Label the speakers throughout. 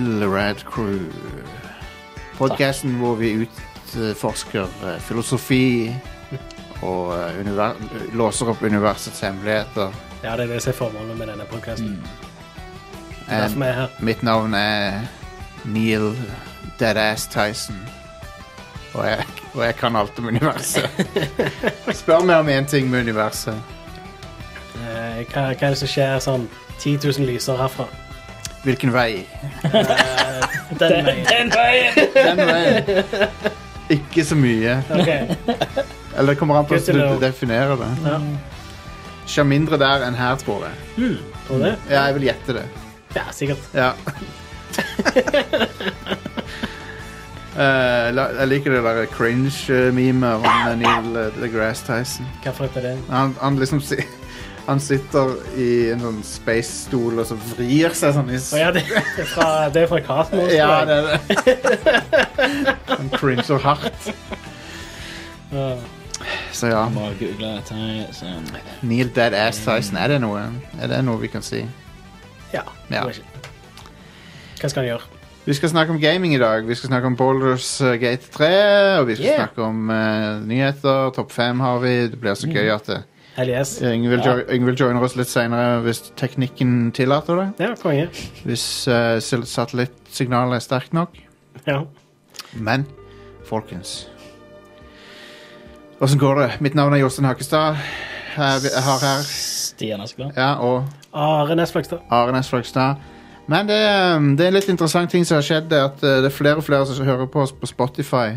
Speaker 1: Mad Crew. Podkasten hvor vi utforsker eh, filosofi og eh, univer låser opp universets hemmeligheter.
Speaker 2: Ja, det er det som er formålet med denne
Speaker 1: Mm.
Speaker 2: podkasten. Det er
Speaker 1: Eh,
Speaker 2: derfor vi er her.
Speaker 1: Mitt navn er Neil Deadass Tyson. Og jeg, og jeg kan alt om universet. Spør meg om én ting med universet.
Speaker 2: Eh, Hva, hva er det som skjer sånn 10 000 lyser herfra?
Speaker 1: Hvilken vei?
Speaker 2: Den veien.
Speaker 3: Den veien!
Speaker 1: Den veien. Ikke så mye.
Speaker 2: Ok,
Speaker 1: Eller det kommer an på
Speaker 2: Good to
Speaker 1: hvordan
Speaker 2: know.
Speaker 1: du definerer det.
Speaker 2: ja.
Speaker 1: Ikke mindre der enn her, tror jeg.
Speaker 2: Tror du det?
Speaker 1: Ja, jeg vil gjette det.
Speaker 2: Ja, sikkert.
Speaker 1: Ja. Eh, la, jeg liker det der cringe-memet om eh, Neil eh, deGrasse Tyson.
Speaker 2: Hva for et er det?
Speaker 1: Han, han liksom si, Han sitter i en sånn space-stol og så vrir seg sånn i s-
Speaker 2: Å ja, det det er fra, det er fra Cosmos.
Speaker 1: Ja,
Speaker 2: tror jeg.
Speaker 1: det er det. Han cringer hardt.
Speaker 2: Ja.
Speaker 1: Så ja.
Speaker 3: Må google Tyson.
Speaker 1: Neil Dead Ass Tyson, er det noe? Er det noe vi kan si?
Speaker 2: Ja.
Speaker 1: Ja.
Speaker 2: det var ikke- Hva skal han gjøre?
Speaker 1: Vi skal snakke om gaming i dag. Vi skal snakke om Boulders eh, Gate 3. Og vi skal
Speaker 2: Yeah.
Speaker 1: snakke om eh, nyheter. Topp fem har vi. Det blir så gøy at det.
Speaker 2: Hell yes.
Speaker 1: Yngvild
Speaker 3: Ja.
Speaker 1: jo Yngvild joiner oss litt seinere hvis teknikken tillater det.
Speaker 2: Ja, konge.
Speaker 1: Hvis eh, sil- satellittsignalet er sterkt nok.
Speaker 2: Ja.
Speaker 1: Men folkens Åssen går det? Mitt navn er Jostein Hakkestad. Jeg vi- jeg har her
Speaker 3: Stian Askeland.
Speaker 1: Ja, og
Speaker 2: Are Nesfløgstad.
Speaker 1: Are Næss Fløgstad. Men det, um, det er en litt interessant ting som har skjedd. Det er at uh, det er flere og flere som hører på oss på Spotify.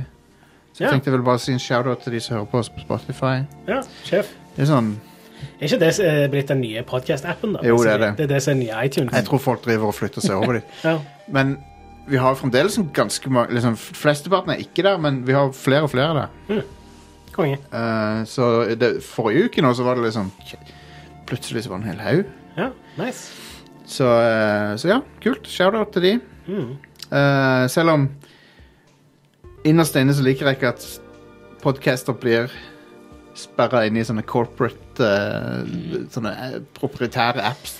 Speaker 1: Så jeg
Speaker 2: Ja.
Speaker 1: tenkte jeg ville bare si en shout-out til de som hører på oss på Spotify.
Speaker 2: Ja, sjef.
Speaker 1: Det er sånn,
Speaker 2: Er ikke det som er blitt den nye podcast-appen? da? Altså,
Speaker 1: Jo, det er det.
Speaker 2: Det er det som er nye iTunes.
Speaker 1: Jeg tror folk driver og flytter seg over dit.
Speaker 2: Ja.
Speaker 1: Men vi har fremdeles en ganske mange liksom, Flesteparten er ikke der, men vi har flere og flere der.
Speaker 2: Konge.
Speaker 1: Uh, så det, forrige uke nå så var det liksom Plutselig så var det en hel haug.
Speaker 2: Ja, nice.
Speaker 1: Så, eh, så ja, kult. Shout-out til de.
Speaker 2: Mm.
Speaker 1: Eh, selv om innerst inne så liker jeg ikke at podcaster blir sperra inne i sånne corporate eh, Sånne eh, proprietære apps.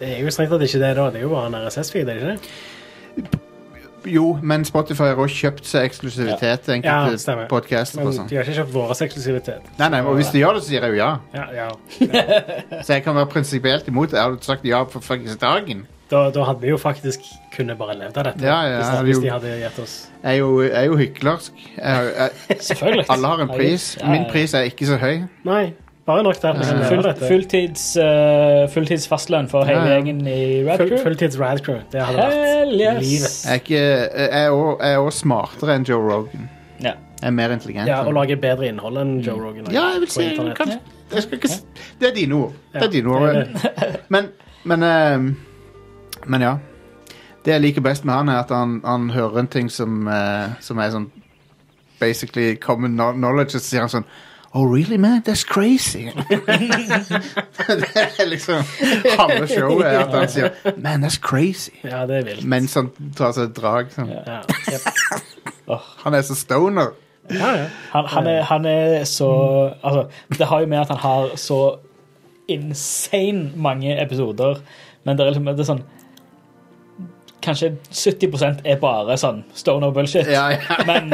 Speaker 2: Det er jo strengt at det ikke det er da. Det er jo bare en RSS-feed, er det ikke det?
Speaker 1: Jo, men Spotify har også kjøpt seg eksklusivitet til
Speaker 2: Ja,
Speaker 1: enkelte
Speaker 2: stemmer.
Speaker 1: podcaster.
Speaker 2: Men
Speaker 1: og sånn.
Speaker 2: de har ikke kjøpt vår eksklusivitet.
Speaker 1: Nei, nei, og hvis de gjør det, så sier jeg jo ja.
Speaker 2: Ja, ja.
Speaker 1: Så jeg kan være prinsipielt imot det. Jeg hadde sagt ja for fuckings dagen.
Speaker 2: Da, da hadde vi jo faktisk kunnet bare levd av dette.
Speaker 1: Ja, ja,
Speaker 2: hvis,
Speaker 1: hadde
Speaker 2: hvis
Speaker 1: jo-
Speaker 2: de hadde gitt oss
Speaker 1: Jeg er jo, jeg er jo hyklersk. Jeg, har- jeg,
Speaker 3: Selvfølgelig.
Speaker 1: alle har en pris.
Speaker 3: Ja, ja.
Speaker 1: Min pris er ikke så høy.
Speaker 2: Nei, bare nok der. vi kan
Speaker 1: Ja.
Speaker 2: leve
Speaker 3: Full,
Speaker 2: av dette.
Speaker 3: fulltids, eh, fulltids fastlønn for hele
Speaker 1: Ja, ja.
Speaker 3: gjengen i Red
Speaker 2: Full,
Speaker 3: Crew.
Speaker 2: fulltids Radcrew. Det hadde vært
Speaker 3: Hell yes!
Speaker 2: livet.
Speaker 1: Jeg er ikke- jeg er også- jeg er òg smartere enn Joe Rogan.
Speaker 3: Ja.
Speaker 1: Jeg er mer intelligent.
Speaker 2: Ja, Å
Speaker 1: enn-
Speaker 2: lage bedre innhold enn Joe Rogan.
Speaker 1: Ja, jeg vil
Speaker 2: på
Speaker 1: si
Speaker 2: internett.
Speaker 1: kanskje, jeg skal ikke, s- Det er dine ord. Det
Speaker 2: Ja,
Speaker 1: er dine ord.
Speaker 2: det
Speaker 1: Men, men, ehm, men ja. Det jeg liker best med han, er at han, han hører en ting som, eh, som er sånn basically common kno- knowledge, og så sier han sånn Oh, really, man? That's crazy. det er liksom halve showet er at han sier Man, that's crazy.
Speaker 2: Ja, det er vilt.
Speaker 1: Mens han tar seg et drag. Sånn.
Speaker 3: Ja.
Speaker 2: Ja, jep.
Speaker 1: Han er så stoner.
Speaker 2: ja, ja.
Speaker 3: Han, han, er, han er så Altså, det har jo med at han har så insane mange episoder, men det er liksom det er sånn Kanskje 70 er bare sånn stoner bullshit.
Speaker 1: Ja, ja.
Speaker 3: Men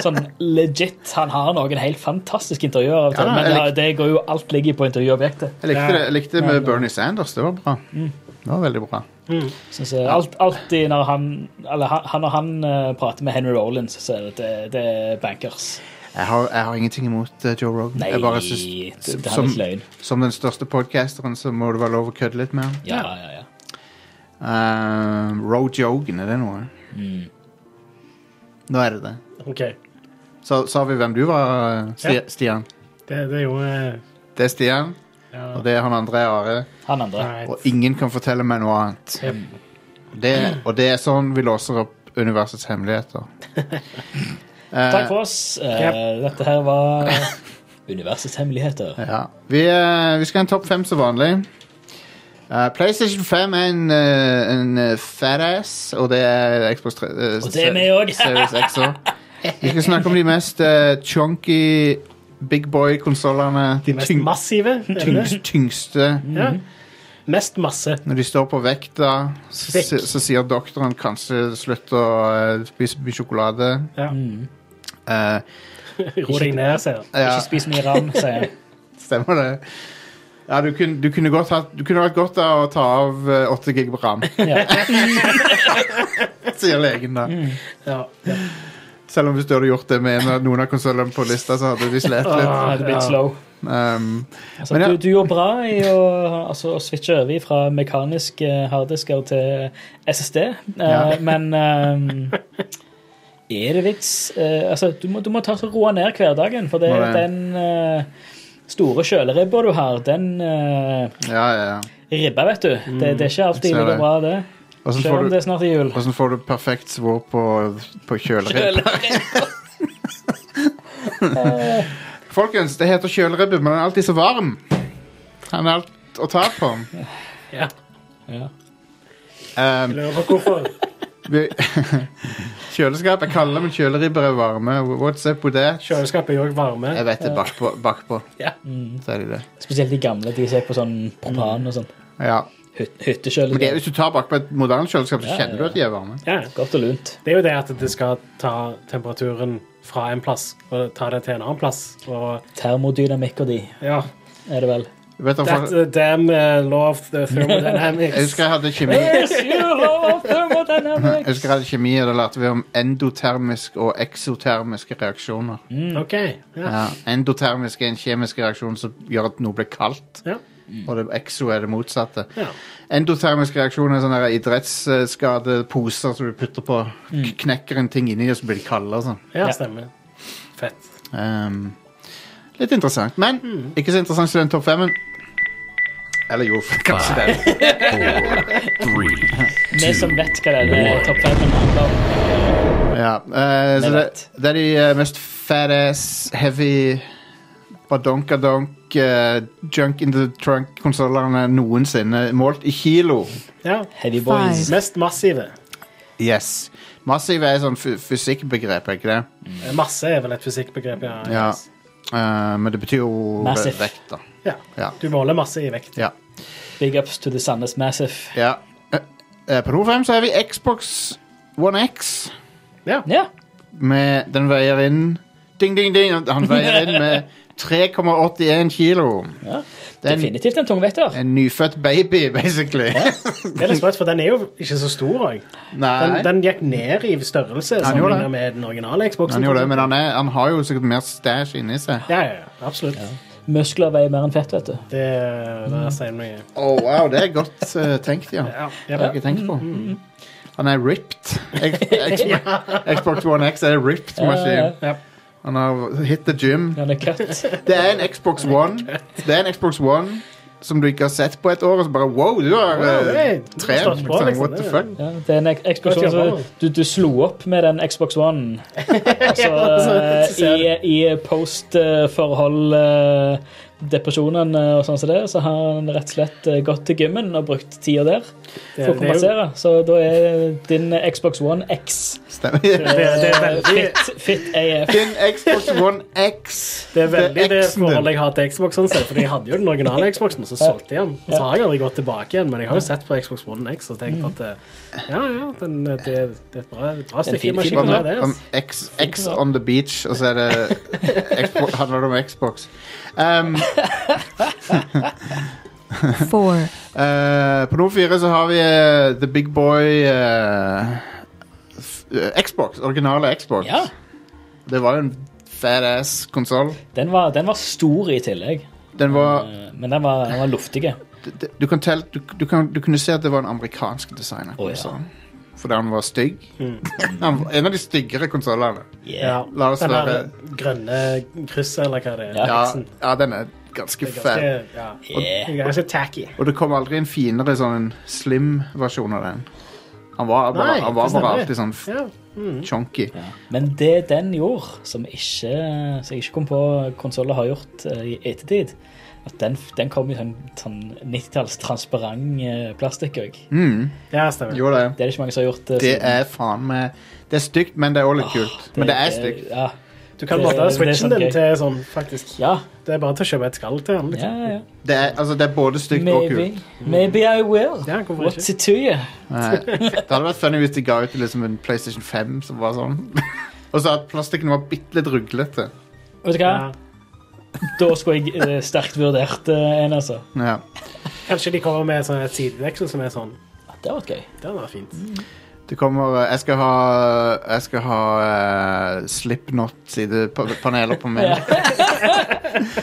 Speaker 3: sånn legit, han har noen helt fantastiske intervjuer. Av
Speaker 1: Ja,
Speaker 3: ja,
Speaker 1: da,
Speaker 3: men det,
Speaker 1: jeg
Speaker 3: det går jo alt ligger på intervjuobjektet.
Speaker 1: Jeg likte
Speaker 2: Ja. Mm.
Speaker 1: det, jeg likte det med Bernie Sanders. Det var bra. Det var veldig bra.
Speaker 3: Synes jeg, alt, alltid når han Eller han, han- når han eh, prater med Henry Rollins, så er det, det, det er bankers.
Speaker 1: Jeg har, jeg har ingenting imot eh, Joe Rogan.
Speaker 3: Nei,
Speaker 1: jeg bare
Speaker 3: det,
Speaker 1: syns,
Speaker 3: det er
Speaker 1: som,
Speaker 3: litt løgn.
Speaker 1: som den største podcasteren så må det være lov å kødde litt med han.
Speaker 3: Ja, ja, ja.
Speaker 1: Eh, Roe Jogan, er det noe?
Speaker 2: Mm.
Speaker 1: Nå er det det.
Speaker 2: OK.
Speaker 1: Så sa vi hvem du var, eh, Sti
Speaker 2: Ja.
Speaker 1: Stian.
Speaker 2: Det, det er jo eh,
Speaker 1: Det er Stian,
Speaker 2: ja.
Speaker 1: og det er han andre er Are.
Speaker 3: Han andre.
Speaker 2: Nei,
Speaker 1: Og ingen kan fortelle meg noe annet.
Speaker 2: Jep.
Speaker 1: Det, og det er sånn vi låser opp universets hemmeligheter. Eh,
Speaker 3: Takk for oss. Eh,
Speaker 2: Yep.
Speaker 3: Dette her var universets hemmeligheter.
Speaker 1: Ja. Vi, eh, vi skal ha en topp fem som vanlig. Eh, PlayStation 5 er en, uh, en eh, fat ass, og det er Xbox 3, eh,
Speaker 3: Og det er vi òg.
Speaker 1: Series X også. Vi skal snakke om de mest eh, chunky big boy-konsollene.
Speaker 2: de mest massive. er det det?
Speaker 1: tyngste.
Speaker 2: Ja. Mest masse.
Speaker 1: Når de står på vekta, så,
Speaker 2: Vekt.
Speaker 1: si- så sier doktoren kanskje slutt å eh, spise mye sjokolade.
Speaker 2: Ja.
Speaker 4: Mm.
Speaker 1: Eh,
Speaker 2: Ro deg ned, sier han.
Speaker 1: ja,
Speaker 4: Ikke spis mye ram, sier jeg.
Speaker 1: stemmer det. Ja, du kunne, du kunne, godt hatt, du kunne hatt godt av å ta av eh, 8 gig ram,
Speaker 4: Ja.
Speaker 1: sier legen da.
Speaker 2: Ja. Ja.
Speaker 1: Selv om hvis du hadde gjort det med en av, noen av konsollene på lista, så hadde de slet litt.
Speaker 4: Det hadde blitt
Speaker 2: Ja.
Speaker 4: slow.
Speaker 1: Um,
Speaker 4: Altså,
Speaker 1: Men ja.
Speaker 4: du, du gjorde bra i å, altså, å switche over fra mekanisk eh, harddisker til SSD, eh,
Speaker 1: Ja.
Speaker 4: men eh, er det vits? Eh, altså, du må, du må ta så roe ned hverdagen, for det,
Speaker 1: Må det.
Speaker 4: den eh, store kjøleribba du har, den eh,
Speaker 1: ja, ja, ja.
Speaker 4: ribba, vet du. Det, det er ikke alltid
Speaker 1: Mm. Ser
Speaker 4: like
Speaker 1: det.
Speaker 4: bra, det.
Speaker 1: Hvordan
Speaker 4: Selv
Speaker 1: får
Speaker 4: om
Speaker 1: du,
Speaker 4: det er snart er jul.
Speaker 1: hvordan får du perfekt svor på, på kjøleribbe? Folkens, det heter kjøleribbe, men den er alltid så varm. Den er alt å ta på.
Speaker 2: Ja.
Speaker 4: Ja.
Speaker 1: Um,
Speaker 2: Jeg lurer på hvorfor.
Speaker 1: vi, kjøleskap er kalde, men kjøleribber er varme. What's up with that?
Speaker 2: Kjøleskapet er jo også varme.
Speaker 1: Jeg vet det, bakpå, bakpå
Speaker 2: Ja.
Speaker 4: Mm.
Speaker 1: så er det det.
Speaker 4: Spesielt de gamle, de som er på sånn propan og sånn.
Speaker 1: Ja.
Speaker 4: Hyt-
Speaker 1: Mm. Men det,
Speaker 4: Hyttekjøler.
Speaker 1: hvis du tar bakpå et moderne kjøleskap,
Speaker 4: Ja,
Speaker 1: så
Speaker 4: ja,
Speaker 1: kjenner du at de er varme.
Speaker 2: ja.
Speaker 4: Godt og lunt.
Speaker 2: Det er jo det at det skal ta temperaturen fra en plass og ta det til en annen plass. Og
Speaker 4: Termodynamikk og de,
Speaker 2: ja
Speaker 4: er det vel.
Speaker 1: Vet du,
Speaker 2: That's
Speaker 1: for,
Speaker 2: a damn uh, law of the thermodynamics.
Speaker 1: jeg husker jeg hadde kjemi.
Speaker 4: Yes, you love thermodynamics.
Speaker 1: Jeg husker jeg hadde kjemi, og da lærte vi om endotermisk og eksotermiske reaksjoner.
Speaker 2: OK. Ja.
Speaker 1: Ja. Endotermisk er en kjemisk reaksjon som gjør at noe blir kaldt,
Speaker 2: Ja.
Speaker 1: og det, exo er det motsatte.
Speaker 2: Ja.
Speaker 1: Endotermisk reaksjon er sånne der idrettsskadeposer som du putter på, k- knekker en ting inni, og så blir de kalde og sånn.
Speaker 2: ja,
Speaker 4: Ja.
Speaker 2: stemmer. Fett.
Speaker 1: Ehm, litt interessant, men
Speaker 2: Mm.
Speaker 1: ikke så interessant som den topp femmen. Eller jo, kanskje den.
Speaker 5: three,
Speaker 4: Vi som vet hva det er topp fem handler om.
Speaker 1: Ja, eh, så
Speaker 4: Men
Speaker 1: det,
Speaker 4: rett.
Speaker 1: det er de eh, mest fat-ass, heavy badonkadonk, eh, junk in the trunk-konsollene noensinne, målt i kilo.
Speaker 2: Ja.
Speaker 4: Heavy boys.
Speaker 2: Mest massive.
Speaker 1: Yes. Massive er sånn fy- fysikkbegrep, er ikke det?
Speaker 2: Eh, Masse er vel et fysikkbegrep, ja.
Speaker 1: Ja. Eh, men det betyr jo
Speaker 4: Massive.
Speaker 1: vekt, da.
Speaker 2: ja.
Speaker 1: Ja.
Speaker 2: Du måler masse i vekt.
Speaker 1: ja.
Speaker 4: Big ups to the Sandnes Massive.
Speaker 1: ja. Eh, eh, på nummer fem så har vi Xbox One X.
Speaker 2: Ja.
Speaker 4: Ja.
Speaker 1: Med, den veier inn Ding, ding, ding! Han veier inn med 3,81 kilo.
Speaker 4: ja.
Speaker 1: Det er en,
Speaker 4: Definitivt en tungvekter.
Speaker 1: en nyfødt baby, basically.
Speaker 2: Det er litt sprøtt, for den er jo ikke så stor òg. Den,
Speaker 1: Nei.
Speaker 2: den gikk ned i størrelse
Speaker 1: Han gjorde det.
Speaker 2: sammenlignet med den originale Xboxen.
Speaker 1: Han gjorde det, men han, er, han har jo sikkert mer stæsj inni seg.
Speaker 2: Ja, ja, ja, absolutt.
Speaker 4: Muskler veier mer enn fett, vet du.
Speaker 2: Det, det sier mye.
Speaker 1: Oh, wow, det er godt eh, tenkt, ja. Det har
Speaker 2: Ja, ja.
Speaker 1: jeg ikke tenkt på.
Speaker 2: mm,
Speaker 1: Han er ripped. X- X- Xbox One X er en ripped maskin.
Speaker 2: ja.
Speaker 1: Han har hit the gym.
Speaker 4: Den er cut.
Speaker 1: Det er en Xbox One Det er en Xbox One som du ikke har sett på et år, og så bare wow, du har
Speaker 2: Wow, hey,
Speaker 1: eh,
Speaker 2: du har
Speaker 1: trent.
Speaker 2: stått på,
Speaker 1: liksom.
Speaker 2: liksom,
Speaker 1: What the
Speaker 2: det er-
Speaker 1: fuck?
Speaker 4: Ja, det er en Xbox
Speaker 2: Godt jobba,
Speaker 4: One.
Speaker 2: da.
Speaker 4: Du, du slo opp med den Xbox One. Altså,
Speaker 2: Ja, så- så ser
Speaker 4: I i post-forhold eh, Depresjonen eh, og sånn som det, så har han rett og slett eh, gått til gymmen og brukt tida der
Speaker 2: Det, det, er
Speaker 4: for å
Speaker 2: jo,
Speaker 4: kompensere. Så da er din Xbox One X eh,
Speaker 1: Stemmer.
Speaker 2: det, det er veldig
Speaker 4: Fit, fit AF.
Speaker 1: Din Xbox One X.
Speaker 2: det er veldig det
Speaker 1: X-en din.
Speaker 2: forholdet jeg har til Xboxen selv, for jeg hadde jo den originale Xboxen, og så solgte jeg den. Og så har jeg aldri gått tilbake igjen, men jeg har jo sett på Xbox One X og tenkt at eh, ja, ja, den, det, det er et bra, et bra
Speaker 4: fin-
Speaker 2: stykke
Speaker 4: fin
Speaker 2: maskin.
Speaker 1: Hva
Speaker 2: det
Speaker 1: med
Speaker 2: er det,
Speaker 1: om
Speaker 2: altså.
Speaker 1: X, X on the beach, og så er det Xbox, handler det om Xbox. Um,
Speaker 6: four,
Speaker 1: eh, på nummer fire så har vi eh, The Big Boy eh, f- eh, Xbox. Originale Xbox.
Speaker 4: Ja,
Speaker 1: Det var jo en fat-ass konsoll.
Speaker 4: den var, den var stor i tillegg,
Speaker 1: Den var
Speaker 4: eh, men den var, den var luftig.
Speaker 1: d- d- Du kan telle du, du, kan, du kunne se at det var en amerikansk designer.
Speaker 4: Å, ja.
Speaker 1: Fordi han var stygg. Han var en av de styggere konsollene.
Speaker 2: Ja,
Speaker 1: La oss
Speaker 2: den
Speaker 1: være-
Speaker 2: der grønne krysset, eller hva det er.
Speaker 1: Ja,
Speaker 2: Xen.
Speaker 1: ja, den er ganske
Speaker 2: Det er
Speaker 1: fat.
Speaker 2: ganske- ja.
Speaker 4: Yeah.
Speaker 2: Det er Ganske tacky.
Speaker 1: Og det kom aldri en finere sånn slim-versjon av den. Han var bare,
Speaker 2: Nei,
Speaker 1: han var
Speaker 2: det
Speaker 1: bare
Speaker 2: stemmer.
Speaker 1: alltid sånn f-
Speaker 2: Ja.
Speaker 1: chonky.
Speaker 4: Men det den gjorde, som ikke, som jeg ikke kom på konsoller har gjort eh, i ettertid at Den, den kom i sånn, sånn 90-talls transparent eh, plastikk òg.
Speaker 1: Mm,
Speaker 2: ja, stemmer.
Speaker 1: jo, det.
Speaker 4: Det er det ikke mange som har gjort. eh,
Speaker 1: Det
Speaker 4: siden.
Speaker 2: Ah,
Speaker 1: er faen meg Det er stygt, men det er også litt kult. Men det er stygt.
Speaker 4: Ja.
Speaker 2: Du kan
Speaker 3: Det-
Speaker 2: bare
Speaker 3: det er
Speaker 2: switchen
Speaker 3: sånn
Speaker 2: din
Speaker 3: gøy.
Speaker 2: til sånn faktisk
Speaker 3: Ja,
Speaker 2: Det er bare til å kjøpe et skall til han.
Speaker 3: ja,
Speaker 2: Liksom.
Speaker 3: ja.
Speaker 1: Det er, altså, det er både stygt og
Speaker 3: Maybe.
Speaker 1: kult.
Speaker 3: Maybe I will.
Speaker 2: Ja, hvorfor
Speaker 3: What's
Speaker 2: ikke?
Speaker 3: it to you?
Speaker 1: Nei. Det hadde vært funny hvis de ga ut liksom, en PlayStation 5 som var sånn. og så at plastikken var bitte litt ruglete.
Speaker 3: Vet du hva?
Speaker 2: Ja.
Speaker 3: Da skulle jeg eh, sterkt vurdert eh, en, altså.
Speaker 1: Ja.
Speaker 2: Kanskje de kommer med sånn et sideveksel som er sånn.
Speaker 3: Det var gøy.
Speaker 2: Det hadde vært fint.
Speaker 1: Det kommer Jeg skal ha, jeg skal ha eh, Slipknot-sidepaneler på min.
Speaker 3: Ja.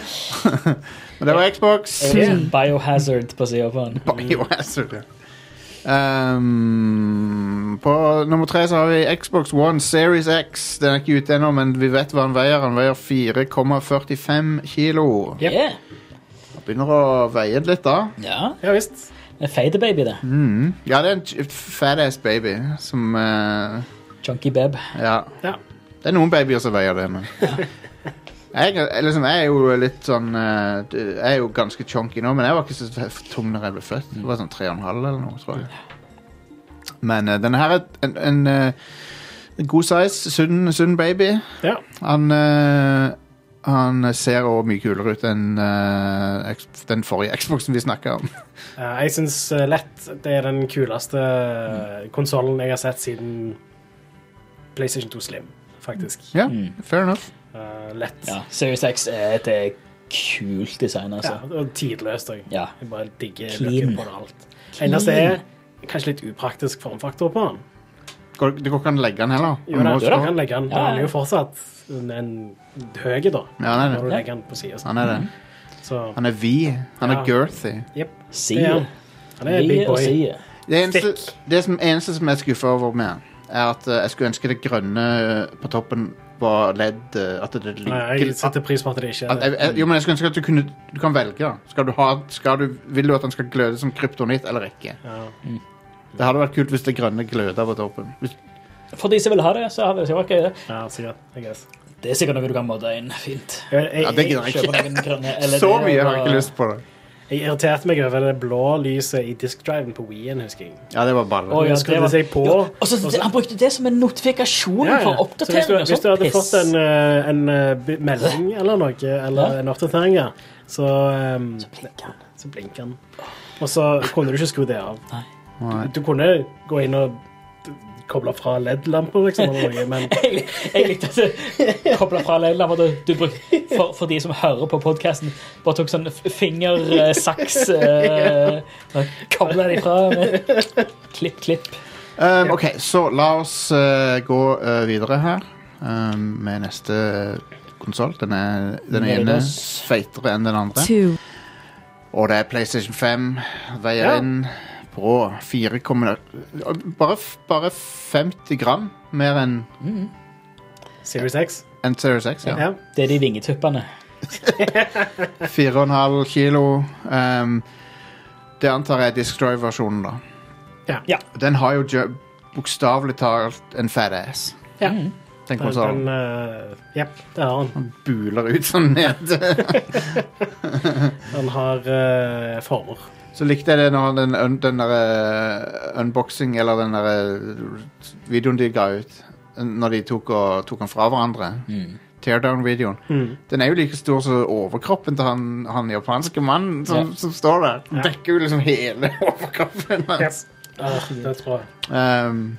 Speaker 1: Men det var Xbox.
Speaker 3: Jeg var sånn Biohazard på sida på den.
Speaker 1: Biohazard. ja. Ehm, på nummer tre så har vi Xbox One Series X. Den er ikke ute ennå, men vi vet hva den veier. Den veier 4,45 kilo.
Speaker 2: Yep.
Speaker 3: Yeah.
Speaker 1: Den begynner å veie litt, da.
Speaker 3: Ja.
Speaker 2: Ja visst.
Speaker 3: En faderbaby, det.
Speaker 2: Mm.
Speaker 1: Mhm. Ja, det er en t- fatass baby som eh,
Speaker 3: Chunky bab.
Speaker 1: Ja.
Speaker 2: Ja.
Speaker 1: Det er noen babyer som veier det, men jeg, er- liksom, jeg er jo litt sånn eh, du- Jeg er jo ganske chunky nå, men jeg var ikke så f- tung når jeg ble født. Jeg var sånn tre og en halv eller noe, tror jeg. Men eh, denne her er en, en, eh, en god size, sunn, sunn baby.
Speaker 2: Ja.
Speaker 1: Han, eh, han ser også mye kulere ut enn eh, X- den forrige Xboxen vi snakka om.
Speaker 2: Eh, Jeg syns lett det er den kuleste eh, konsollen jeg har sett siden PlayStation 2 Slim, faktisk.
Speaker 1: Ja,
Speaker 3: Mm.
Speaker 1: fair enough.
Speaker 2: Eh, lett.
Speaker 3: Ja. Series X er et eh, kult design,
Speaker 2: Ja,
Speaker 3: altså.
Speaker 2: og tidløst òg.
Speaker 3: Ja.
Speaker 2: Jeg bare digger
Speaker 3: Clean.
Speaker 2: løkken på det alt. Eneste er kanskje litt upraktisk formfaktor på den.
Speaker 1: Går, det går ikke an å legge den heller.
Speaker 2: Jo,
Speaker 1: Han
Speaker 2: da,
Speaker 1: må
Speaker 2: jo da,
Speaker 1: stå-
Speaker 2: kan legge den. men
Speaker 3: Ja, ja.
Speaker 2: Han er jo fortsatt en, en høy, da.
Speaker 1: Ja, han er
Speaker 2: Når
Speaker 1: det.
Speaker 2: du legger den på sida.
Speaker 1: Han er det.
Speaker 2: Så
Speaker 1: Han er vid. Han er
Speaker 2: Ja.
Speaker 1: girthy.
Speaker 2: jepp.
Speaker 3: Side.
Speaker 2: Ja. Han er big boy.
Speaker 3: Side.
Speaker 1: Det eneste,
Speaker 2: Stikk.
Speaker 1: det som, eneste som jeg er skuffa over med, han, er at eh, jeg skulle ønske det grønne eh, på toppen var ledd eh, At det
Speaker 2: Nei,
Speaker 1: liker
Speaker 2: jeg setter pris på at det ikke
Speaker 1: at,
Speaker 2: er det.
Speaker 1: jeg, jeg, Jo, men jeg skulle ønske at du kunne Du kan velge. da. Skal du ha, skal du, vil du at den skal gløde som kryptonitt eller ikke?
Speaker 2: Ja.
Speaker 1: Det hadde vært kult hvis det grønne gløda på toppen. Hvis,
Speaker 3: For de som vil ha det, så har det sikkert vært gøy. det.
Speaker 2: Ja, sikkert. I guess.
Speaker 3: Det er sikkert noe du kan modde inn. Fint.
Speaker 2: Jeg, jeg,
Speaker 1: ja, det
Speaker 2: jeg,
Speaker 1: gidder jeg
Speaker 3: Kjøpe
Speaker 1: ikke.
Speaker 3: noen grønne LED-er
Speaker 1: Så mye har jeg
Speaker 3: og-
Speaker 1: ikke lyst på det.
Speaker 2: jeg irriterte meg over det blå lyset i diskdriven på Wien, husker jeg.
Speaker 1: Ja, det var
Speaker 3: Å,
Speaker 1: balle.
Speaker 3: ja,
Speaker 2: Jeg
Speaker 3: det
Speaker 2: skrudde
Speaker 3: var-
Speaker 2: seg på.
Speaker 3: Ja, og så-
Speaker 2: og så-
Speaker 3: han brukte det som en notifikasjon
Speaker 2: Ja,
Speaker 3: for
Speaker 2: ja. Så hvis du,
Speaker 3: oppdatering. og
Speaker 2: hvis du
Speaker 3: sånn
Speaker 2: hadde
Speaker 3: piss.
Speaker 2: fått en, eh, en eh, b- melding eller noe, eller
Speaker 3: Ja.
Speaker 2: en oppdatering, ja, så, ehm,
Speaker 3: Blinker han.
Speaker 2: så blinker den. Og så kunne du ikke skru det av.
Speaker 3: Nei.
Speaker 1: Nei.
Speaker 2: Du kunne gå inn og d- koble fra LED-lamper, liksom, eller noe, men
Speaker 3: Jeg, jeg likte at du kobla fra Leila. Du, du bruk, for, for de som hører på podkasten, bare tok sånn f- fingersaks eh, og Kobla de fra med klipp, klipp.
Speaker 1: Um, ok, så la oss eh, gå eh, videre her um, med neste konsoll. Den, er- den ene
Speaker 3: Nerdos.
Speaker 1: feitere enn den andre.
Speaker 7: two,
Speaker 1: Og det er PlayStation 5. Veier
Speaker 2: Ja.
Speaker 1: inn på 4, bare, f- bare 50 gram mer enn
Speaker 2: Series X
Speaker 1: enn Series X.
Speaker 2: ja.
Speaker 1: Ja.
Speaker 3: Det er de vingetuppene.
Speaker 1: 4,5 kilo. Um, det antar jeg er Destroy-versjonen, da.
Speaker 2: Ja.
Speaker 3: Ja.
Speaker 1: Den har jo jo- bokstavelig talt en fat ass.
Speaker 2: Ja.
Speaker 1: Den
Speaker 2: Den, den,
Speaker 1: konsollen
Speaker 2: eh, ja, det har han.
Speaker 3: Mm.
Speaker 1: buler ut sånn ned.
Speaker 2: Han har eh, former.
Speaker 1: Så likte jeg det når den, un- den der eh, unboxing, eller den der eh, videoen de ga ut, når de tok, og, tok den fra hverandre.
Speaker 4: Mm.
Speaker 1: Teardown-videoen.
Speaker 2: Mm.
Speaker 1: Den er jo like stor som overkroppen til han, han japanske mannen som,
Speaker 3: Ja.
Speaker 1: som står der. Den
Speaker 2: Ja.
Speaker 1: dekker jo liksom hele overkroppen hans.
Speaker 2: Ah, det tror jeg.
Speaker 1: Um,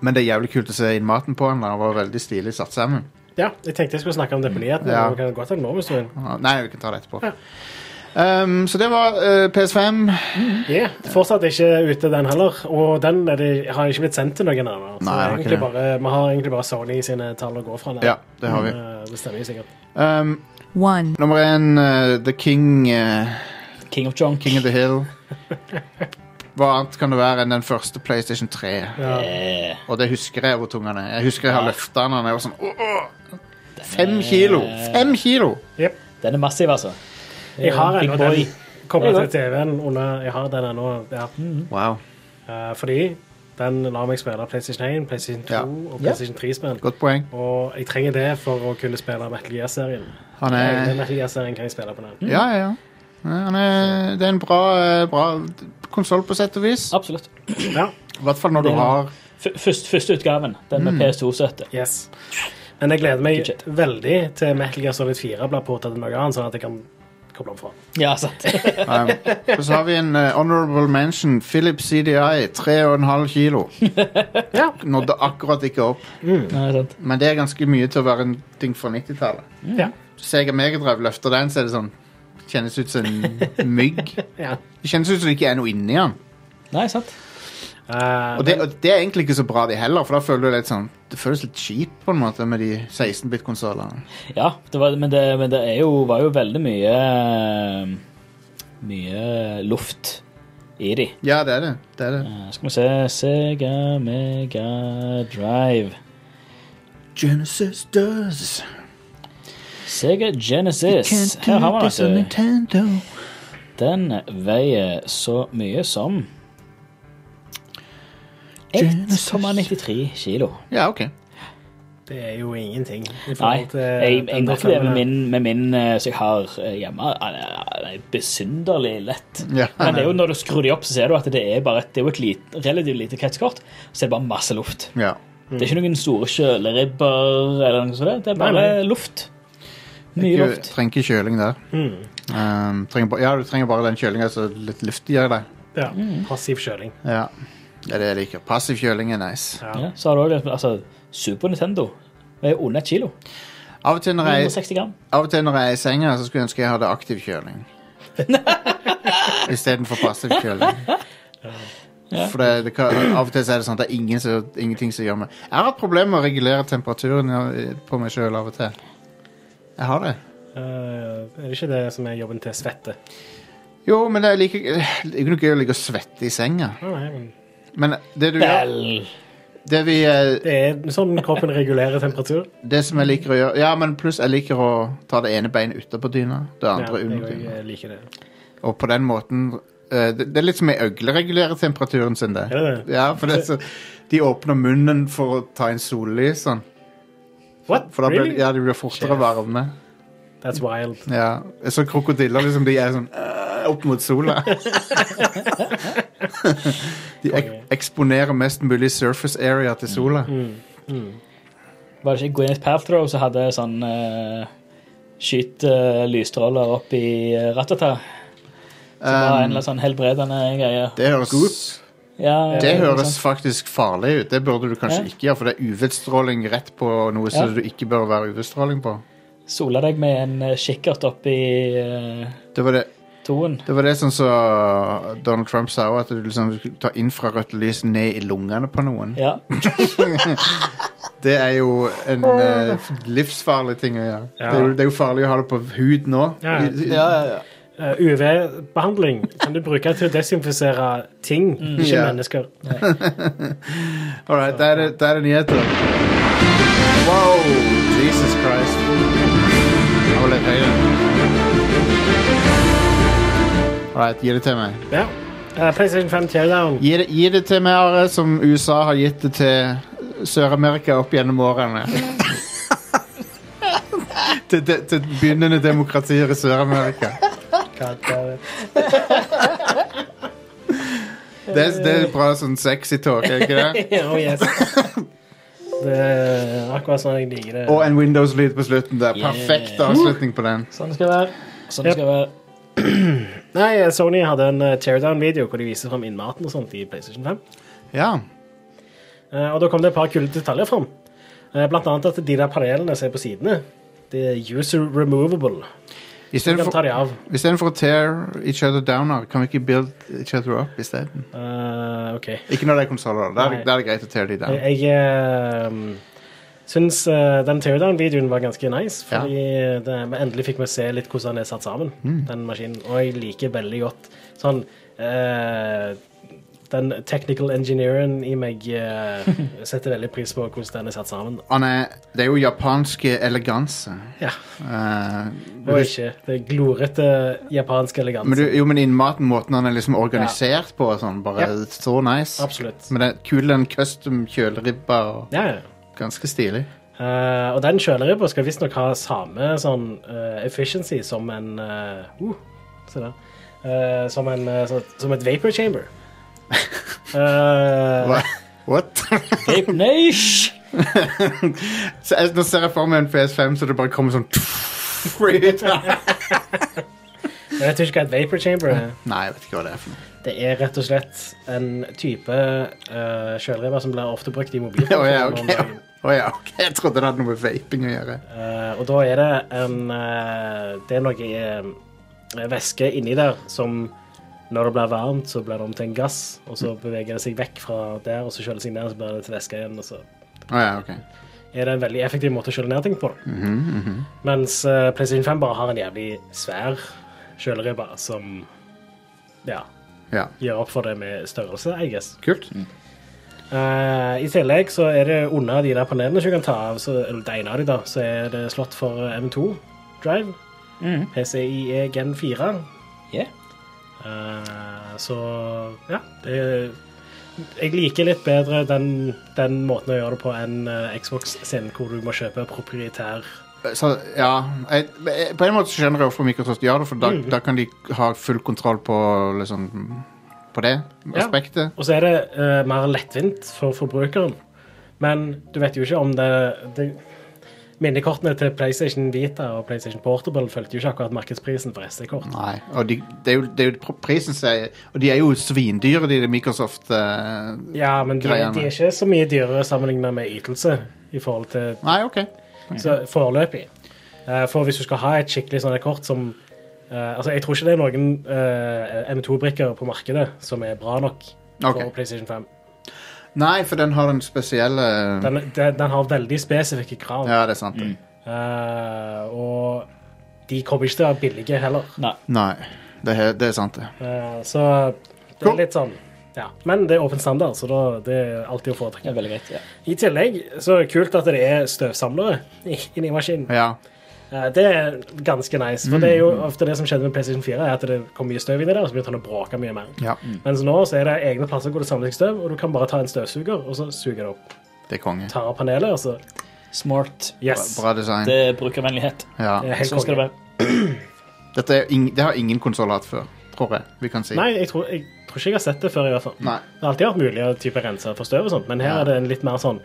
Speaker 1: men det er jævlig kult å se innmaten på han. da. Han var veldig stilig satt sammen.
Speaker 2: Ja, jeg tenkte jeg skulle snakke om det på nyhetene.
Speaker 1: Ja.
Speaker 2: men vi kan godt ta det nå, hvis du vil.
Speaker 1: Ah, Nei, vi kan ta det etterpå. Um, så det var eh, PS5.
Speaker 2: Ja, Fortsatt ikke ute, den heller. Og den er det, har ikke blitt sendt til noen ennå.
Speaker 1: Nei,
Speaker 2: Så
Speaker 1: det har ikke
Speaker 2: egentlig
Speaker 1: det.
Speaker 2: bare, vi har egentlig bare Sony sine tall å gå fra. der.
Speaker 1: Ja, det har vi.
Speaker 2: Men, eh, Det stemmer jo sikkert.
Speaker 1: Um,
Speaker 7: one,
Speaker 1: nummer én, eh, The King. eh,
Speaker 3: King of Junk.
Speaker 1: King of the Hill. Hva annet kan det være enn den første PlayStation 3?
Speaker 3: Eh,
Speaker 1: Og det husker jeg hvor tung han er. Jeg husker jeg har
Speaker 3: Ja.
Speaker 1: løfta han, og jeg var sånn åh, åh. Fem kilo! Fem kilo!
Speaker 2: Jep.
Speaker 3: den er massiv, altså.
Speaker 2: Jeg
Speaker 4: Eh,
Speaker 2: har
Speaker 3: Big
Speaker 2: ennå
Speaker 3: boy.
Speaker 2: den koblet
Speaker 3: Ja,
Speaker 2: til TV-en. under- Jeg har den ennå. Ja.
Speaker 1: Wow.
Speaker 2: Eh, fordi den lar meg spille PlayStation 1, PlayStation 2
Speaker 1: Ja.
Speaker 2: og PlayStation 3-spill.
Speaker 1: Godt poeng.
Speaker 2: Og jeg trenger det for å kunne spille Metal Gear-serien.
Speaker 1: Han
Speaker 2: Den
Speaker 1: er
Speaker 2: Metal Gear-serien kan jeg spille på den.
Speaker 1: Ja, ja, ja. Han er, det er en bra, eh, bra konsoll på sett og vis.
Speaker 3: Absolutt.
Speaker 2: Ja,
Speaker 1: I hvert fall når du
Speaker 3: Det er-
Speaker 1: har Mm.
Speaker 3: F første, første utgaven, den med PS2-støtte.
Speaker 2: yes. Men jeg gleder meg
Speaker 4: Good shit.
Speaker 2: veldig til Metal Gear Solid 4 blir påtatt noe annet, sånn at jeg kan koble om fra.
Speaker 4: Ja, sant.
Speaker 1: Um, og så har vi en eh, honorable mention. Philip CDI, 3,5 kilo.
Speaker 2: Ja.
Speaker 1: Nådde akkurat ikke opp.
Speaker 4: Nei, sant.
Speaker 1: Men det er ganske mye til å være en ting fra 90-tallet.
Speaker 4: Mm.
Speaker 2: Ja.
Speaker 1: Sega Megadrive løfter den, så er det sånn Kjennes ut som en mygg.
Speaker 2: ja.
Speaker 1: Det kjennes ut som det ikke er noe inni den.
Speaker 4: Nei, sant.
Speaker 2: Eh,
Speaker 1: Og det, og det er egentlig ikke så bra, det heller, for da føler du litt sånn Det føles litt kjipt på en måte med de 16-bit-konsollene.
Speaker 4: Ja, det var, men det, men det er jo, var jo veldig mye eh, Mye luft i de.
Speaker 1: Ja, det er det. det, er det.
Speaker 4: Eh, Skal vi se Sega Mega Drive.
Speaker 1: Genesis does.
Speaker 4: Sega Genesis. Her har altså eh, vi
Speaker 1: on
Speaker 4: den. vet du.
Speaker 1: Nintendo.
Speaker 4: Den veier så mye som 1,93 kilo.
Speaker 1: Ja, OK.
Speaker 2: men det er jo ingenting. i
Speaker 4: Nei,
Speaker 2: forhold til
Speaker 4: jeg,
Speaker 2: eh, den
Speaker 4: jeg
Speaker 2: der
Speaker 4: merker det med
Speaker 2: filmen.
Speaker 4: min, med min eh, som jeg har eh, hjemme. Han er, han er besynderlig lett.
Speaker 1: Ja,
Speaker 4: Men det er jo når du skrur de opp, så ser du at det er bare et, det er jo et lite, relativt lite kretskort. Så er det bare masse luft.
Speaker 1: ja.
Speaker 4: Det er ikke noen store kjøleribber eller noe sånt. Det er bare
Speaker 2: Mm. Nei, nei.
Speaker 4: luft. Mye
Speaker 1: Ikke,
Speaker 4: luft.
Speaker 1: trenger ikke kjøling der.
Speaker 2: Mm,
Speaker 1: Um, trenger, ba- ja, du trenger bare den kjølinga som litt luftiggjør det.
Speaker 2: Ja.
Speaker 4: Mm.
Speaker 2: Passiv kjøling.
Speaker 1: Ja. Det er det jeg liker. Passiv kjøling er nice.
Speaker 2: Ja.
Speaker 4: Ja, så har du også, det- altså, Super Nintendo er jo under et kilo.
Speaker 1: Av og til når jeg,
Speaker 4: 160 gram.
Speaker 1: av og til når jeg er i senga, så skulle jeg ønske jeg hadde aktiv kjøling. Istedenfor passiv kjøling. For det, det kan, av og til så er det sånn at det er ingen som, ingenting som gjør meg Jeg har hatt problemer med å regulere temperaturen i- på meg sjøl av og til. Jeg har det.
Speaker 2: Eh, er det ikke det som er jobben til svette?
Speaker 1: Jo, men det er like, det er ikke noe gøy å ligge og svette i senga.
Speaker 2: Nei, nei, men
Speaker 1: Men det du gjør
Speaker 4: Vel
Speaker 1: Det vi eh,
Speaker 2: Det er sånn kroppen regulerer temperatur.
Speaker 1: Det som jeg liker å gjøre Ja, men pluss jeg liker å ta det ene beinet utapå dyna, det andre
Speaker 2: ja, jeg
Speaker 1: under dyna.
Speaker 2: også eh, liker det.
Speaker 1: Og på den måten eh, det, det er litt som ei øgle regulerer temperaturen sin, det.
Speaker 2: Er det det?
Speaker 1: Ja, for det er så, de åpner munnen for å ta inn sollys sånn.
Speaker 2: What?
Speaker 1: For da blir,
Speaker 2: Really?
Speaker 1: ja, de blir fortere
Speaker 2: Shit.
Speaker 1: varme.
Speaker 2: That's wild.
Speaker 1: Ja. Så krokodiller, liksom, de er sånn eh, opp mot sola. de ek eksponerer mest mulig surface area til sola.
Speaker 4: Mm. Var det ikke Gwyneth Paltrow som hadde sånn eh, Skyt eh, lysstråler opp i uh, Ratata? Som
Speaker 1: Um,
Speaker 4: var en eller annen sånn helbredende greie.
Speaker 1: Det høres
Speaker 4: Ja, sånn
Speaker 1: Det
Speaker 4: noe
Speaker 1: høres
Speaker 4: sånt.
Speaker 1: faktisk farlig ut. Det burde du kanskje
Speaker 4: Ja.
Speaker 1: ikke gjøre, for det er UV-stråling rett på noe som
Speaker 4: Ja.
Speaker 1: du ikke bør være UV-stråling på.
Speaker 4: Sola deg med en eh, kikkert opp i eh,
Speaker 1: Det var det,
Speaker 4: toen.
Speaker 1: det, var det som så Donald Trump sa òg, at du liksom skulle ta infrarødt lys ned i lungene på noen.
Speaker 4: Ja.
Speaker 1: Det er jo en eh, livsfarlig ting å gjøre.
Speaker 2: Ja.
Speaker 1: Det, er jo, det er jo farlig å ha det på hud nå.
Speaker 2: Ja.
Speaker 1: I- i-
Speaker 2: Eh, UV-behandling kan du bruke til å desinfisere ting,
Speaker 4: Mm.
Speaker 2: ikke
Speaker 1: Ja.
Speaker 2: mennesker.
Speaker 1: Alright, da er det- da er det nyheter. Wow! Jesus Christ. Jeg var litt høyere. Alright, gi det til meg.
Speaker 2: Ja. Eh, PlayStation 5 Teardown.
Speaker 1: Gi det, gi det til meg, Are, som USA har gitt det til Sør-Amerika opp gjennom årene. til, til, til begynnende demokratier i Sør-Amerika. Det, er- det er bra sånn sexy talk, er ikke det?
Speaker 2: oh yes. Det er akkurat sånn jeg liker det.
Speaker 1: Og en Windows-lyd på slutten der. Perfekt avslutning på den.
Speaker 4: Sånn det skal være. Sånn det
Speaker 2: Yep.
Speaker 4: skal være.
Speaker 2: Nei, eh, Sony hadde en eh, teardown-video hvor de viser fram innmaten og sånt i PlayStation 5.
Speaker 1: Ja.
Speaker 2: Eh, Og da kom det et par kule detaljer fram. Eh, Blant annet at de der panelene som er på sidene, det er user removable. Du kan ta
Speaker 1: Istedenfor
Speaker 2: de av.
Speaker 1: istedenfor å tear each other down, Are, kan vi ikke build each other up isteden?
Speaker 2: Eh, OK.
Speaker 1: Ikke når det er konsoller. Da er det-
Speaker 2: Nei.
Speaker 1: da er det greit å tear de down.
Speaker 2: Jeg, jeg ehm, syns eh, den teardown-videoen var ganske nice,
Speaker 1: Ja.
Speaker 2: fordi det, vi endelig fikk vi se litt hvordan den er satt sammen,
Speaker 1: Mm.
Speaker 2: den maskinen. Og jeg liker veldig godt sånn eh, Den technical engineeren i meg eh, setter veldig pris på hvordan den er satt sammen.
Speaker 1: Han er, det er jo japanske eleganse.
Speaker 2: Ja.
Speaker 1: Eh,
Speaker 2: Og ikke det glorete japanske
Speaker 1: Men
Speaker 2: eleganse.
Speaker 1: du, jo, men innmaten, måten han er liksom organisert på og sånn, bare
Speaker 2: Ja.
Speaker 1: så nice.
Speaker 2: Absolutt.
Speaker 1: Men det er kul den custom kjøleribba og
Speaker 2: Ja, ja.
Speaker 1: ganske stilig.
Speaker 2: Eh, og den kjøleribba skal visstnok ha samme sånn eh, efficiency som en eh, uh, Se der. Eh, som, en, eh, så, som et vapor chamber. Eh,
Speaker 1: Hva? What?
Speaker 4: Vape Nation!
Speaker 1: Så jeg, nå ser jeg for meg en PS5 så det bare kommer sånn Nei,
Speaker 2: Men jeg tror ikke hva et vapor chamber er.
Speaker 1: jeg vet ikke hva det er for noe.
Speaker 2: Det er rett og slett en type uh, kjølrever som blir ofte brukt i
Speaker 1: Å ja,
Speaker 2: mobiltelefoner. om
Speaker 1: ok.
Speaker 2: dagen.
Speaker 1: Å ja, ok. Jeg trodde det hadde noe med vaping å gjøre.
Speaker 2: Eh, og da er det en eh, Det er noe eh, væske inni der som når det blir varmt, så blir det om til en gass, og så beveger det seg vekk fra der, og så kjøler det seg ned, og så blir det til væske igjen. og så
Speaker 1: Å ja, ok.
Speaker 2: er det en veldig effektiv måte å kjøle ned ting på. da. Mens eh, PlayStation 5 bare har en jævlig svær kjøleribbe som ja,
Speaker 1: Ja.
Speaker 2: gjør opp for det med størrelse, I guess.
Speaker 1: Kult.
Speaker 2: Eh, I tillegg så er det under de der panelene som du kan ta av, så, eller det ene av de da, så er det slått for M2 Drive, PCIe E Gen 4.
Speaker 3: Yeah.
Speaker 2: Eh, så ja, det er jeg liker litt bedre den, den måten å gjøre det på enn eh, Xbox sin, hvor du må kjøpe proprietær
Speaker 1: Så, ja jeg, jeg- På en måte så skjønner jeg hvorfor Microsoft gjør det, for da,
Speaker 2: Mm.
Speaker 1: da kan de ha full kontroll på liksom På det
Speaker 2: Ja.
Speaker 1: aspektet.
Speaker 2: Og så er det eh, mer lettvint for forbrukeren. Men du vet jo ikke om det, det Minnekortene til PlayStation Vita og PlayStation Portable fulgte jo ikke akkurat markedsprisen for SD-kort.
Speaker 1: Nei. Og de, det er jo, det er jo pr- prisen som er Og de er jo svindyre, de der Microsoft eh.
Speaker 2: Ja, men de,
Speaker 1: Greiene.
Speaker 2: de er ikke så mye dyrere sammenlignet med ytelse i forhold til
Speaker 1: Nei, OK.
Speaker 2: så, foreløpig. Eh, for hvis du skal ha et skikkelig sånn kort som eh, Altså, jeg tror ikke det er noen eh, M2-brikker på markedet som er bra nok for
Speaker 1: Ok.
Speaker 2: PlayStation 5.
Speaker 1: Nei, for den har den spesielle
Speaker 2: Den, den, den har Mm. veldig spesifikke krav.
Speaker 1: Ja, det er sant. det.
Speaker 2: Eh, og de kommer ikke til å være billige heller.
Speaker 3: Nei.
Speaker 1: Nei. Det, er- det er sant, det.
Speaker 2: Eh, så det
Speaker 1: Cool.
Speaker 2: er litt sånn ja. Men det er åpen standard, så da, det er alltid å
Speaker 3: Det
Speaker 2: foretrekke.
Speaker 3: er veldig greit. ja.
Speaker 2: I tillegg så er det kult at det er støvsamlere i- inni maskinen.
Speaker 1: Ja.
Speaker 2: Eh, det er ganske nice, for det er
Speaker 1: Mm.
Speaker 2: jo ofte det som skjedde med PlayStation 4, er at det kom mye støv inni der, og så begynte han å bråke mye mer.
Speaker 1: ja.
Speaker 2: Mens nå så er det egne plasser hvor det samles støv, og du kan bare ta en støvsuger, og så suger det opp.
Speaker 1: Det er konge.
Speaker 2: Tar av panelet, og så
Speaker 3: Smart.
Speaker 2: Yes!
Speaker 1: Bra design.
Speaker 3: Det er brukervennlighet.
Speaker 1: Ja.
Speaker 2: Det er helt
Speaker 3: Sånn skal det
Speaker 2: konge.
Speaker 3: være.
Speaker 1: Dette er ing, det har ingen konsoller hatt før, tror jeg. Vi kan si.
Speaker 2: Nei, jeg tror, jeg tror ikke jeg har sett det før, i hvert fall.
Speaker 1: Nei.
Speaker 2: Det har alltid vært mulig å type rense for støv og sånt, men her
Speaker 1: Ja.
Speaker 2: er det en litt mer sånn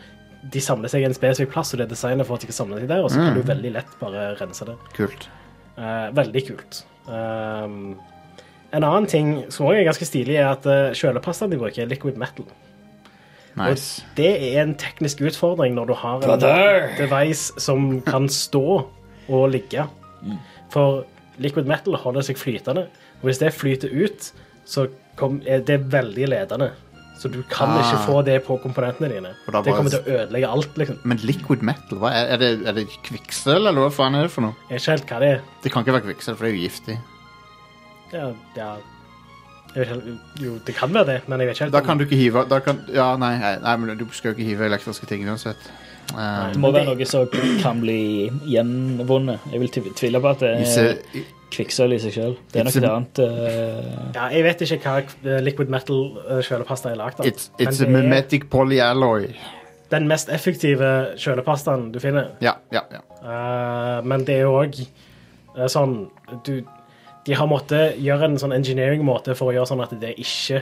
Speaker 2: De samler seg i en spesifikk plass, og det er designet for at de kan samle seg der, og så
Speaker 1: Mm.
Speaker 2: kan du veldig lett bare rense det.
Speaker 1: Kult.
Speaker 2: Eh, veldig kult. Ehm, en annen ting som også er ganske stilig, er at uh, kjølepastaen de bruker, er liquid metal.
Speaker 1: Nice.
Speaker 2: Og det er en teknisk utfordring når du har en
Speaker 3: Brother!
Speaker 2: device som kan stå og ligge.
Speaker 1: Mm.
Speaker 2: For liquid metal holder seg flytende, og hvis det flyter ut, så kom, er det veldig ledende. Så du kan
Speaker 1: Ah.
Speaker 2: ikke få det på komponentene dine.
Speaker 1: Og da
Speaker 2: Det
Speaker 1: bare-
Speaker 2: kommer til å ødelegge alt, liksom.
Speaker 1: Men liquid metal, hva er, er det? Er det kvikksølv, eller hva faen er det for noe?
Speaker 2: Jeg vet ikke helt hva det er.
Speaker 1: Det kan ikke være kvikksølv, for det er jo giftig.
Speaker 2: Ja, ja. Jeg vet ikke helt, jo, det kan være det, men jeg vet ikke helt.
Speaker 1: Da kan du ikke hive da kan, Ja, nei, nei, nei, men du skal jo ikke hive elektriske ting uansett. Eh,
Speaker 3: Det må være noe som kan bli gjenvunnet. Jeg vil tv- tvile på at det
Speaker 1: hvis
Speaker 3: er
Speaker 2: Eh,
Speaker 1: jeg-
Speaker 3: kvikksølv i seg selv. Det er
Speaker 1: It's
Speaker 3: nok et
Speaker 1: a-
Speaker 3: annet eh,
Speaker 2: Ja, jeg vet ikke hva eh, liquid metal-kjølepasta er lagd av.
Speaker 1: It's, it's a
Speaker 2: men det er
Speaker 1: mimetic polyalloy.
Speaker 2: den mest effektive kjølepastaen du finner.
Speaker 1: Ja, ja, ja.
Speaker 2: Eh, men det er jo òg sånn du, De har måttet gjøre en sånn engineering-måte for å gjøre sånn at det ikke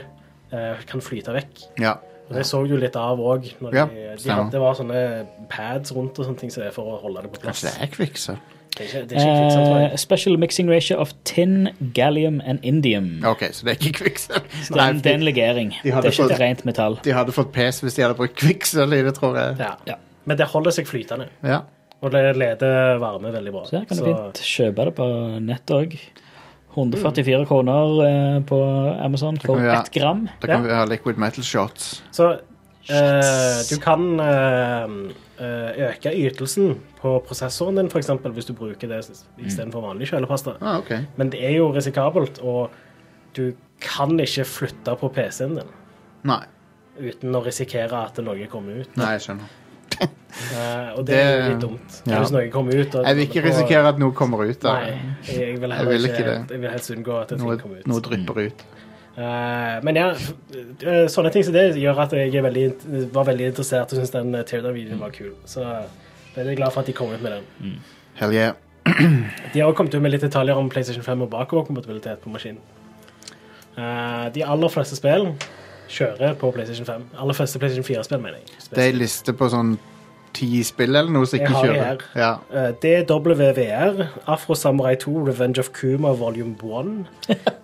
Speaker 2: eh, kan flyte vekk.
Speaker 1: ja.
Speaker 2: Og Det så du litt av òg. når
Speaker 1: Ja,
Speaker 2: de, de
Speaker 1: stemmer.
Speaker 2: hadde, det var sånne pads rundt og sånne ting som er for å holde det på plass.
Speaker 1: Kanskje Altså, det er kvikksølv?
Speaker 2: Det er ikke, det er ikke kvikksølv, tror
Speaker 3: eh,
Speaker 2: jeg.
Speaker 3: Special mixing ratio of tin, gallium and indium.
Speaker 1: OK, så det er ikke kvikksølv.
Speaker 3: Det er, en- det er en
Speaker 1: de,
Speaker 3: legering.
Speaker 1: de
Speaker 3: det
Speaker 1: hadde
Speaker 3: er ikke
Speaker 1: fått-
Speaker 3: et rent metall.
Speaker 1: de hadde fått pes hvis de hadde brukt kvikksølv i det, tror jeg.
Speaker 2: Ja.
Speaker 3: Ja.
Speaker 2: Men det holder seg flytende,
Speaker 1: Ja.
Speaker 2: og det leder varme veldig bra.
Speaker 3: Så her kan du fint kjøpe det på nett òg. 144 kroner eh, på Amazon for
Speaker 1: vi ha-
Speaker 3: ett gram.
Speaker 1: Da kan
Speaker 2: Ja.
Speaker 1: vi ha liquid metal shots.
Speaker 2: Så eh, du kan eh, eh, øke ytelsen på prosessoren din, f.eks., hvis du bruker det
Speaker 1: Mm.
Speaker 2: istedenfor vanlig kjølepasta.
Speaker 1: Ah, ok.
Speaker 2: Men det er jo risikabelt, og du kan ikke flytte på PC-en din
Speaker 1: Nei.
Speaker 2: uten å risikere at noe kommer ut.
Speaker 1: Nei, jeg skjønner.
Speaker 2: Eh, og det er jo
Speaker 1: Det-
Speaker 2: litt dumt.
Speaker 1: ja.
Speaker 2: Hvis noe kommer ut og,
Speaker 1: Jeg vil ikke risikere at noe kommer ut av
Speaker 2: Nei, jeg vil
Speaker 1: Jeg
Speaker 2: heller
Speaker 1: vil
Speaker 2: ikke,
Speaker 1: ikke det.
Speaker 2: Jeg vil helst unngå at ting
Speaker 1: Noe,
Speaker 2: kommer ut.
Speaker 1: noe drypper ut.
Speaker 2: Eh, men ja, f- eh, sånne ting som det gjør at jeg er veldig, int- var veldig interessert og syntes den eh, teardown-videoen var kul. Så jeg er veldig glad for at de kom ut med den.
Speaker 1: Hell yeah.
Speaker 2: De har også kommet ut med litt detaljer om PlayStation 5 og bakoverkompatibilitet på maskinen. Eh, de aller fleste spill kjører på PlayStation 5. Aller fleste PlayStation 4-spill, mener jeg.
Speaker 1: Det er en liste på sånn ti spill eller noe som
Speaker 2: Jeg
Speaker 1: ikke
Speaker 2: har det
Speaker 1: kjører. Ja.
Speaker 2: Eh, DWVR, Afro Samurai 2, Revenge of Kuma Volume 1,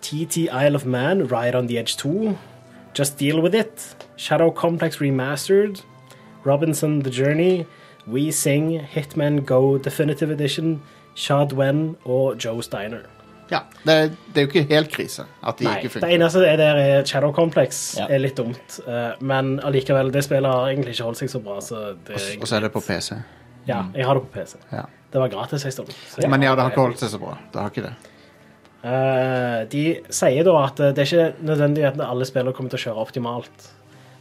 Speaker 2: TT Isle of Man, Ride on the Edge 2, Just Deal With It, Shadow Complex Remastered, Robinson The Journey, We Sing, Hitman Go Definitive Edition, Shad Wen og Joe Steiner.
Speaker 1: ja. Det, er- det er jo ikke helt krise at de
Speaker 2: Nei,
Speaker 1: ikke
Speaker 2: det
Speaker 1: funker.
Speaker 2: eneste det er der er Shadow Complex.
Speaker 3: Ja.
Speaker 2: er litt dumt, eh, men allikevel, det spillet har egentlig ikke holdt seg så bra, så det
Speaker 1: Og så er det på PC.
Speaker 2: Ja, jeg har det på PC.
Speaker 1: Ja.
Speaker 2: Det var gratis en stund. så jeg
Speaker 1: Men ja, det har
Speaker 2: det.
Speaker 1: ikke holdt seg så bra. Det har ikke det.
Speaker 2: Eh, de sier da at eh, det er ikke nødvendig at alle spillere kommer til å kjøre optimalt.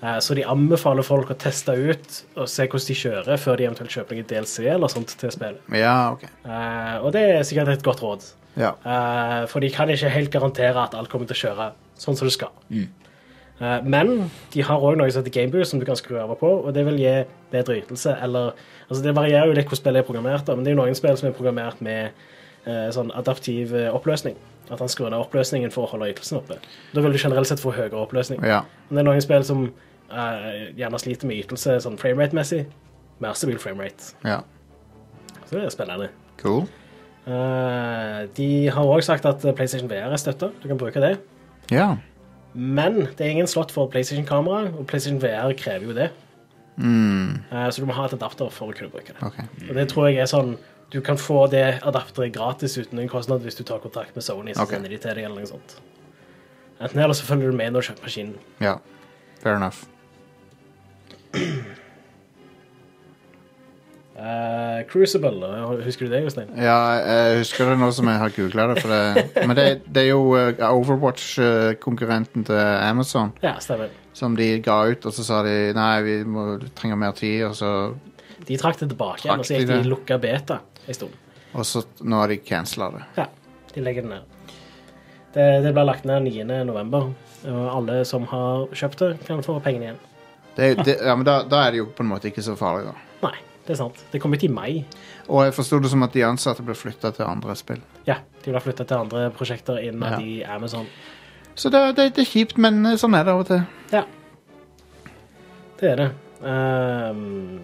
Speaker 2: Eh, så de anbefaler folk å teste ut og se hvordan de kjører før de eventuelt kjøper noe DLC eller sånt til spillet.
Speaker 1: Ja, OK.
Speaker 2: Eh, og det er sikkert et godt råd.
Speaker 1: Ja.
Speaker 2: Eh, for de kan ikke helt garantere at alt kommer til å kjøre sånn som det skal. Eh, men de har òg noe som heter Gameboo, som du kan skru over på, og det vil gi bedre ytelse. Eller, altså det varierer jo litt hvordan spillet er programmert, da, men det er jo noen spill som er programmert med eh, sånn adaptiv eh, oppløsning. At han skrur ned oppløsningen for å holde ytelsen oppe. Da vil du generelt sett få høyere oppløsning.
Speaker 1: ja.
Speaker 2: Men det er noen spill som eh, gjerne sliter med ytelse sånn framerate-messig. Mer stabil framerate.
Speaker 1: ja.
Speaker 2: Så det er spennende.
Speaker 1: Cool.
Speaker 2: Eh, de har òg sagt at eh, PlayStation VR er støtta. Du kan bruke det.
Speaker 1: Ja.
Speaker 2: Men det er ingen slott for PlayStation-kamera, og PlayStation VR krever jo det.
Speaker 1: Mm.
Speaker 2: Eh, så du må ha et adapter for å kunne bruke det.
Speaker 1: OK.
Speaker 2: Og det tror jeg er sånn Du kan få det adapteret gratis uten noen kostnad hvis du tar kontakt med Sony. Så
Speaker 1: Ok.
Speaker 2: sender de til deg eller noe sånt. Enten eller så følger du med når du kjøper maskinen.
Speaker 1: Ja. Fair enough.
Speaker 2: Eh, Crucible, eh, husker du det, Jostein?
Speaker 1: Ja, jeg husker det nå som jeg har googla det, for det Men det, det er jo eh, Overwatch-konkurrenten til Amazon
Speaker 2: Ja, stemmer.
Speaker 1: som de ga ut, og så sa de nei, vi må, trenger mer tid, og så,
Speaker 2: De trakk det tilbake igjen, og så
Speaker 1: Trakk de
Speaker 2: gikk de
Speaker 1: det?
Speaker 2: i lukka beta en stund.
Speaker 1: og så Nå har de cancela det.
Speaker 2: Ja, de legger det ned. Det, det ble lagt ned 9. november, og alle som har kjøpt det, kan få pengene igjen.
Speaker 1: det, det ja, men da, da er det jo på en måte ikke så farlig, da.
Speaker 2: Nei, det er sant. Det kom ut i mai.
Speaker 1: Og jeg forsto det som at de ansatte ble flytta til andre spill.
Speaker 2: Ja, de ble flytta til andre prosjekter innad
Speaker 1: Ja.
Speaker 2: i Amazon.
Speaker 1: Så det, det, det er kjipt, men eh, sånn er det av og til.
Speaker 2: Ja. Det er det. Ehm,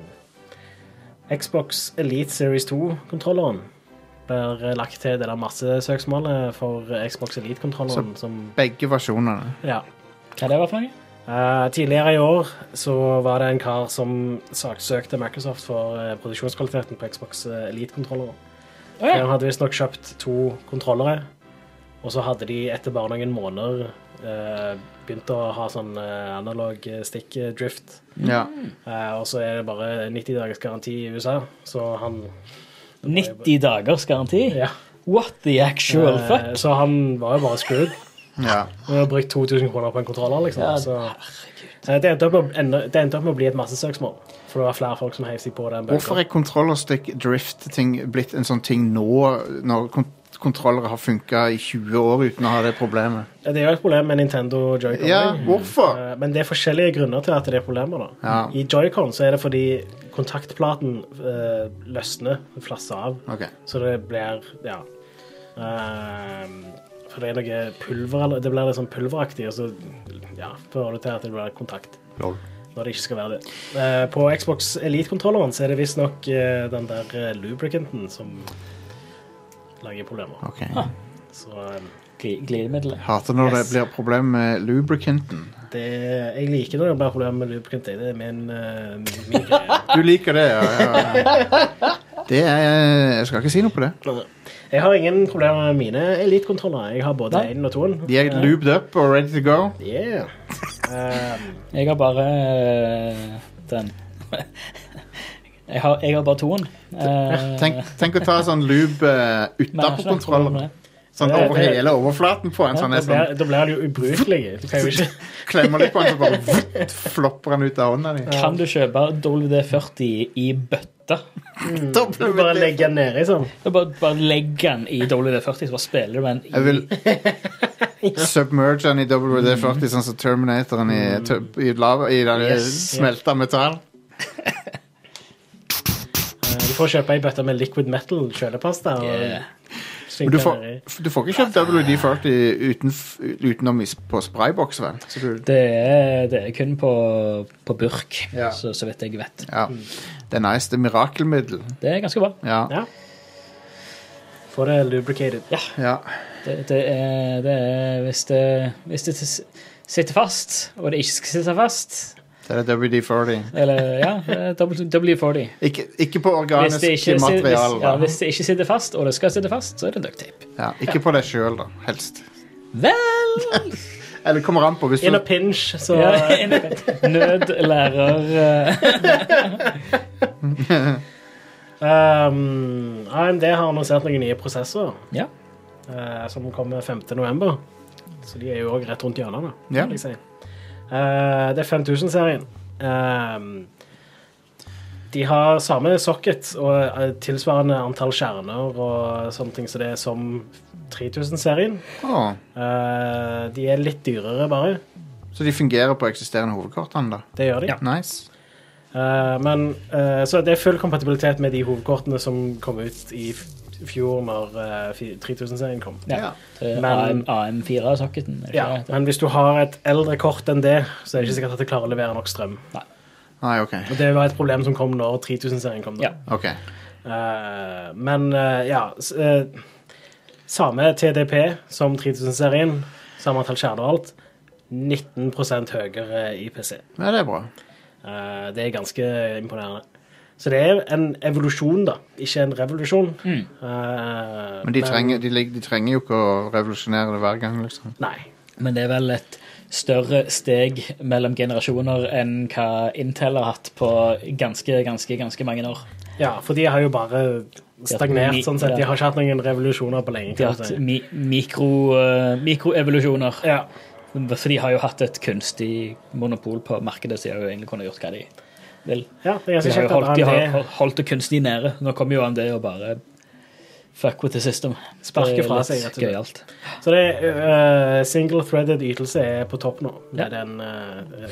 Speaker 2: Xbox Elite Series 2-kontrolleren blir lagt til det der massesøksmålet eh, for Xbox Elite-kontrolleren som
Speaker 1: Begge versjonene.
Speaker 2: Ja.
Speaker 3: Hva det var for noe?
Speaker 2: Eh, tidligere i år så var det en kar som saksøkte Microsoft for eh, produksjonskvaliteten på Xbox eh, Elite-kontrollere.
Speaker 3: Å ja.
Speaker 2: Han hadde visstnok kjøpt to kontrollere, og så hadde de etter bare noen måneder eh, begynt å ha sånn eh, analog eh, stick-drift.
Speaker 1: Ja.
Speaker 2: Eh, og så er det bare 90 dagers garanti i USA, så han
Speaker 3: 90 dagers garanti?
Speaker 2: ja.
Speaker 3: What the actual
Speaker 2: Eh,
Speaker 3: fuck?
Speaker 2: Så han var jo bare screwed.
Speaker 1: ja.
Speaker 2: Vi har brukt 2000 kroner på en kontroller, liksom.
Speaker 3: Ja,
Speaker 2: så. Eh, Det endte opp med å- ende- det endte opp med å bli et massesøksmål, for det var flere folk som heiv seg på den. bølgen.
Speaker 1: Hvorfor er kontrollerstick drift-ting blitt en sånn ting nå, når kon kontrollere har funka i 20 år uten å ha det problemet?
Speaker 2: Eh, Det er jo et problem med Nintendo Joy-Con.
Speaker 1: Ja, hvorfor?
Speaker 2: Eh, Men det er forskjellige grunner til at det er problemer. da.
Speaker 1: Ja.
Speaker 2: I Joy-Con så er det fordi kontaktplaten eh, løsner, flasser av,
Speaker 1: Ok.
Speaker 2: så det blir Ja. Ehm, for det er noe pulver eller Det blir litt sånn pulveraktig, og så ja, fører det til at det blir kontakt.
Speaker 1: Lol.
Speaker 2: når det ikke skal være det. Eh, på Xbox Elite-kontrolleren så er det visstnok uh, den der eh, lubricanten som lager problemer.
Speaker 1: Ok.
Speaker 2: Så eh,
Speaker 3: Gli- Glidemiddel.
Speaker 1: Hater når
Speaker 2: Yes.
Speaker 1: det blir problem med lubricanten.
Speaker 2: det Jeg liker når det blir problemer med lubricant. Det er min, eh, min greie.
Speaker 1: Du liker det, ja. ja. Det er Jeg skal ikke si noe på det.
Speaker 2: Jeg har ingen problemer med mine Elite-kontroller. Jeg har både
Speaker 3: Nei.
Speaker 2: én og toen.
Speaker 1: De er lubed up og ready to go.
Speaker 2: Yeah. Um,
Speaker 3: Jeg har bare eh, den jeg har, jeg har bare toen. Eh,
Speaker 1: Tenk, tenk å ta sånn lube uh,
Speaker 3: men jeg har
Speaker 1: utapå
Speaker 3: ikke noe problem med
Speaker 1: kontrolleren.
Speaker 3: det.
Speaker 1: Sånn
Speaker 2: Det-
Speaker 1: over
Speaker 2: det-
Speaker 1: hele overflaten på en.
Speaker 3: Ja,
Speaker 1: Sånn
Speaker 2: da
Speaker 1: er sånn
Speaker 2: blir- da blir det jo ubrukelig. Du kan jo ikke
Speaker 1: Klemmer litt på den, så bare vutt, flopper den ut av hånda di.
Speaker 3: Kan du kjøpe WD-40 i bøtte?
Speaker 2: du bare legge den nedi sånn.
Speaker 3: Da Bare, bare legg den i WD-40, så bare spiller du med den i
Speaker 1: Jeg vil submerge den i
Speaker 4: Mm.
Speaker 1: WD-40, sånn som Terminatoren i, tø- i lava, i den
Speaker 3: Yes.
Speaker 1: smelta metall.
Speaker 2: Eh, Du får kjøpe ei bøtte med liquid metal kjølepasta. Og
Speaker 3: Yeah.
Speaker 1: Men
Speaker 2: synker
Speaker 1: du får,
Speaker 2: ned i.
Speaker 1: du får ikke kjøpt
Speaker 4: Ah.
Speaker 1: WD-40 uten, utenom is- på sprayboks, vel? Så du,
Speaker 4: Det er, det er kun på, på burk,
Speaker 1: Ja.
Speaker 4: så, så vidt jeg vet.
Speaker 1: ja. Det er nice. Det er mirakelmiddel.
Speaker 4: Det er ganske bra.
Speaker 1: Ja.
Speaker 2: Ja. Får det lubricated.
Speaker 4: Ja,
Speaker 1: ja.
Speaker 4: det, det er, det er hvis, det, hvis det s- sitter fast, og det ikke skal sitte fast,
Speaker 1: Det er WD-40.
Speaker 4: eller ja, eh, WD-40.
Speaker 1: Ikke, ikke på
Speaker 4: Hvis
Speaker 1: organisk
Speaker 4: det, ikke, si- hvis,
Speaker 1: materiale.
Speaker 4: ja,
Speaker 1: da.
Speaker 4: hvis det ikke sitter fast, og det skal sitte fast, så er det duct tape.
Speaker 1: Ja, ikke på deg sjøl, da. Helst.
Speaker 4: Vel!
Speaker 1: Eller kommer an på. Hvis
Speaker 2: In
Speaker 1: du,
Speaker 2: a pinch, så
Speaker 4: Ja, Nødlærer eh,
Speaker 2: um, AMD har annonsert noen nye prosessorer
Speaker 4: Ja.
Speaker 2: eh, som kommer 5. november. Så de er jo òg rett rundt hjørnet, da,
Speaker 1: Ja.
Speaker 2: vil jeg si. Eh, det er 5000-serien. Um, de har samme socket og eh, tilsvarende antall skjerner og sånne ting som det er som 3000-serien.
Speaker 1: Å,
Speaker 2: Eh, de er litt dyrere, bare.
Speaker 1: så de fungerer på eksisterende hovedkortene, da.
Speaker 2: Det gjør de.
Speaker 1: Nice.
Speaker 2: Eh, men, eh, så det er full kompatibilitet med de hovedkortene som kom ut i f- fjor når eh, fi- 3000-serien kom.
Speaker 1: Ja.
Speaker 4: ja. Det er
Speaker 2: Men-
Speaker 4: AM, 4 socketen er det
Speaker 2: Ja,
Speaker 4: ikke det?
Speaker 2: men hvis du har et eldre kort enn det, så er det ikke sikkert at det klarer å levere nok strøm.
Speaker 1: Nei, OK.
Speaker 2: Og Det var et problem som kom når 3000-serien kom. da.
Speaker 4: Ja.
Speaker 1: Ok.
Speaker 2: Eh, men eh, ja s- eh, Samme TDP som 3000-serien, samme antall kjerner og alt. 19 høyere i PC.
Speaker 1: Ja, det er bra.
Speaker 2: Eh, Det er ganske imponerende. Så det er en evolusjon, da, ikke en revolusjon.
Speaker 4: Mm.
Speaker 2: Eh,
Speaker 1: Men de trenger, de, lig- de trenger jo ikke å revolusjonere det hver gang, liksom.
Speaker 2: Nei.
Speaker 4: Men det er vel et større steg mellom generasjoner enn hva Intel har hatt på ganske, ganske, ganske mange år.
Speaker 2: Ja, for de har jo bare stagnert,
Speaker 4: mi-
Speaker 2: sånn sett. De
Speaker 4: ja.
Speaker 2: har ikke hatt noen revolusjoner på lenge.
Speaker 4: De
Speaker 2: kan
Speaker 4: har
Speaker 2: du
Speaker 4: hatt
Speaker 2: si.
Speaker 4: mi mikro, eh, mikroevolusjoner.
Speaker 2: Ja.
Speaker 4: For de har jo hatt et kunstig monopol på markedet, så de har jo egentlig kunnet gjort hva de vil.
Speaker 2: ja, det er
Speaker 4: De
Speaker 2: ganske
Speaker 4: har jo
Speaker 2: kjekt at
Speaker 4: holdt, de har
Speaker 2: AMD
Speaker 4: holdt det kunstig nede. Nå kommer jo AMD og bare fuck with the system.
Speaker 2: Sparker fra seg, rett
Speaker 4: rett
Speaker 2: og
Speaker 4: og
Speaker 2: slett.
Speaker 4: Gøyalt.
Speaker 2: Så det uh, single threaded ytelse er på topp nå. Med
Speaker 4: Ja.
Speaker 2: den, eh,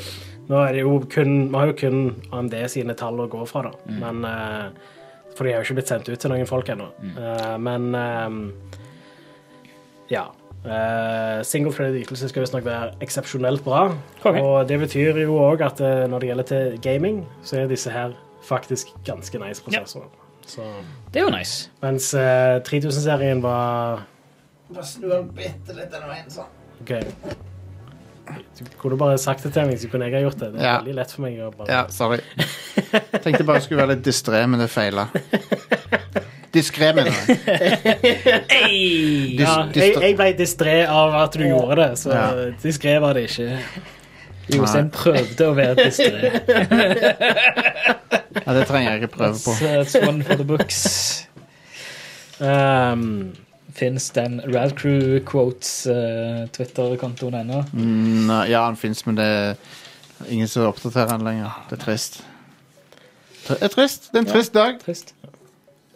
Speaker 2: nå er det jo kun Vi har jo kun AMD sine tall å gå fra, da.
Speaker 4: Mm.
Speaker 2: Men eh, For de har jo ikke blitt sendt ut til noen folk ennå.
Speaker 4: Mm.
Speaker 2: Eh, men eh, Ja. Eh, single threaded ytelse skal visstnok være eksepsjonelt bra.
Speaker 4: Ok.
Speaker 2: Og det betyr jo òg at eh, når det gjelder til gaming, så er disse her faktisk ganske nice prosessorer. Så,
Speaker 4: Det er jo nice.
Speaker 2: mens eh, 3000-serien var
Speaker 1: Bare snu den bitte litt denne veien, sånn.
Speaker 2: Ok. Du kunne bare sagt det til meg, så kunne jeg ha gjort det. Det er
Speaker 1: Ja.
Speaker 2: veldig lett for meg å bare...
Speaker 1: Ja, sorry. Tenkte bare jeg skulle være litt distré, men det feila. Diskré, mener jeg.
Speaker 4: Hey!
Speaker 1: Dis,
Speaker 2: Ja, jeg,
Speaker 1: distra-
Speaker 2: jeg ble distré av at du gjorde det, så
Speaker 1: Ja.
Speaker 2: diskré var det ikke.
Speaker 4: Jostein prøvde å være distré.
Speaker 1: ja, det trenger jeg ikke prøve på.
Speaker 4: That's, that's one for the books.
Speaker 2: Ehm,
Speaker 4: Fins den Rad Crew Quotes eh, Twitter-kontoen ennå?
Speaker 1: Mm, nei, ja, han fins, men det er ingen som oppdaterer han lenger. Det er trist. Det er trist. Det er en trist dag.
Speaker 4: Trist.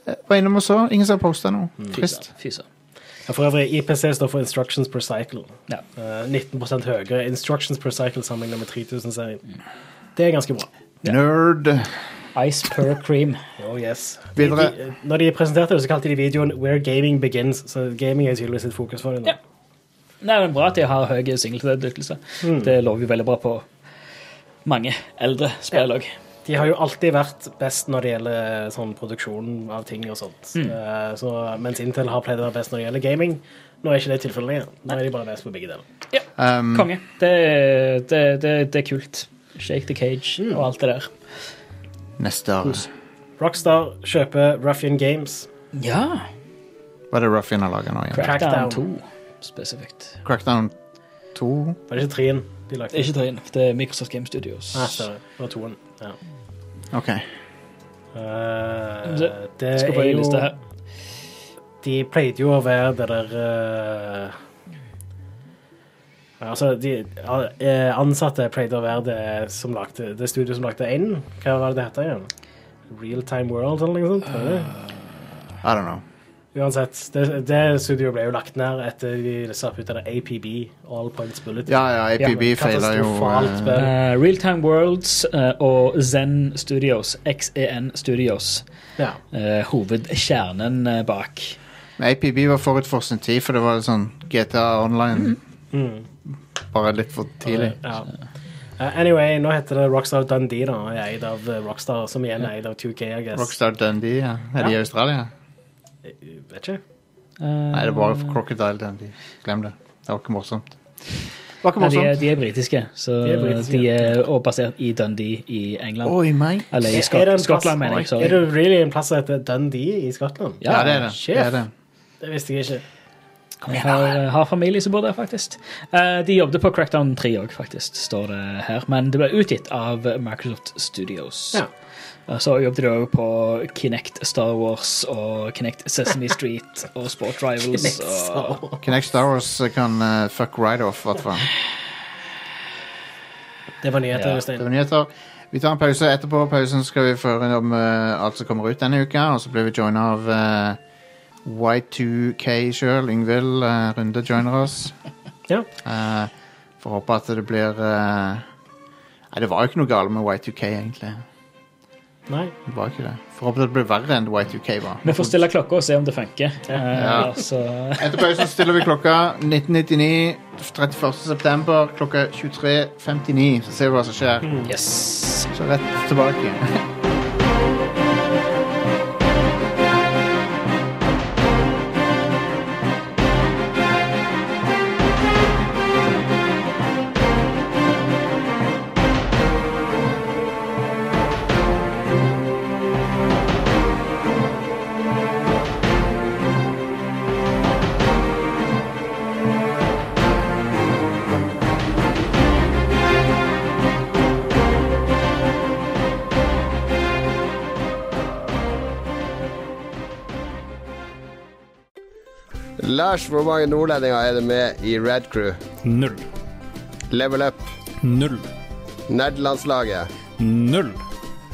Speaker 1: Jeg var innom og så. Ingen som har posta noe.
Speaker 4: Mm.
Speaker 1: Trist.
Speaker 4: Fy søren.
Speaker 2: ja, for øvrig, IPC står for Instructions Per Cycle.
Speaker 4: Ja.
Speaker 2: Eh, 19 høyere Instructions Per Cycle sammenlignet med 3000-serien. Det er ganske bra.
Speaker 1: Nerd.
Speaker 4: Ice per cream.
Speaker 2: Oh, yes. De,
Speaker 1: Videre.
Speaker 2: de, når de presenterte det, så kalte de videoen Where Gaming Begins, så gaming er tydeligvis et fokus for dem. da.
Speaker 4: Ja. Nei, men Bra at de har høy singletrade-ytelse.
Speaker 2: Mm.
Speaker 4: Det lover jo veldig bra på mange eldre spill òg.
Speaker 2: De har jo alltid vært best når det gjelder sånn produksjon av ting og sånt.
Speaker 4: Mm.
Speaker 2: Eh, så, mens Intel har pleid å være best når det gjelder gaming. Nå er ikke det tilfellet lenger. Nå er de bare best på begge deler.
Speaker 4: Ja.
Speaker 1: Um,
Speaker 4: Konge. Det, det, det, det er kult. Shake the cage
Speaker 2: Mm.
Speaker 4: og alt det der.
Speaker 1: neste år.
Speaker 2: Rockstar kjøper Ruffian Games.
Speaker 4: Ja.
Speaker 1: Hva er det Ruffin har laga nå igjen?
Speaker 2: Crackdown.
Speaker 4: Crackdown 2 spesifikt.
Speaker 1: Crackdown 2?
Speaker 2: Var det ikke treen de lagde?
Speaker 4: Det er ikke Trine. Det er Microsoft Game Studios.
Speaker 2: Nei, Ah, sorry. Det var toen. Ja.
Speaker 1: OK.
Speaker 2: Eh,
Speaker 4: Det-
Speaker 2: det
Speaker 4: Skal på
Speaker 2: er
Speaker 4: ei
Speaker 2: jo
Speaker 4: liste her.
Speaker 2: De pleide jo å være det der eh, Altså, de eh, ansatte pleide å være det som lagde Det studioet som lagde Einen. Hva var det det het igjen? Real Time World eller noe sånt? var det?
Speaker 1: Eh. I don't know.
Speaker 2: Uansett, det, det studioet ble jo lagt ned etter de slapp ut av det APB, All Points Bullet.
Speaker 1: Ja, ja, APB
Speaker 2: Ja,
Speaker 1: feila jo
Speaker 2: katastrofalt
Speaker 1: eh,
Speaker 2: spill.
Speaker 4: Eh, Realtime Worlds eh, og Zen E Studios, XEN Studios,
Speaker 2: Ja.
Speaker 4: eh, hovedkjernen eh, bak.
Speaker 1: Men APB var forut for sin tid, for det var sånn GTA Online
Speaker 2: Mm.
Speaker 1: bare litt for tidlig.
Speaker 2: Ja. Eh, anyway, nå heter det Rockstar Dundee, da. og er Eid av eh, Rockstar, som igjen er eid av 2K, I guess.
Speaker 1: Rockstar Dundee, ja. Er det i
Speaker 2: Ja.
Speaker 1: Australia?
Speaker 2: Eh, Vet ikke.
Speaker 1: Nei, det er bare
Speaker 4: Eh,
Speaker 1: for Crocodile Dundee. Glem det. Det var ikke morsomt. Det var ikke
Speaker 4: Nei, de, er,
Speaker 1: morsomt.
Speaker 4: de er britiske, så
Speaker 2: sånn. De er britiske.
Speaker 4: de er også basert i Dundee i England.
Speaker 1: Oi, meg.
Speaker 4: Eller
Speaker 2: Er det en
Speaker 4: i Skot
Speaker 2: plass-
Speaker 4: Skottland, mener jeg.
Speaker 2: Er
Speaker 4: Sorry.
Speaker 2: det really en plass som heter Dundee i Skottland?
Speaker 1: Ja, det er det.
Speaker 2: Sjef.
Speaker 1: det, er det.
Speaker 2: Det visste jeg ikke.
Speaker 4: Jeg har, eh, har familie som bor der, faktisk. Eh, de jobbet på Crackdown 3 òg, faktisk, står det her. Men det ble utgitt av Microsoft Studios.
Speaker 2: Ja.
Speaker 4: Eh, Så jobbet de òg på Kinect Star Wars og Kinect Sesame Street og Sport Rivals. Og...
Speaker 1: Kinect Star Wars kan eh, fuck right off, i hvert fall.
Speaker 2: Det var nyheter,
Speaker 4: Ja.
Speaker 1: Det
Speaker 2: Jostein.
Speaker 1: var nyheter. Vi tar en pause. Etterpå pausen skal vi føre om eh, alt som kommer ut denne uka. Og så blir vi joina av eh, Y2K sjøl. Yngvild eh, Runde joiner oss.
Speaker 2: Ja.
Speaker 1: Eh, Får håpe at det blir eh, Nei, det var jo ikke noe galt med Y2K, egentlig.
Speaker 2: Nei.
Speaker 1: Det var ikke det. Får håpe det blir verre enn Y2K var.
Speaker 4: Vi får stille klokka og se om det funker. Eh,
Speaker 1: Ja.
Speaker 4: Så
Speaker 1: Etter pausen stiller vi klokka 1999 31. september klokka 23.59. Så ser vi hva som skjer.
Speaker 4: Mm.
Speaker 2: Mm.
Speaker 4: yes.
Speaker 1: Så rett tilbake.
Speaker 7: Lars, hvor mange nordlendinger er det med i Red Crew?
Speaker 5: Null.
Speaker 7: Level Up,
Speaker 5: Null.
Speaker 7: Nerdelandslaget,
Speaker 5: Null.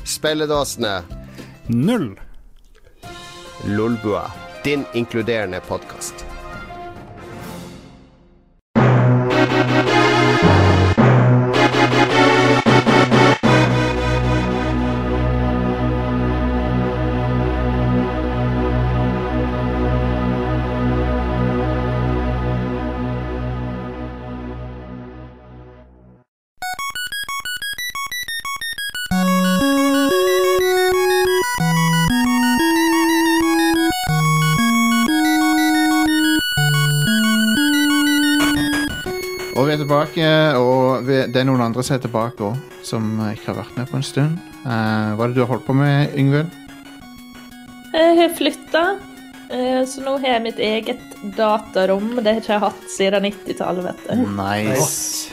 Speaker 7: Spelledåsene,
Speaker 5: Null.
Speaker 7: Lolbua. Din inkluderende podkast.
Speaker 1: Og vi er tilbake, og vi, det er noen andre som er tilbake òg, som ikke har vært med på en stund. Eh, hva er det du har holdt på med, Yngvild?
Speaker 8: Eh, Jeg har flytta, så nå har jeg mitt eget datarom. Det har jeg ikke hatt siden 90-tallet, vet du.
Speaker 1: Nice.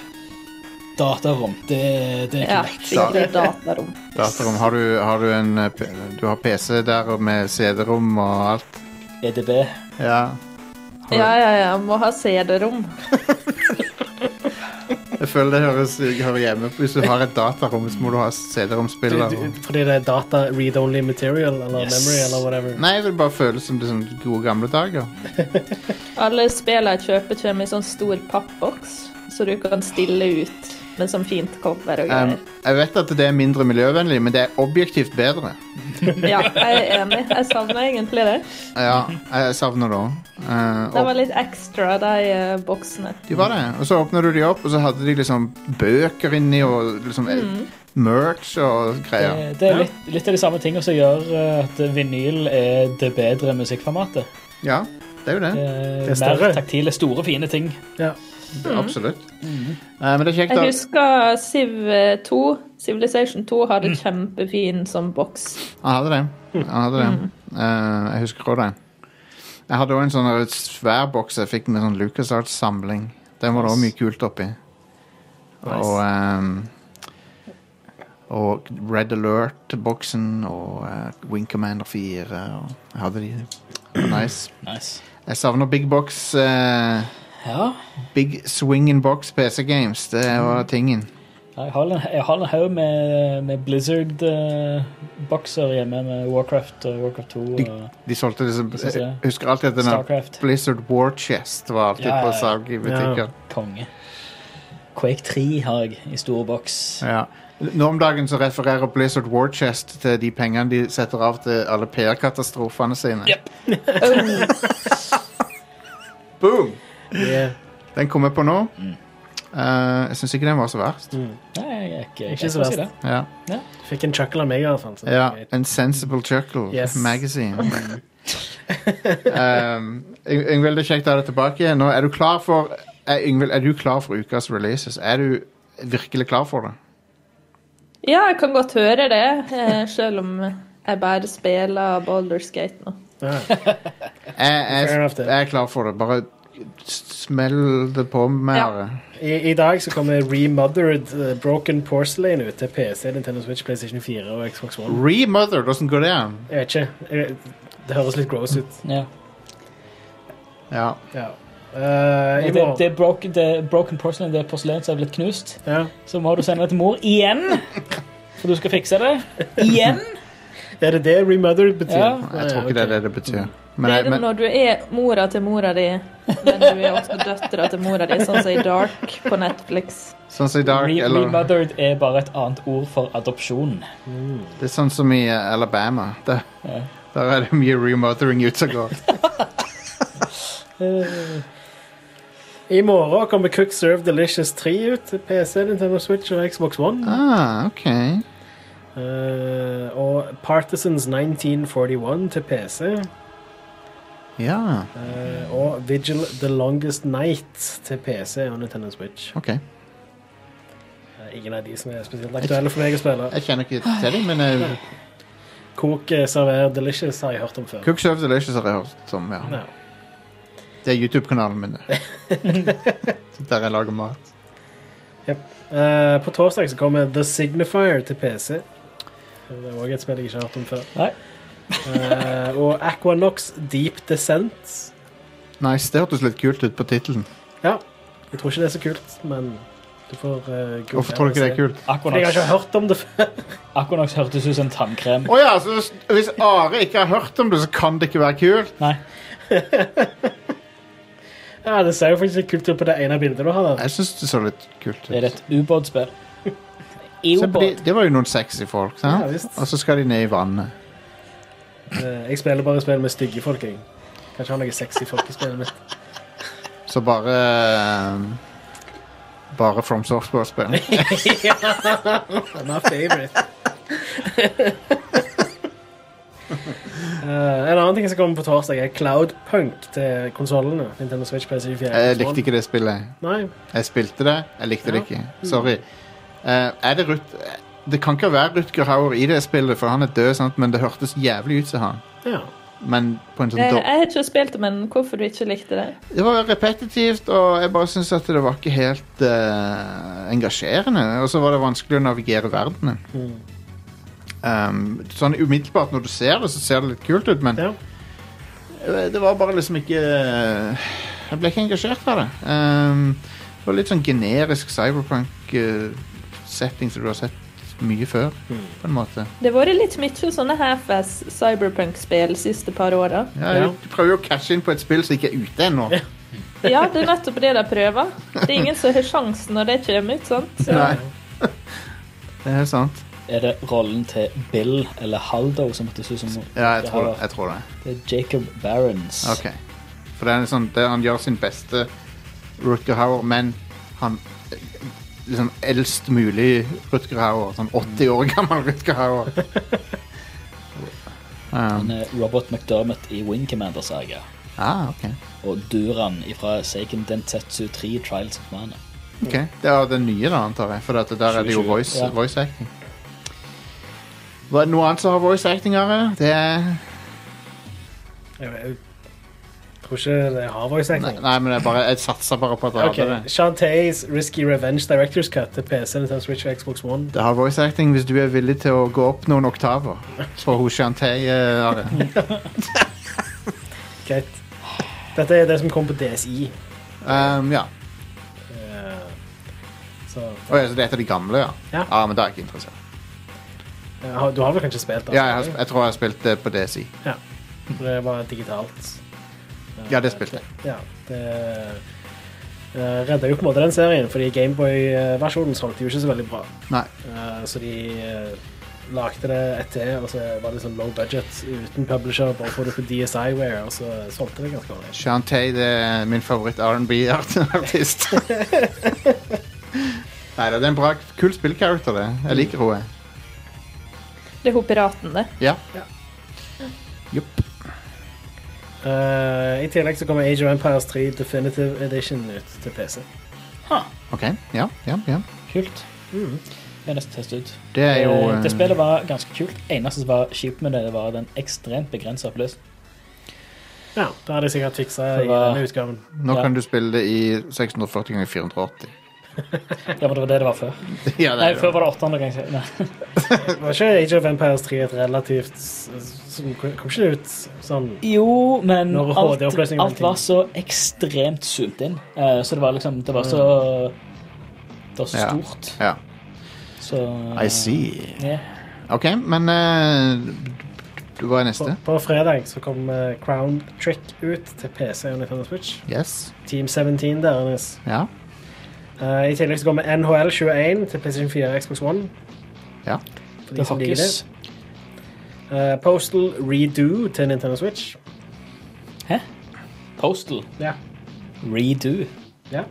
Speaker 4: Datarom. Det, det er
Speaker 8: Ja,
Speaker 4: korrekt.
Speaker 8: fikk det datarom.
Speaker 1: Datarom, har du, har du en eh, p- Du har PC der og med CD-rom og alt?
Speaker 4: EDB.
Speaker 1: Ja.
Speaker 8: Ja, ja, ja. Må ha CD-rom.
Speaker 1: Jeg føler det høres hører hjemme på Hvis du har et datarom, så må du ha
Speaker 2: Du,
Speaker 1: CD-romspiller.
Speaker 2: du,
Speaker 1: og-
Speaker 2: fordi det er data read-only material, eller
Speaker 4: Yes.
Speaker 2: memory, eller whatever.
Speaker 1: Nei, jeg vil bare føles som det som gode gamle dager.
Speaker 8: Alle spillene jeg kjøper, kommer i sånn stor pappboks, så du kan stille ut med sånn fint cover og
Speaker 1: Um,
Speaker 8: greier.
Speaker 1: jeg vet at det er mindre miljøvennlig, men det er objektivt bedre.
Speaker 8: Ja, jeg er enig. Jeg savner egentlig det.
Speaker 1: Ja, jeg savner det òg. Eh,
Speaker 8: De
Speaker 1: og-
Speaker 8: var litt ekstra, de eh, boksene.
Speaker 1: De var det. Og så åpner du de opp, og så hadde de liksom bøker inni og liksom merch og greier.
Speaker 4: Det, det er litt, litt av de samme tingene som gjør eh, at vinyl er det bedre musikkformatet.
Speaker 1: Ja, det er jo det.
Speaker 4: Det
Speaker 2: Det er
Speaker 4: er
Speaker 2: større.
Speaker 4: mer taktile, store, fine ting.
Speaker 1: Absolutt. Eh, men det er kjekt,
Speaker 8: Jeg
Speaker 1: da.
Speaker 8: husker Civ 2, Civilization 2 hadde kjempefin sånn boks.
Speaker 1: Han hadde det. Han hadde
Speaker 4: Mm.
Speaker 1: det. Eh, jeg husker også det. Jeg hadde òg en sånn her svær boks jeg fikk med sånn LucasArts-samling. Den var det òg mye kult oppi. Og ehm, og Red Alert-boksen og eh, Wing Commander 4. Og jeg hadde de. Det var Nice.
Speaker 4: Nice.
Speaker 1: Jeg savner Big Box eh,
Speaker 4: Ja,
Speaker 1: Big Swingin' Box PC Games. Det
Speaker 4: Mm.
Speaker 1: var tingen.
Speaker 4: jeg har en- jeg har en haug med, med Blizzard-bokser hjemme med Warcraft og Warcraft 2 og
Speaker 1: De solgte liksom
Speaker 4: synes jeg.
Speaker 1: Jeg husker alltid at denne
Speaker 4: Starcraft.
Speaker 1: Blizzard War Chest var alltid
Speaker 4: Ja, ja,
Speaker 1: på
Speaker 4: ja.
Speaker 1: salg i butikker.
Speaker 4: Konge. Quake 3 har jeg i stor boks.
Speaker 1: Ja. Nå om dagen så refererer Blizzard Warchest til de pengene de setter av til alle PR-katastrofene sine. Boom!
Speaker 2: Yeah.
Speaker 1: Den kom jeg på nå.
Speaker 2: Mm.
Speaker 1: Eh, jeg syns ikke den var så verst.
Speaker 3: Nei, jeg er ikke, jeg,
Speaker 2: Ikke så
Speaker 3: skal si
Speaker 2: verst.
Speaker 1: Ja.
Speaker 2: mm. Fikk en chuckle av meg i hvert fall. så det
Speaker 1: ja.
Speaker 2: er greit.
Speaker 1: En sensible chuckle
Speaker 2: Yes.
Speaker 1: magazine. um, Yng- Yngvild, det er kjekt å ha deg tilbake. igjen. Nå er du klar for er, Yngvild, er du klar for ukas releases? Er du virkelig klar for det?
Speaker 8: Ja, jeg kan godt høre det, eh, selv om jeg bare spiller Baldur's Gate nå.
Speaker 2: Ja.
Speaker 1: Jeg,
Speaker 2: Fair
Speaker 1: jeg,
Speaker 2: enough, det.
Speaker 1: jeg er klar for det. Bare s- smell det på mer.
Speaker 2: I, I dag så kommer remothered eh, Broken Porcelain ut til PC, Nintendo Switch, PlayStation 4 og Xbox One.
Speaker 1: Remothered, åssen går det an?
Speaker 2: Jeg vet ikke. Jeg, det høres litt gross ut.
Speaker 3: det. Ja.
Speaker 1: Ja.
Speaker 2: Ja. Eh, I
Speaker 3: Det,
Speaker 2: morgen.
Speaker 3: det, er broken, det er broken porcelain, det er porselen som er blitt knust.
Speaker 2: Ja.
Speaker 3: Så må du sende det til mor igjen, for du skal fikse det. Igjen.
Speaker 2: Er det det remothered betyr?
Speaker 3: Ja.
Speaker 1: Jeg tror ikke det er det det betyr. Men,
Speaker 8: det er
Speaker 1: jeg,
Speaker 8: det
Speaker 1: men,
Speaker 8: når du er mora til mora di, men du er også døtra til mora di, sånn som i Dark på Netflix.
Speaker 1: sånn som i Dark,
Speaker 3: Re
Speaker 1: eller
Speaker 3: Remothered er bare et annet ord for adopsjon.
Speaker 1: Det er sånn som i eh, Alabama. Der,
Speaker 3: Ja.
Speaker 1: der er det mye remothering ute og går.
Speaker 3: Eh,
Speaker 2: I morgen kommer Cook Serve Delicious 3 ut til PC, Nintendo Switch og Xbox One.
Speaker 1: Ah, OK.
Speaker 2: Eh, og Partisans 1941 til PC.
Speaker 1: Ja,
Speaker 2: eh, og Vigil The Longest Night til PC og Nintendo Switch.
Speaker 1: OK.
Speaker 2: Eh, ingen av de som er spesielt aktuelle for meg å spille.
Speaker 1: Jeg kjenner ikke til dem, men eh,
Speaker 2: Kok eh, server Delicious har jeg hørt om før.
Speaker 1: Cook Serve Delicious har jeg hørt om. ja.
Speaker 2: Ja.
Speaker 1: Det er YouTube-kanalen min. det. Der jeg lager mat.
Speaker 2: Eh, på torsdag så kommer The Signifier til PC. Det er òg et spill jeg ikke har hørt om før.
Speaker 3: Nei.
Speaker 2: Eh, og Aquanox Deep Descent
Speaker 1: Nice. Det hørtes litt kult ut på tittelen.
Speaker 2: Ja. Jeg tror ikke det er så kult, men du får uh,
Speaker 1: Hvorfor tror du ikke det er kult?
Speaker 2: Jeg har
Speaker 3: Aquanox,
Speaker 2: ikke hørt om det før.
Speaker 3: Aquanox hørtes ut som en tannkrem.
Speaker 1: Å ja, så hvis- hvis Are ikke har hørt om det, så kan det ikke være kult?
Speaker 3: Nei.
Speaker 2: Ja, Det ser jo faktisk litt kult ut på det ene bildet du har. der.
Speaker 1: Jeg syns det så litt kult
Speaker 3: Det er
Speaker 1: ut.
Speaker 3: et ubåtspill.
Speaker 1: Se på de,
Speaker 3: Ubåt.
Speaker 1: det var jo noen sexy folk,
Speaker 2: Ja,
Speaker 1: sant?
Speaker 2: visst.
Speaker 1: Og så skal de ned i vannet.
Speaker 2: Eh, Jeg spiller bare spill med stygge folk. jeg. Kanskje har noe sexy folk i spillet mitt.
Speaker 1: Så bare um, Bare From Software-spill.
Speaker 2: They're My favorite. Eh, en annen ting som kommer på torsdag, er Cloudpunk til konsollene. Nintendo Switch, PS4
Speaker 1: Jeg likte ikke det spillet.
Speaker 2: Nei,
Speaker 1: Jeg spilte det, jeg likte det ikke. Sorry. Eh, er det Rut... Det kan ikke være Rutger Hauer i det spillet, for han er død, sant? men det hørtes jævlig ut som han.
Speaker 2: ja.
Speaker 1: Men på en sånn
Speaker 8: Jeg,
Speaker 1: dår-
Speaker 8: Eh, jeg har ikke spilt det, men hvorfor du ikke likte det?
Speaker 1: Det var repetitivt, og jeg bare syntes at det var ikke helt eh, engasjerende. Og så var det vanskelig å navigere verdenen.
Speaker 2: Mm,
Speaker 1: Um, sånn umiddelbart når du ser det, så ser det litt kult ut, men
Speaker 2: Ja.
Speaker 1: Eh, det var bare liksom ikke Jeg ble ikke engasjert av det. Um, det var litt sånn generisk cyberpunk-setting som du har sett mye før, på en måte.
Speaker 8: Det har vært litt mye sånne half-ass cyberpunk-spill de siste par åra.
Speaker 1: Ja,
Speaker 2: Ja.
Speaker 1: Du prøver jo å cashe inn på et spill som ikke er ute ennå.
Speaker 8: Ja, det er nettopp det de prøver. Det er ingen som har sjansen når det kommer ut, sant? Så
Speaker 1: Nei. det er sant.
Speaker 3: Er det rollen til Bill eller Haldo som hørtes ut som
Speaker 1: Ja, jeg tror, jeg tror det.
Speaker 3: Det er Jacob Barons.
Speaker 1: Ok. For det er sånn, det, han gjør sin beste Rutger Hauer, men han eh, liksom eldst mulig Rutger Hauer. Sånn 80 år gammel Rutger Hauer. um,
Speaker 3: Han er Robert McDermott i Wing Commander-saga.
Speaker 1: ah, ok.
Speaker 3: Og Duran fra Seiken Dentetsu 3 Trials of Mana.
Speaker 1: Ok, Det er den nye, da, antar jeg. For at der er det jo
Speaker 3: 2020,
Speaker 1: voice,
Speaker 3: ja.
Speaker 1: voice acting. Hva er det noe annet som har voice acting, Are? Det er
Speaker 2: Jeg, jeg tror ikke det har voice
Speaker 1: Nei,
Speaker 2: acting.
Speaker 1: nei men jeg, bare, jeg satser bare på at det
Speaker 2: Ok,
Speaker 1: hadde det.
Speaker 2: Shantae's Risky Revenge Directors Cut til PC, Nintendo Switch og Xbox One.
Speaker 1: Det har voice acting hvis du er villig til å gå opp noen oktaver. For hun Shantay eh, Are.
Speaker 2: Greit. Dette er det som kom på DSI.
Speaker 1: Um, ja.
Speaker 2: eh, Så
Speaker 1: Å, ja, så det er et av de gamle, ja? Ah,
Speaker 2: Ja.
Speaker 1: men da er jeg ikke interessert.
Speaker 2: eh, har- Du har vel kanskje spilt det?
Speaker 1: Ja, jeg, har, sp- jeg tror jeg har spilt det på DSI.
Speaker 2: Det var digitalt. Eh,
Speaker 1: Ja, det spilte jeg.
Speaker 2: Ja, det Uh, redda jo på en måte den serien, fordi Gameboy-versjonen solgte jo ikke så veldig bra.
Speaker 1: Nei.
Speaker 2: Eh, så de eh, lagde det ett til, og så var det sånn low budget uten publisher, bare for det på DSI-ware, og så solgte det ganske bra.
Speaker 1: Shantay det er øh, min favoritt R&B-artist. Nei da, det er en bra, kul spillkarakter, det. Jeg liker henne.
Speaker 8: Det er hun piraten, det.
Speaker 1: Ja.
Speaker 2: Ja.
Speaker 1: Jupp.
Speaker 2: Eh, I tillegg så kommer Age of Empires 3 Definitive Edition ut til PC.
Speaker 1: OK. Ja, ja, ja.
Speaker 4: Kult.
Speaker 2: Mm.
Speaker 4: Jeg har nesten testet ut.
Speaker 1: Det er jo
Speaker 4: Eh,
Speaker 1: eh,
Speaker 4: det spillet var ganske kult. Eneste som var kjipt med det, det var den ekstremt begrensa oppløsningen.
Speaker 2: Ja, det har de sikkert fiksa i
Speaker 4: Det var-
Speaker 2: denne utgaven.
Speaker 1: Nå
Speaker 4: ja.
Speaker 1: kan du spille det i 640 ganger 480.
Speaker 4: Ja, men det var det det var før.
Speaker 1: ja, det
Speaker 4: Nei,
Speaker 1: er
Speaker 4: før
Speaker 1: jo.
Speaker 4: var det 800 ganger. Nei.
Speaker 2: Var ikke Age of Empires 3 et relativt s- som, Kom ikke det ut sånn
Speaker 4: Jo, men
Speaker 2: Når
Speaker 4: alt,
Speaker 2: HD-oppløsningen var
Speaker 4: alt var så ekstremt zoomt inn. Eh, Så det var liksom Det var så Det var så
Speaker 1: Ja.
Speaker 4: stort.
Speaker 1: Ja.
Speaker 4: Så eh,
Speaker 1: I see.
Speaker 4: Ja.
Speaker 1: OK, men øh, eh, Hva er
Speaker 2: På,
Speaker 1: neste?
Speaker 2: sånn- på fredag så kom eh, Crown Trick ut til PC og Nintendo Switch.
Speaker 1: Yes.
Speaker 2: Team 17 der, Ernest.
Speaker 1: Ja.
Speaker 2: Eh, I tillegg så kommer NHL 21 til PlayStation 4 og Xbox One.
Speaker 1: Ja.
Speaker 2: For de
Speaker 4: Det
Speaker 2: som liker
Speaker 4: hakkes.
Speaker 2: det. Eh, Postal Redo til Nintendo Switch.
Speaker 4: Postal.
Speaker 2: Ja.
Speaker 4: Redo.
Speaker 2: ja.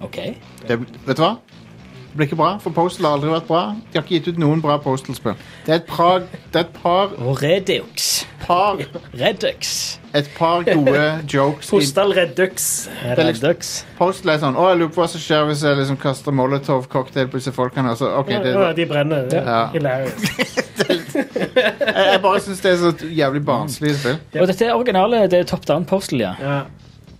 Speaker 4: OK.
Speaker 1: Det, vet du hva? Det blir ikke bra, for Postal har aldri vært bra. De har ikke gitt ut noen bra Postal-spill. Det er et par, det er et par,
Speaker 4: Og Redux.
Speaker 1: par,
Speaker 4: Redux.
Speaker 1: et par gode jokes i
Speaker 2: Postal Redux.
Speaker 1: Det er liksom-
Speaker 4: Redux.
Speaker 1: Postal er sånn Å, jeg lurer på hva som skjer hvis jeg liksom kaster molotov-cocktail på disse folkene. Altså, ok, det,
Speaker 2: Ja, de brenner. Det er
Speaker 1: Ja.
Speaker 2: Hilarious.
Speaker 1: jeg, jeg bare syns det er så jævlig barnslig spill.
Speaker 4: Og dette er originale. Det er Top Down Postal, ja.
Speaker 2: Ja.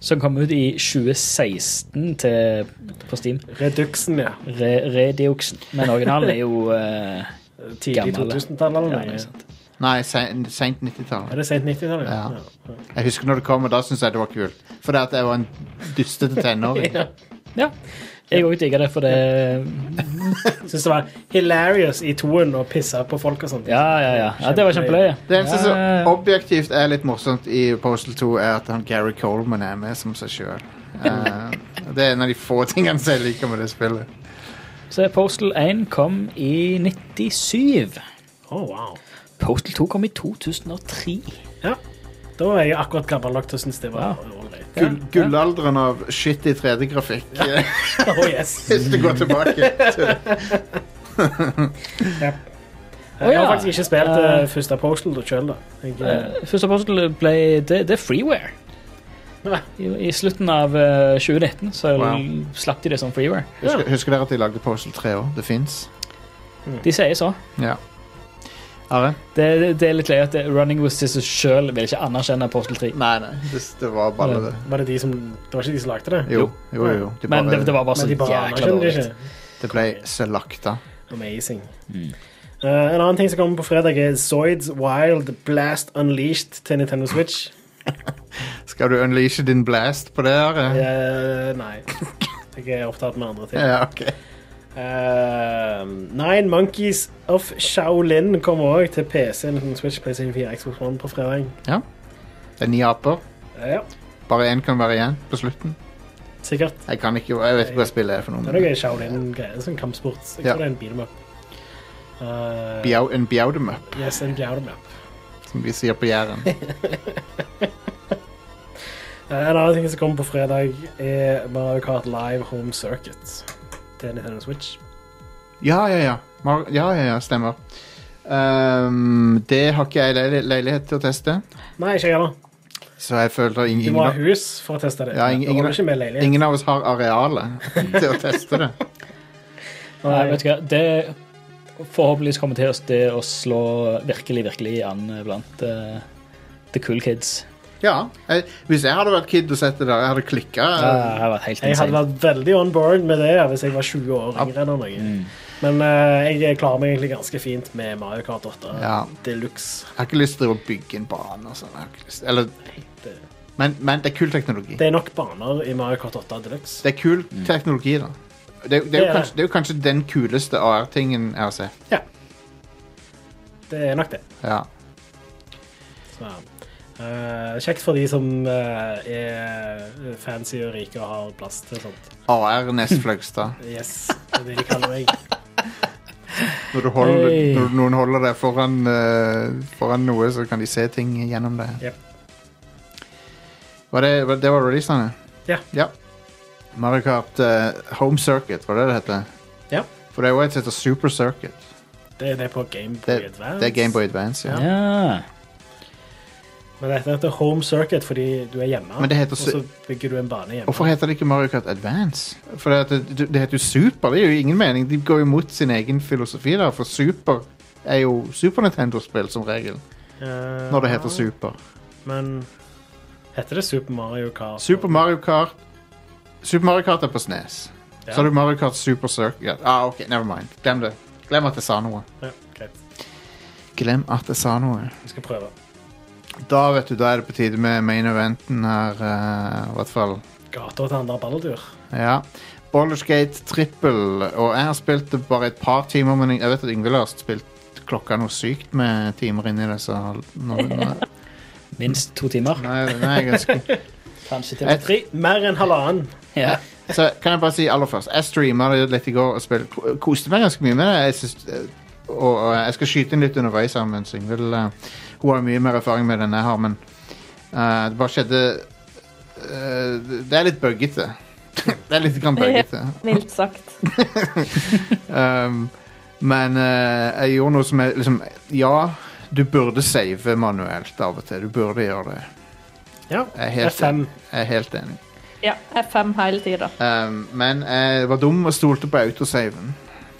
Speaker 4: Som kom ut i 2016 til, på Steam.
Speaker 2: Reduxen, ja.
Speaker 4: Re, Redioxen. Men originalen er jo eh,
Speaker 2: Tidlig
Speaker 4: Gammel, ja.
Speaker 2: 2000-tallet.
Speaker 4: ja,
Speaker 2: eller
Speaker 4: ikke
Speaker 2: noe.
Speaker 4: sant.
Speaker 1: Nei, seint
Speaker 2: Er
Speaker 1: 90-tallet.
Speaker 2: det sent 90-tallet?
Speaker 1: Ja.
Speaker 2: Ja.
Speaker 1: Jeg husker når det kom, og da syntes jeg det var kult. For det at jeg var en dustete tenåring.
Speaker 4: Ja. Jeg òg digger det, for det
Speaker 2: Syns det var hilarious i toen å pisse på folk og sånt.
Speaker 4: Ja, ja, ja. ja det var kjempeløye.
Speaker 1: Det eneste
Speaker 4: Ja, ja, ja.
Speaker 1: som objektivt er litt morsomt i Postal 2, er at han Gary Coleman er med som seg sjøl. det er en av de få tingene som jeg liker med det spillet.
Speaker 4: Så Postal 1 kom i 97.
Speaker 2: Å, Oh, wow.
Speaker 4: Postal 2 kom i 2003.
Speaker 2: Ja. Da er jeg akkurat gammel nok til å synes det var ålreit.
Speaker 1: Gull, gullalderen av shitty 3D-grafikk.
Speaker 2: Oh, yes.
Speaker 1: eh, Hvis du går tilbake til
Speaker 4: Å,
Speaker 2: Jeg har
Speaker 4: ja.
Speaker 2: faktisk ikke spilt
Speaker 4: Eh,
Speaker 2: eh, første Postal sjøl, da. Jeg, eh,
Speaker 4: Eh, Første Postal ble Det, det er freeware.
Speaker 2: Ja.
Speaker 4: I, I slutten av eh, 2019 så
Speaker 1: Wow.
Speaker 4: slapp de det som freeware.
Speaker 1: Husker, husker dere at de lagde Postal 3 òg? Det fins.
Speaker 4: De sier så.
Speaker 1: Ja. Are?
Speaker 4: Det, det, det er litt løye at det- Running with Sisters sjøl vil ikke anerkjenne Postal 3.
Speaker 1: Nei, nei. Det, det var balle, det.
Speaker 2: var det de som Det var ikke de som lagde det?
Speaker 1: Jo, jo, jo. jo. De
Speaker 4: Men
Speaker 1: bare,
Speaker 4: det, det var bare så
Speaker 2: Men de bare
Speaker 4: jækla
Speaker 2: anerkjenner det
Speaker 4: dårlig.
Speaker 2: ikke.
Speaker 1: det ble slakta.
Speaker 2: Amazing.
Speaker 4: Mm.
Speaker 2: Eh, en annen ting som kommer på fredag, er Zoids Wild Blast Unleashed til Nintendo Switch.
Speaker 1: Skal du unleashe din blast på det? Are?
Speaker 2: Eh, nei. Jeg er opptatt med andre ting.
Speaker 1: Ja, ok.
Speaker 2: Eh, Nine Monkeys of Shaolin kommer òg til PC, Nintendo Switch, PlayStation 4, Xbox One på fredag.
Speaker 1: Det er ni aper.
Speaker 2: Eh, ja,
Speaker 1: Bare én kan være igjen på slutten.
Speaker 2: sikkert.
Speaker 1: Jeg kan ikke, jeg vet ikke hva spillet er for noe.
Speaker 2: Det er
Speaker 1: men-
Speaker 2: noe Shaolin-greier, sånn kampsport. Jeg
Speaker 1: Ja.
Speaker 2: tror det er en beat 'em up. Eh,
Speaker 1: Biau, en biaudemøpp,
Speaker 2: yes, en beat 'em up.
Speaker 1: som vi sier på Jæren.
Speaker 2: Eh, En annen ting som kommer på fredag, er Mario Kart Live Home Circuit til Nintendo Switch.
Speaker 1: Ja, ja, ja. Mar ja, ja, ja stemmer. Ehm, det har ikke jeg leil leilighet til å teste,
Speaker 2: Nei, ikke jeg heller.
Speaker 1: så jeg føler ing-
Speaker 2: Du
Speaker 1: ingen,
Speaker 2: må ha
Speaker 1: av-
Speaker 2: hus for å teste det.
Speaker 1: Ja, ingen-
Speaker 2: det holder
Speaker 1: ingen-
Speaker 2: ikke med leilighet.
Speaker 1: ingen av oss har arealet til å teste det.
Speaker 4: Nei, vet du hva? Det forhåpentligvis kommer til oss det å slå virkelig, virkelig an blant eh, the cool kids.
Speaker 1: Ja, jeg, Hvis jeg hadde vært kid og sett det der, jeg hadde klikka.
Speaker 4: Det har vært helt
Speaker 2: Jeg hadde
Speaker 4: insane.
Speaker 2: vært veldig on board med det hvis jeg var 20 år yngre. eller noe.
Speaker 1: Mm.
Speaker 2: Men eh, jeg klarer meg egentlig ganske fint med Mario Kart 8
Speaker 1: Ja.
Speaker 2: Deluxe.
Speaker 1: Jeg har ikke lyst til å bygge en bane og sånn. jeg har ikke lyst- Eller
Speaker 2: det-
Speaker 1: men, men det er kul teknologi.
Speaker 2: Det er nok baner i Mario Kart 8 Deluxe.
Speaker 1: Det er kul teknologi, da. Det, det, er,
Speaker 2: Det
Speaker 1: jo
Speaker 2: er
Speaker 1: kanskje, det er jo kanskje den kuleste AR-tingen jeg har sett.
Speaker 2: Ja. Det er nok det.
Speaker 1: Ja.
Speaker 2: Så, Eh, kjekt for de som eh, er fancy og rike og har plass til sånt.
Speaker 1: AR Nes Fløgstad.
Speaker 2: Yes, det er det de kaller meg.
Speaker 1: Når, du holder,
Speaker 3: Hey.
Speaker 1: når noen holder deg foran, eh, foran noe, så kan de se ting gjennom det.
Speaker 2: Yep.
Speaker 1: Var det, var, det var releasene?
Speaker 2: Ja.
Speaker 1: ja. Mario Kart eh, Home Circuit, var det det heter?
Speaker 2: Ja.
Speaker 1: For det er jo et som heter Super Circuit.
Speaker 2: Det er det på Gameboy
Speaker 1: Det,
Speaker 2: Advance.
Speaker 1: det er Gameboy Advance, ja.
Speaker 3: Ja.
Speaker 2: Men dette heter Home Circuit fordi du er hjemme,
Speaker 1: Men det heter
Speaker 2: og så bygger du en bane hjemme.
Speaker 1: Hvorfor heter det ikke Mario Kart Advance? For det, at det, det heter jo Super, det gir jo ingen mening. De går jo mot sin egen filosofi der, for Super er jo Super Nintendo-spill som regel.
Speaker 2: Eh,
Speaker 1: Når det heter Super.
Speaker 2: Men heter det Super Mario Kart?
Speaker 1: Super Mario Kart Super Mario Kart er på SNES.
Speaker 2: Ja.
Speaker 1: Så har du Mario Kart Super Circuit. Ah, ok, never mind. Glem det. Glem at jeg sa noe.
Speaker 2: Ja, greit.
Speaker 1: Glem at jeg sa noe.
Speaker 2: Vi skal prøve.
Speaker 1: Da vet du, da er det på tide med main eventen her, eh, i hvert fall.
Speaker 2: Gater til andre balletur.
Speaker 1: Ja. Boulderskate Triple. Og jeg har spilt det bare et par timer, men jeg vet at Yngvild har spilt klokka noe sykt med timer inni det, så nå, nå,
Speaker 3: Minst to timer.
Speaker 1: nei, nei, jeg ønsker
Speaker 3: Kanskje til og
Speaker 1: Jeg-
Speaker 3: med
Speaker 2: Tre, mer enn halvannen.
Speaker 3: ja.
Speaker 1: Så kan jeg bare si aller først Jeg streama det litt i går og spil, ko- koste meg ganske mye med det. Jeg synes, eh, og, og jeg skal skyte inn litt underveis her, mens Ingvild eh, Hun har mye mer erfaring med det enn jeg har, men eh, det bare skjedde eh, det- Det er litt buggete. det er litt grann buggete.
Speaker 8: Mildt sagt.
Speaker 1: Um, men eh, jeg gjorde noe som er liksom Ja, du burde save manuelt av og til. Du burde gjøre det.
Speaker 2: Ja,
Speaker 1: Jeg er helt,
Speaker 2: F5.
Speaker 1: jeg er helt enig.
Speaker 8: Ja, F5 hele tida.
Speaker 1: Um, men jeg var dum og stolte på autosaven.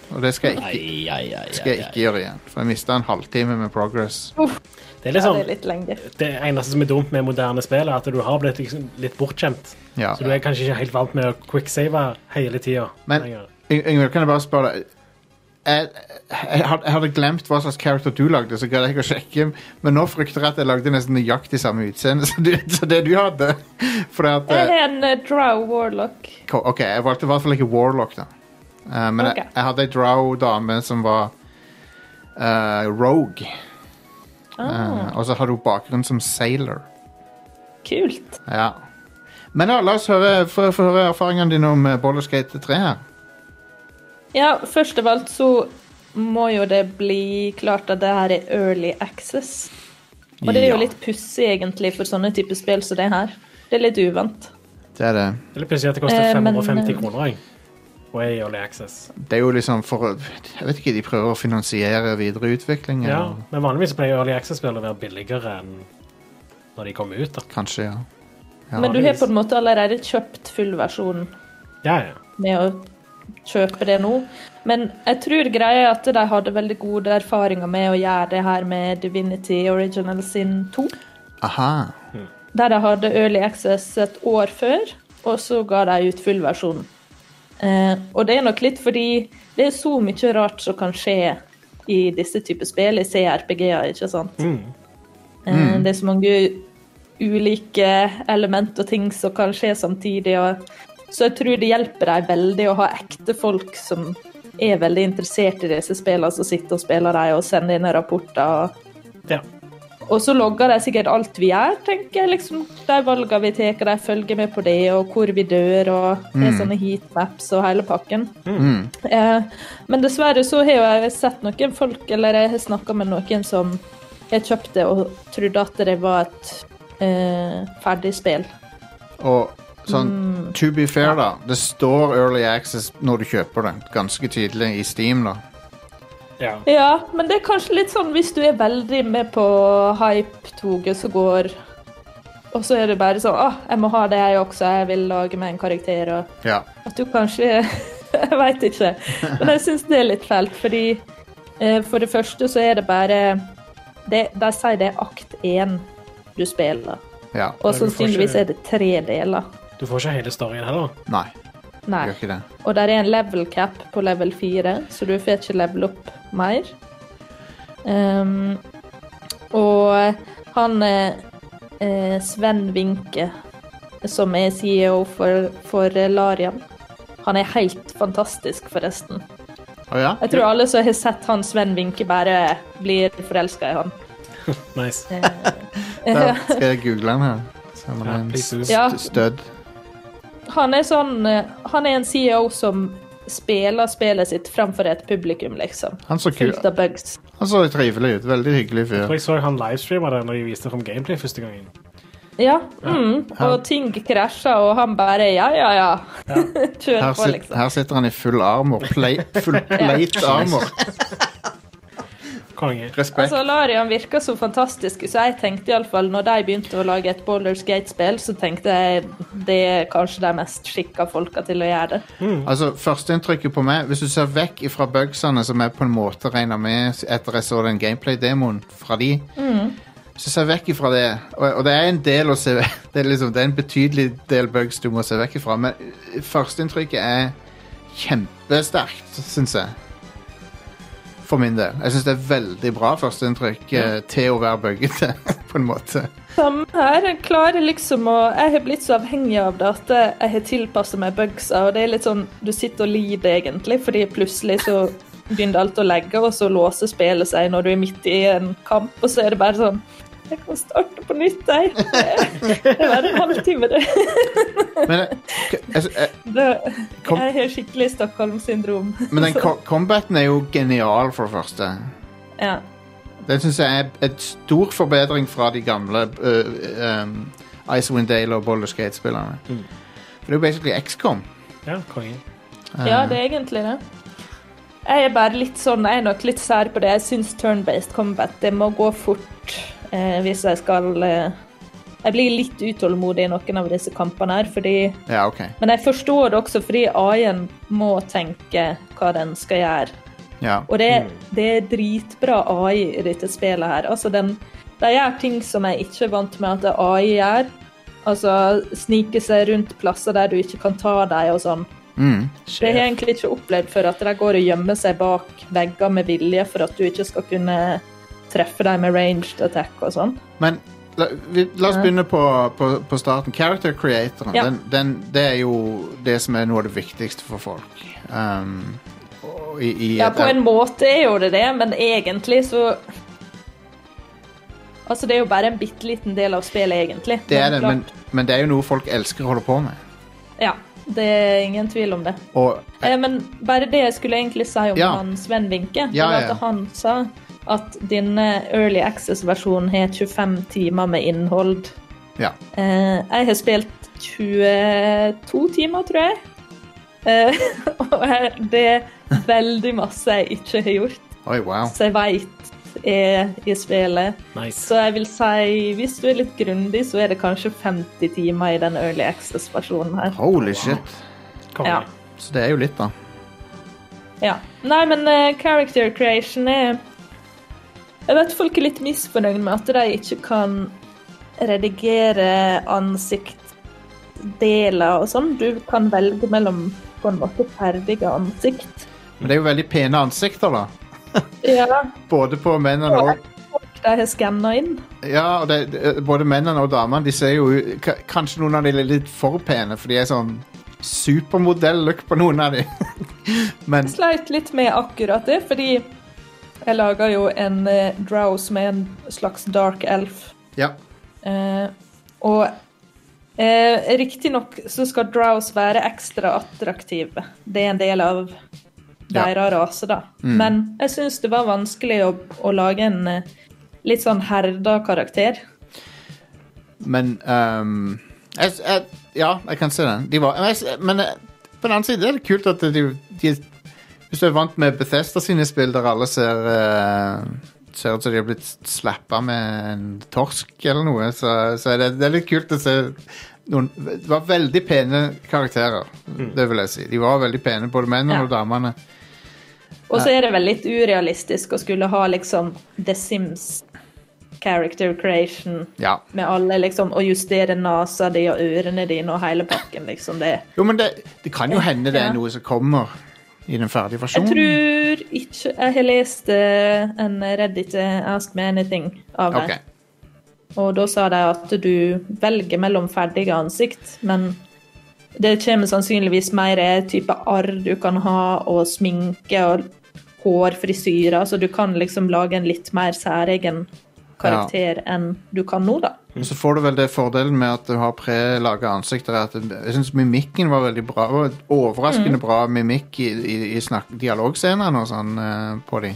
Speaker 1: Og det skal jeg ikke,
Speaker 3: Ai, ai, ai,
Speaker 1: skal
Speaker 3: ai,
Speaker 1: jeg ikke
Speaker 3: ai.
Speaker 1: gjøre igjen. For jeg mista en halvtime med progress.
Speaker 2: Det er
Speaker 8: Ja,
Speaker 2: liksom
Speaker 8: det er litt lenge.
Speaker 2: det eneste som er dumt med moderne spill, er at du har blitt liksom litt bortskjemt.
Speaker 1: Ja.
Speaker 2: Så du er kanskje ikke helt vant med å quicksave hele tida.
Speaker 1: Men- Yng- Yngvild, kan jeg bare spørre deg jeg, jeg, had- jeg hadde glemt hva slags character du lagde, så gadd jeg ikke å sjekke. Men nå frykter jeg at jeg lagde nesten nøyaktig samme utseende som du- som det du hadde. Fordi at
Speaker 8: Jeg
Speaker 1: eh,
Speaker 8: har en eh, Drow Warlock.
Speaker 1: Ko- Ok, jeg valgte i hvert fall ikke Warlock da Eh, Men
Speaker 8: Ok.
Speaker 1: jeg, jeg hadde en drow-dame som var eh, Rogue Eh, Og så hadde hun bakgrunn som Sailor
Speaker 8: Kult.
Speaker 1: Ja Men ja, la oss høre, få, få høre erfaringene dine om eh, Baldur's Gate 3 her
Speaker 8: Ja, først av alt så må jo det bli klart at det her er early access. Og det er
Speaker 1: Ja.
Speaker 8: jo litt pussig egentlig for sånne typer spill som det her. Det er litt uvant.
Speaker 1: Det er det
Speaker 2: Eller plutselig at det koster
Speaker 8: Eh, men,
Speaker 2: 550
Speaker 8: eh,
Speaker 2: kroner. jeg. Og er i Early Access.
Speaker 1: Det er jo liksom for å Jeg vet ikke, de prøver å finansiere videre utvikling
Speaker 2: Ja,
Speaker 1: eller-
Speaker 2: Men vanligvis pleier Early Access-spill å være billigere enn når de kommer ut. da.
Speaker 1: Kanskje, ja Ja.
Speaker 8: Men du har på en måte allerede kjøpt fullversjonen
Speaker 2: Ja, ja.
Speaker 8: med å kjøpe det nå. Men jeg tror greia er at de hadde veldig gode erfaringer med å gjøre det her med Divinity Original Sin 2.
Speaker 1: Aha
Speaker 8: Der de hadde Early Access et år før, og så ga de ut fullversjonen. Eh, og det er nok litt fordi det er så mye rart som kan skje i disse typer spill, i CRPG-er, ikke sant? Eh, det er så mange ulike element og ting som kan skje samtidig, og så jeg tror det hjelper deg veldig å ha ekte folk som er veldig interessert i disse spillene, som sitter og spiller dem og sender inn rapporter. og
Speaker 2: ja.
Speaker 8: og så logger de sikkert alt vi gjør, tenker jeg. liksom. De valgene vi tar, de følger med på det, og hvor vi dør, og det er sånne heatmaps og hele pakken. Eh, men dessverre så har jo jeg sett noen folk, eller jeg har snakka med noen som har kjøpt det og trodde at det var et eh, ferdig spill.
Speaker 1: Og sånn,
Speaker 5: Mm.
Speaker 1: to be fair da Det står Early Access når du kjøper det Ganske tydelig i Steam da
Speaker 2: ja.
Speaker 8: Ja, men det er kanskje litt sånn hvis du er veldig med på hype-toget som går, og så er det bare sånn Å, jeg må ha det, jeg også. Jeg vil lage meg en karakter. og...
Speaker 1: Ja
Speaker 8: At du kanskje Jeg veit ikke. Men jeg syns det er litt fælt, fordi eh, for det første så er det bare det, De sier det er akt én du spiller,
Speaker 1: Ja,
Speaker 2: du
Speaker 8: og
Speaker 2: får
Speaker 8: sannsynligvis
Speaker 2: ikke-
Speaker 8: er det tre deler.
Speaker 2: Du får ikke hele storyen heller.
Speaker 1: nei,
Speaker 8: Nei.
Speaker 1: gjør ikke det
Speaker 8: Og der er en level cap på level 4, så du får ikke level opp mer. Ehm, og han eh, eh, Sven Winke, som er CEO for, for Larian, han er helt fantastisk, forresten.
Speaker 1: Å ja?
Speaker 8: Jeg tror alle som har sett han Sven Winke, bare blir forelska i han.
Speaker 2: Nice.
Speaker 1: Der skal jeg google den her. Så man
Speaker 5: Ja,
Speaker 1: er en
Speaker 5: please do.
Speaker 1: st-
Speaker 8: Ja.
Speaker 1: stødd.
Speaker 8: Han er sånn eh, Han er en CEO som spiller spillet sitt framfor et publikum, liksom.
Speaker 1: Han så kul
Speaker 8: Fullt av bugs.
Speaker 1: Han så trivelig ut. Veldig hyggelig
Speaker 2: Jeg tror
Speaker 1: fyr.
Speaker 2: jeg så han livestreama det når de viste fram gameplay første gangen.
Speaker 8: Ja. Mm. Og ting krasjer, og han bare ja, ja, ja. Kjør
Speaker 1: Her,
Speaker 8: på,
Speaker 1: sit,
Speaker 8: liksom.
Speaker 1: her sitter han i full armor. Plate, full plate armor.
Speaker 2: Konge.
Speaker 1: Respekt.
Speaker 8: Altså, Larian virker så fantastisk, så jeg tenkte iallfall når de begynte å lage et Baldur's Gate-spill, så tenkte jeg det er kanskje de mest skikka folka til å gjøre det.
Speaker 1: Altså, Førsteinntrykket på meg Hvis du ser vekk ifra bugsene, som jeg på en måte regna med etter jeg så den gameplay-demoen fra de Så ser jeg vekk ifra det, og, og det er en del å se ve- Det er liksom, det er en betydelig del bugs du må se vekk ifra, men eh, førsteinntrykket er kjempesterkt, syns jeg. For min del. Jeg syns det er veldig bra førsteinntrykk eh, til å være buggete, på en måte.
Speaker 8: Samme her. Jeg klarer liksom å Jeg har blitt så avhengig av det at jeg har tilpassa meg bugsa, og det er litt sånn du sitter og lider, egentlig, fordi plutselig så begynner alt å legge, og så låser spillet seg når du er midt i en kamp, og så er det bare sånn Jeg kan starte på nytt, jeg. Det er bare en halvtime, det.
Speaker 1: Men eh, altså, jeg, jeg, jeg,
Speaker 8: det
Speaker 1: Kom.
Speaker 8: jeg har skikkelig Stockholm-syndrom.
Speaker 1: men den co- combaten er jo genial, for det første.
Speaker 8: Ja.
Speaker 1: Den syns jeg er et stor forbedring fra de gamle øh, um, Icewind Dale og Boulder Skate-spillerne. For det er jo basically XCOM.
Speaker 2: Ja, konge.
Speaker 8: Ja, det er egentlig det. Jeg er bare litt sånn, jeg er nok litt sær på det. Jeg syns turn-based combat det må gå fort eh, hvis jeg skal eh, Jeg blir litt utålmodig i noen av disse kampene her, fordi
Speaker 1: Ja, ok.
Speaker 8: Men jeg forstår det også, fordi AI-en må tenke hva den skal gjøre.
Speaker 1: Ja.
Speaker 8: Og det,
Speaker 1: Mm.
Speaker 8: det er dritbra AI i dette spillet her. Altså, den, de gjør ting som jeg ikke er vant med at AI gjør. Altså snike seg rundt plasser der du ikke kan ta dem og sånn.
Speaker 1: Mm.
Speaker 8: Det har jeg egentlig ikke opplevd før, at de går og gjemmer seg bak vegger med vilje for at du ikke skal kunne treffe dem med ranged attack og sånn.
Speaker 1: Men la, vi, la oss
Speaker 8: Ja.
Speaker 1: begynne på, på, på starten. Character creatoren,
Speaker 8: Ja.
Speaker 1: den, den, det er jo det som er noe av det viktigste for folk. Um, og i, i
Speaker 8: Ja,
Speaker 1: et-
Speaker 8: på en måte er jo det det, men egentlig så Altså, det er jo bare en bitte liten del av spillet, egentlig.
Speaker 1: det er det,
Speaker 8: klart-
Speaker 1: men, men det er jo noe folk elsker å holde på med.
Speaker 8: Ja, det er ingen tvil om det.
Speaker 1: Og
Speaker 8: Eh, men bare det jeg skulle egentlig si om
Speaker 1: Ja.
Speaker 8: han Sven Vinke,
Speaker 1: Ja,
Speaker 8: det var
Speaker 1: ja.
Speaker 8: at han sa at denne Early Access-versjonen har 25 timer med innhold.
Speaker 1: ja.
Speaker 8: Eh, jeg har spilt 22 timer, tror jeg. Eh, og jeg- det er veldig masse jeg ikke har gjort,
Speaker 1: Oi, wow.
Speaker 8: så jeg veit er i spillet. Så
Speaker 2: Nice.
Speaker 8: jeg vil si, hvis du er litt grundig, så er det kanskje 50 timer i den early access-versjonen her.
Speaker 1: Holy shit.
Speaker 2: Konge.
Speaker 8: Ja.
Speaker 1: Så det er jo litt, da.
Speaker 8: Ja. Nei, men eh, character creation er Jeg vet folk er litt misfornøyd med at de ikke kan redigere ansiktdeler og sånn. Du kan velge mellom på en måte ferdige ansikt.
Speaker 1: Men det er jo veldig pene ansikter, da.
Speaker 8: Ja.
Speaker 1: Både på mennene og
Speaker 8: Og folk de har skanna inn.
Speaker 1: Ja, og det, det- både mennene og damene De ser jo ut- ka- Kanskje noen av de er litt for pene For de er sånn supermodell-look på noen av de Men
Speaker 8: Jeg sleit litt med akkurat det, fordi jeg laga jo en eh, drow som er en slags dark elf.
Speaker 1: ja,
Speaker 8: Eh, og eh, riktignok så skal drows være ekstra attraktive. Det er en del av
Speaker 1: Ja.
Speaker 8: deres rase, da. Men jeg syns det var vanskelig å, å lage en eh, litt sånn herda karakter.
Speaker 1: men ehm, jeg, jeg, Ja, jeg kan se den de var, men, jeg, men eh, på den andre siden er det kult at de, de Hvis du er vant med Bethesda sine spill Der alle ser eh, Ser ut som de har blitt slappet med en torsk eller noe Så, så er det, det er litt kult å se noen, Det var veldig pene karakterer Det vil jeg si De var veldig pene, både mennene
Speaker 8: Ja.
Speaker 1: og damene
Speaker 8: Og så er det vel litt urealistisk å skulle ha liksom The Sims character creation
Speaker 1: Ja
Speaker 8: med alle, liksom, og justere nesa di og ørene dine og hele pakken, liksom. Det
Speaker 1: Jo, men det, det kan jo hende det
Speaker 8: Ja.
Speaker 1: er noe som kommer I den ferdige
Speaker 8: Jeg
Speaker 1: versjonen
Speaker 8: tror ikke Jeg har lest eh, en Reddit eh, Ask Me Anything av deg.
Speaker 1: Ok.
Speaker 8: Og da sa de at du velger mellom ferdige ansikt, men det kommer sannsynligvis mer type arr du kan ha, og sminke og hårfrisyrer, så du kan liksom lage en litt mer særegen karakter enn du kan nå, da.
Speaker 1: Og så får du vel det fordelen med at du har prelaga ansikter. At jeg syns mimikken var veldig bra. Det var
Speaker 8: Mm.
Speaker 1: overraskende bra mimikk i, i, i snakk, dialogscenene og sånn eh, på de.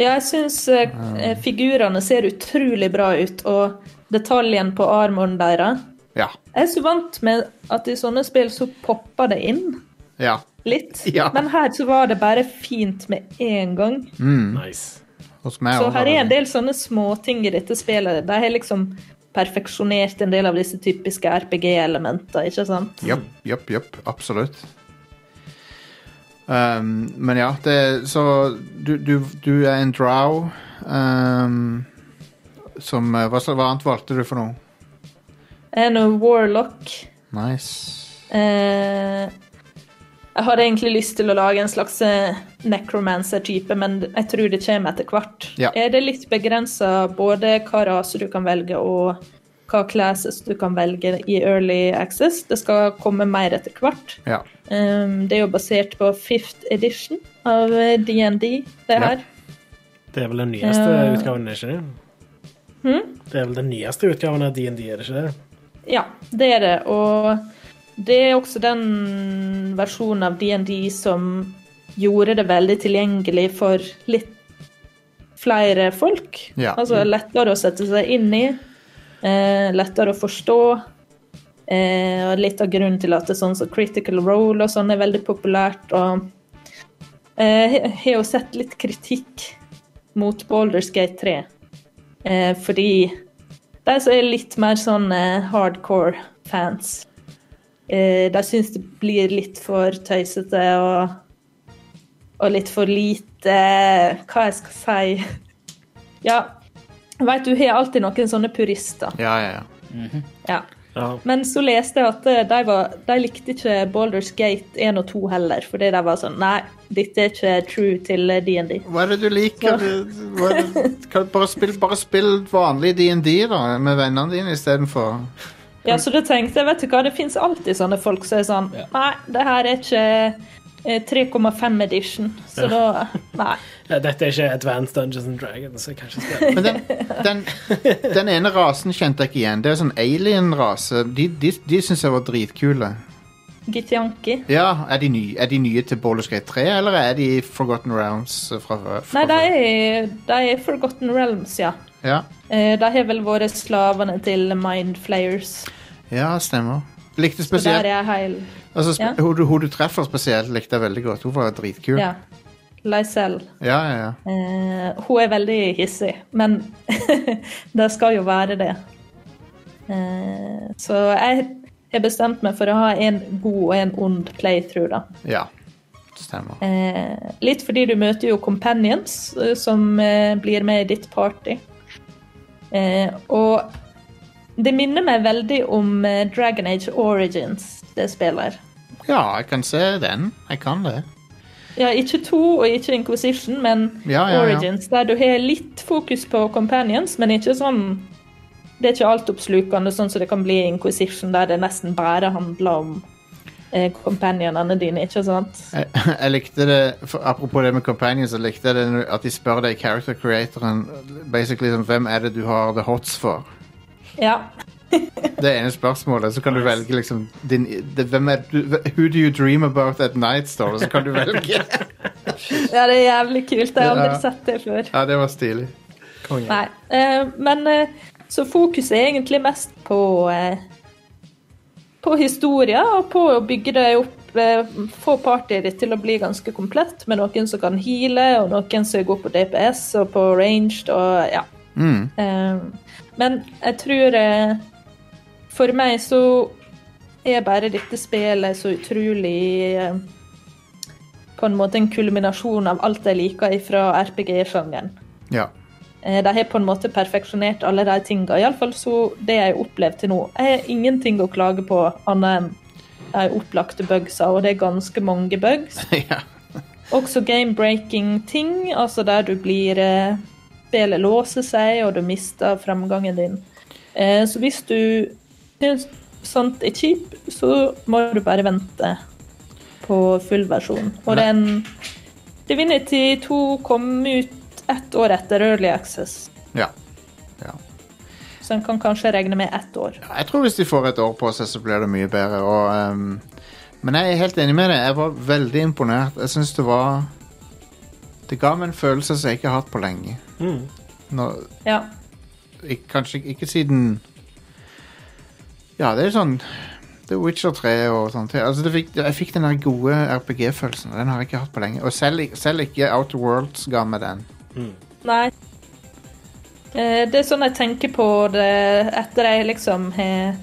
Speaker 8: Ja, jeg syns eh, eh, figurene ser utrolig bra ut, og detaljen på armoren deres
Speaker 1: Ja.
Speaker 8: Jeg er så vant med at i sånne spill så popper det inn
Speaker 1: Ja.
Speaker 8: litt.
Speaker 1: Ja.
Speaker 8: Men her så var det bare fint med en gang.
Speaker 1: Mm.
Speaker 2: Nice.
Speaker 1: Hos meg
Speaker 8: Så
Speaker 1: også var
Speaker 8: her er
Speaker 1: det-
Speaker 8: en del sånne småting i dette spillet. De har liksom perfeksjonert en del av disse typiske RPG-elementer, ikke sant?
Speaker 1: Japp, japp, japp. Absolutt. Ehm, men ja, det Så du, du, du er en drow ehm, som eh, hva, slags- hva annet valgte du for noe?
Speaker 8: Jeg er nå warlock.
Speaker 1: Nice.
Speaker 8: Eh, jeg hadde egentlig lyst til å lage en slags eh, necromancer-type, men jeg tror det kommer etter hvert.
Speaker 1: Ja.
Speaker 8: Er det litt begrensa både hva rase du kan velge, og hva classes du kan velge i early access? Det skal komme mer etter hvert.
Speaker 1: Ja.
Speaker 8: Um, det er jo basert på fifth edition av eh, DND, det
Speaker 1: Ja.
Speaker 8: her.
Speaker 2: Det er vel den nyeste
Speaker 8: Eh. Hmm?
Speaker 2: utgaven, er det ikke det? Det er vel den nyeste utgaven av DND, er det ikke det?
Speaker 8: Ja, det er det. Og det er også den versjonen av DND som gjorde det veldig tilgjengelig for litt flere folk.
Speaker 1: Ja.
Speaker 8: Altså lettere å sette seg inn i, eh, lettere å forstå. Eh, og litt av grunnen til at det er sånn som Critical Role og sånn er veldig populært. Og eh, jeg har jo sett litt kritikk mot Baldur's Gate 3. Eh, fordi de som er litt mer sånn eh, hardcore fans, eh, de syns det blir litt for tøysete og, og litt for lite Hva jeg skal si Ja, veit du har alltid noen sånne purister.
Speaker 1: Ja, ja, ja.
Speaker 8: Ja.
Speaker 2: Ja.
Speaker 8: Men så leste jeg at eh, de, var, de likte ikke Baldur's Gate 1 og 2 heller, fordi de var sånn Nei, dette er ikke true til eh, DND.
Speaker 1: Hva er det du liker?
Speaker 8: Ja.
Speaker 1: Hva er det, kan, bare, spill, bare spill vanlig DND, da, med vennene dine istedenfor.
Speaker 8: Ja, så da tenkte jeg, vet du hva, det finnes alltid sånne folk som er sånn Nei, det her er ikke eh, 3,5 edition, så da Nei.
Speaker 2: Ja, Eh, Dette er ikke Advanced Dungeons and Dragons, så jeg kanskje skal
Speaker 1: Men den, den, den ene rasen kjente jeg ikke igjen. Det er sånn alien-rase. De, de, de syns jeg var dritkule.
Speaker 8: Gityanki.
Speaker 1: Ja, er de, nye, er de nye til Baldur's Gate 3, eller er de Forgotten Rounds fra før?
Speaker 8: Nei, de er, de er Forgotten Realms, ja.
Speaker 1: Ja.
Speaker 8: Eh, De har vel vært slavene til Mind Flayers.
Speaker 1: ja, stemmer. Likte
Speaker 8: Så der
Speaker 1: spesielt
Speaker 8: er jeg heil
Speaker 1: altså, sp
Speaker 8: ja.
Speaker 1: hun, du- hun du treffer spesielt, likte jeg veldig godt. Hun var dritkul.
Speaker 8: Ja. Lysel.
Speaker 1: ja, ja. ja.
Speaker 8: Eh, hun er veldig hissig, men det skal jo være det. Eh, så jeg har bestemt meg for å ha en god og en ond playthrough, da.
Speaker 1: ja. Stemmer.
Speaker 8: Eh, litt fordi du møter jo companions eh, som eh, blir med i ditt party. Eh, og det minner meg veldig om eh, Dragon Age Origins, det spillet. her.
Speaker 1: Ja, jeg kan se den. Jeg kan det.
Speaker 8: Ja, ikke to og ikke Inquisition, men
Speaker 1: Ja, ja, ja.
Speaker 8: Origins, der du har litt fokus på companions, men ikke sånn Det er ikke altoppslukende, sånn som det kan bli i Inquisition, der det nesten bare handler om eh, companionene dine, ikke sant?
Speaker 1: Jeg, jeg likte det for, Apropos det med companions, jeg likte det når- at de spør deg, character creatoren, basically sånn, hvem er det du har the hots for?
Speaker 8: Ja.
Speaker 1: det ene spørsmålet, så kan du velge liksom din, det, hvem er, du, Who do you dream about at night, står det, så kan du velge.
Speaker 8: Ja, det er jævlig kult. Jeg har aldri
Speaker 1: Ja.
Speaker 8: sett det før.
Speaker 1: Ja, det var stilig.
Speaker 8: Nei. eh, Men eh, så fokuset er egentlig mest på eh, på historia og på å bygge det opp eh, Få partyet ditt til å bli ganske komplett med noen som kan heale, og noen som er god på DPS og på ranged og ja.
Speaker 1: Mm.
Speaker 8: Eh, Men jeg tror eh, For meg så er bare dette spillet så utrolig eh, På en måte en kulminasjon av alt jeg liker fra RPG-sjangeren.
Speaker 1: Ja.
Speaker 8: Eh, De har på en måte perfeksjonert alle de tinga, iallfall så det jeg har opplevd til nå. Jeg har ingenting å klage på annet enn de opplagte bugsa, og det er ganske mange bugs.
Speaker 1: ja.
Speaker 8: Også game-breaking ting, altså der du blir eh, Spillet låser seg, og du mister framgangen din. Eh, så hvis du syns sånt er kjipt, så må du bare vente på full versjon. Og den Divinity 2 kom ut ett år etter Early Access.
Speaker 1: ja.
Speaker 7: Ja.
Speaker 8: Så en kan kanskje regne med ett år.
Speaker 1: Jeg tror hvis de får et år på seg, så blir det mye bedre. Og, ehm, men jeg er helt enig med deg. Jeg var veldig imponert. Jeg syns det var Det ga meg en følelse som jeg ikke har hatt på lenge.
Speaker 2: Mm.
Speaker 1: Nå-
Speaker 8: Ja.
Speaker 1: ik- kanskje ikke siden Ja, det er sånn Det er Witcher 3 og sånt. Altså, det fikk, jeg fikk den der gode RPG-følelsen. Den har jeg ikke hatt på lenge. Og selv, ik- selv ikke Outer Worlds ga meg den.
Speaker 8: Nei. Eh, Det er sånn jeg tenker på det etter jeg liksom har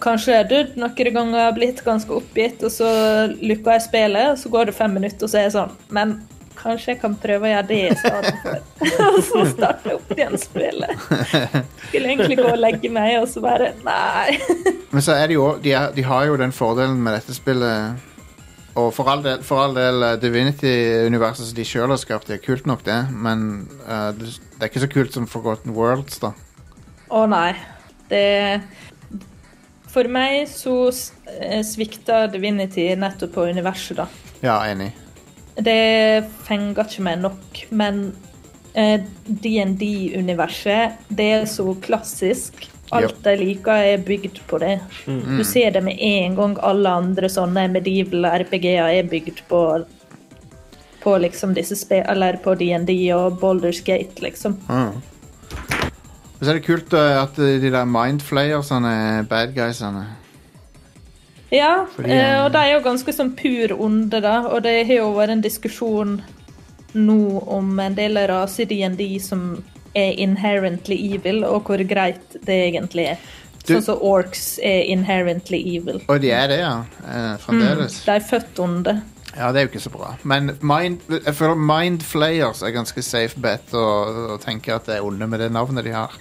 Speaker 8: Kanskje jeg har dødd noen ganger, blitt ganske oppgitt, og så lukker jeg spillet, og så går det fem minutter, og så er jeg sånn Men kanskje jeg kan prøve å gjøre det i stedet for. og så starter jeg opp igjen spillet. Skulle egentlig gå og legge meg, og så bare Nei.
Speaker 1: Men så er det jo de, er, de har jo den fordelen med dette spillet Og for all del, for all del eh, Divinity-universet som de sjøl har skapt, det er kult nok, det, men eh, det, det er ikke så kult som Forgotten Worlds, da.
Speaker 8: Å nei. Det For meg så s- eh, svikta Divinity nettopp på universet, da.
Speaker 1: Ja, enig.
Speaker 8: Det fenger ikke meg nok, men eh, D&D-universet, det er så klassisk. Alt
Speaker 1: Yep.
Speaker 8: de liker er bygd på det. Du ser det med en gang alle andre sånne medieval RPG-er er bygd på på liksom disse spe... Eller på D&D og Baldur's Gate, liksom.
Speaker 1: Mm. Og så er det kult eh, at eh, de der mindflayersene er bad guysene.
Speaker 8: Ja,
Speaker 1: Fordi,
Speaker 8: eh,
Speaker 1: eh,
Speaker 8: og de er jo ganske sånn pur onde, da. Og det har jo vært en diskusjon nå om en del raser i DND som er inherently evil, og hvor greit det egentlig er.
Speaker 1: Du-
Speaker 8: Sånn som orcs er inherently evil. Mm,
Speaker 1: Og de er det, ja. eh, Fremdeles.
Speaker 8: De er født onde.
Speaker 1: Ja, det er jo ikke så bra. Men mind, jeg føler mindflayers er ganske safe bet å, å tenke at det er onde med det navnet de har.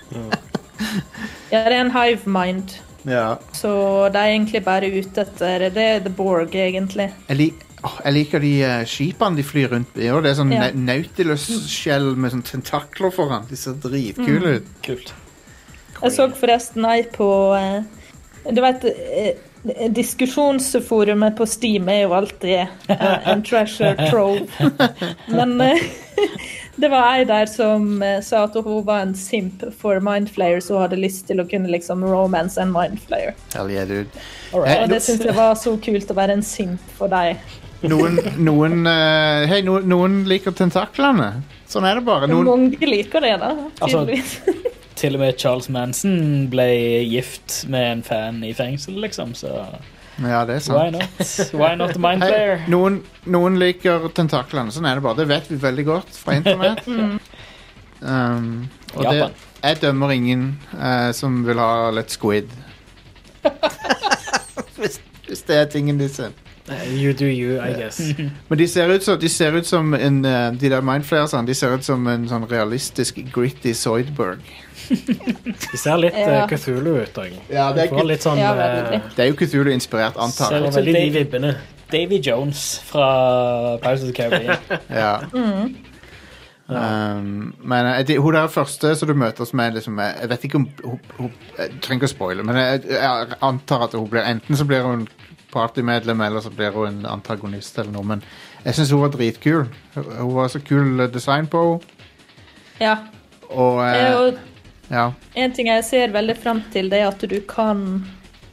Speaker 8: Ja, det er en hive mind,
Speaker 1: Ja.
Speaker 8: så de er egentlig bare ute etter Det er The Borg, egentlig.
Speaker 1: Jeg, lik, åh, jeg liker de eh, skipene de flyr rundt i. Og det er sånn
Speaker 8: Ja.
Speaker 1: nau- Nautilus-skjell med sånn tentakler foran. De ser dritkule ut.
Speaker 3: Kult.
Speaker 8: Jeg så forresten ei på eh, Du vet eh, Diskusjonsforumet på Steam er jo alltid eh, en treasure trove. Men eh, det var ei der som eh, sa at hun var en simp for Mindflayer, så hun hadde lyst til å kunne liksom romance en Mindflayer.
Speaker 1: Hell yeah, dude.
Speaker 3: All
Speaker 1: Eh,
Speaker 3: right.
Speaker 8: Og det syntes jeg var så kult å være en simp for deg.
Speaker 1: Noen, noen eh, Hei, noen, noen liker tentaklene. Sånn er det bare. Noen,
Speaker 8: Mange liker det, da.
Speaker 3: Altså-
Speaker 8: Tydeligvis.
Speaker 3: Til og med Charles Manson ble gift med en fan i fengsel, liksom, så
Speaker 1: ja, det er
Speaker 3: why
Speaker 1: sant.
Speaker 3: not? Why not a mind
Speaker 1: Hei,
Speaker 3: player?
Speaker 1: noen, noen liker tentaklene. Sånn er det bare. Det vet vi veldig godt fra internett. Um, og det,
Speaker 3: Japan.
Speaker 1: jeg dømmer ingen eh, som vil ha litt squid. hvis, hvis det er tingen de ser.
Speaker 2: You do you, I guess.
Speaker 1: Men de ser ut som, de ser ut som en, eh, de der mindflayersene de ser ut som en sånn realistisk gritty Zoidberg.
Speaker 2: De ser litt
Speaker 8: Ja.
Speaker 2: eh, Cthulhu ut òg.
Speaker 1: Ja,
Speaker 2: Du
Speaker 1: det er,
Speaker 2: får
Speaker 1: ikke-
Speaker 2: litt sånn
Speaker 8: Ja,
Speaker 2: eh, sånn
Speaker 8: veldig.
Speaker 1: det er jo Cthulhu-inspirert, antar
Speaker 2: får
Speaker 1: jeg.
Speaker 3: Ser-
Speaker 2: veldig de vibbene.
Speaker 3: Davy Jones fra Pirates of the Caribbean.
Speaker 1: Ja. Um, men eh, de, hun der første som du møter som er liksom eh, Jeg vet ikke om hun, hun, Jeg trenger ikke å spoile, men jeg, jeg antar at hun blir enten så blir hun partymedlem, eller så blir hun en antagonist eller noe. Men jeg syns hun var dritkul. Hun hun var så kul eh, design på henne.
Speaker 8: Ja.
Speaker 1: Og
Speaker 8: Eh,
Speaker 1: eh,
Speaker 8: og
Speaker 1: ja.
Speaker 8: En ting jeg ser veldig frem til, det er at du kan